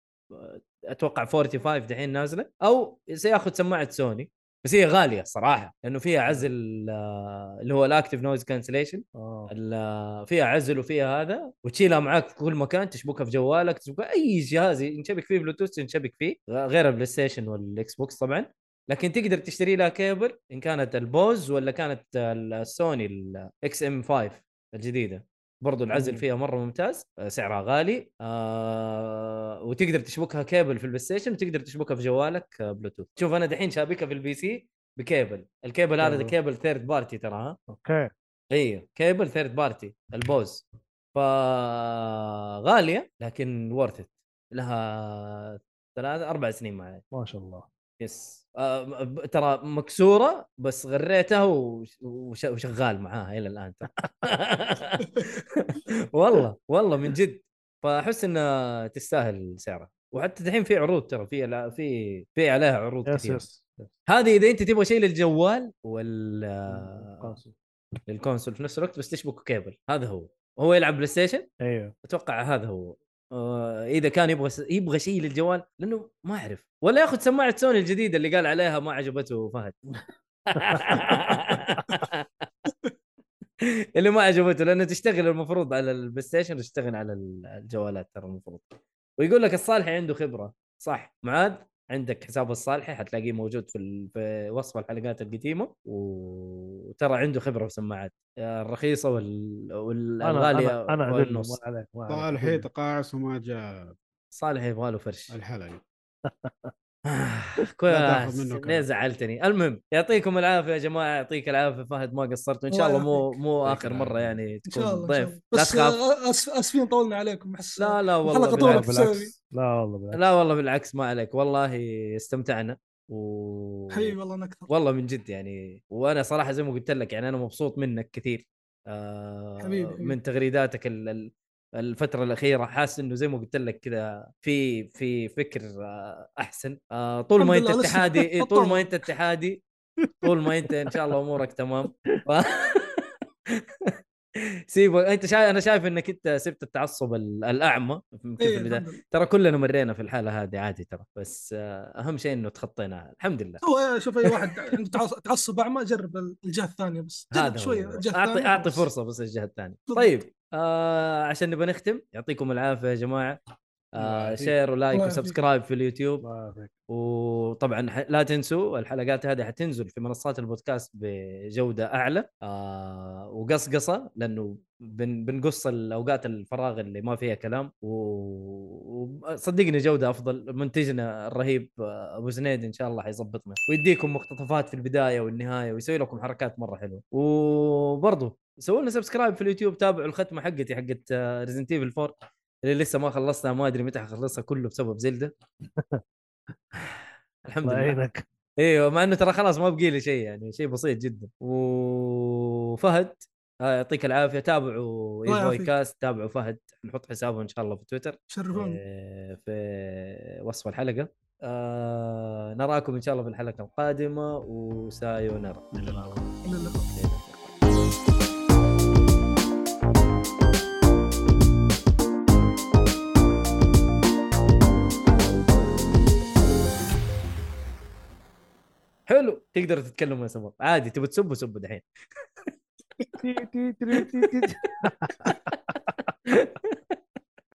اتوقع 45 دحين نازله او سياخذ سماعه سوني بس هي غاليه صراحه لانه فيها عزل آه، اللي هو الاكتف نويز كانسليشن
آه.
ال- فيها عزل وفيها هذا وتشيلها معاك في كل مكان تشبكها في جوالك تشبكها اي جهاز ينشبك فيه بلوتوث تنشبك فيه غير البلاي ستيشن والاكس بوكس طبعا لكن تقدر تشتري لها كيبل ان كانت البوز ولا كانت السوني الاكس ام 5 الجديده برضو العزل
مم.
فيها مره ممتاز آه، سعرها غالي آه وتقدر تشبكها كيبل في البلاي ستيشن وتقدر تشبكها في جوالك آه، بلوتوث شوف انا دحين شابكها في البي سي بكيبل الكيبل هذا
حلو.
كيبل ثيرد بارتي ترى ها
اوكي
ايوه كيبل ثيرد بارتي البوز فغاليه لكن ورثت لها ثلاث اربع سنين معي
ما شاء الله
يس آه، ب- ترى مكسوره بس غريتها وش- وش- وشغال معاها الى الان ترى *laughs* والله والله من جد فاحس انها تستاهل سعرها وحتى الحين في عروض ترى في الع- في في عليها عروض
يس
كثير
يس يس.
هذه اذا انت تبغى شيء للجوال ولا
قاسي.
للكونسول في نفس الوقت بس تشبكه كيبل هذا هو هو يلعب بلاي ستيشن
ايوه
اتوقع هذا هو آه، اذا كان يبغى س... يبغى شيء للجوال لانه ما اعرف ولا ياخذ سماعه سوني الجديده اللي قال عليها ما عجبته فهد *laughs* اللي ما عجبته لانه تشتغل المفروض على البلاي ستيشن تشتغل على ال- الجوالات ترى المفروض ويقول لك الصالحي عنده خبره صح معاذ عندك حساب الصالحي حتلاقيه موجود في, ال... في وصف الحلقات القديمه و- وترى عنده خبره في سماعات آه، الرخيصه وال...
انا
والغاليه
انا انا أدله، ما
والنص
عليك ما عليك.
طال حيط قاعس وما جاء
صالح يبغى له فرش آه،
الحلقه
*laughs*
تاخذ
كويس
منه
ليه
كلام.
زعلتني المهم يعطيكم العافيه يا جماعه يعطيك العافيه فهد ما قصرت وان شاء
الله
الله مو
يعافيك.
مو
يعطيك
اخر
العافية.
مره يعني
ان شاء
تكون
الله إن شاء
ضيف
الله.
لا
بس
تخاف
آه، آسف- اسفين طولنا عليكم احس
لا لا والله
الحلقة
لا
طولت.
بالعكس.
بالعكس لا والله بالعكس
لا والله بالعكس ما عليك والله استمتعنا و
حبيبي والله انا اكثر
والله من جد يعني وانا صراحه زي ما قلت لك يعني انا مبسوط منك كثير آه
حبيبي، حبيبي.
من تغريداتك ال- ال- الفتره الاخيره حاسس انه زي ما قلت لك كذا في في فكر آه احسن آه طول ما
الحمد
انت
لله، لسه *laughs*
اتحادي إيه، طول
بطلنا.
ما انت اتحادي طول ما انت ان شاء الله امورك تمام ف... *laughs* سيبك انت شايف انا شايف انك انت سبت التعصب ال- الاعمى يمكن في
إيه،
البدايه
الحمد لله.
ترى كلنا مرينا في الحاله هذه عادي ترى بس آه اهم شيء انه تخطيناها الحمد لله
هو إيه، شوف اي واحد عنده تعص- تعصب اعمى جرب الجهه الثانيه بس جرب
هذا
شويه
هو.
الجهه
اعطي
الثانية
اعطي
بس.
فرصه بس الجهه الثانيه
بالضبط.
طيب آه عشان نبغى نختم يعطيكم العافيه يا جماعه
الله
آه
يعافيك.
شير
الله
ولايك
يعافيك.
وسبسكرايب في اليوتيوب
الله يعافيك
وطبعا ح- لا تنسوا الحلقات هذه حتنزل في منصات البودكاست بجوده اعلى آه وقصقصه لانه بن بنقص الاوقات الفراغ اللي ما فيها كلام و- وصدقني جوده افضل منتجنا الرهيب آه، ابو زنيد ان شاء الله حيظبطنا ويديكم مقتطفات في البدايه والنهايه ويسوي لكم حركات مره حلوه وبرضه سووا لنا سبسكرايب في اليوتيوب تابعوا الختمه حقتي حقت آه، ريزنت ايفل 4 اللي لسه ما خلصتها ما ادري متى حخلصها كله بسبب زلده *laughs* الحمد
الله
لله
يعينك
ايوه مع انه ترى خلاص ما بقي لي شيء يعني شيء بسيط جدا وفهد آه، يعطيك العافيه
الله
تابعوا ايفوي
يعافيك.
كاست تابعوا فهد نحط حسابه ان شاء الله في تويتر
شرفوني
آه، في وصف الحلقه آه، نراكم ان شاء الله في الحلقه القادمه وسايونارا
الى اللقاء
حلو تقدر تتكلم يا سمر عادي تبي تسبوا سبوا دحين
*laughs*
تي- تي- تري- تي- تي- تي.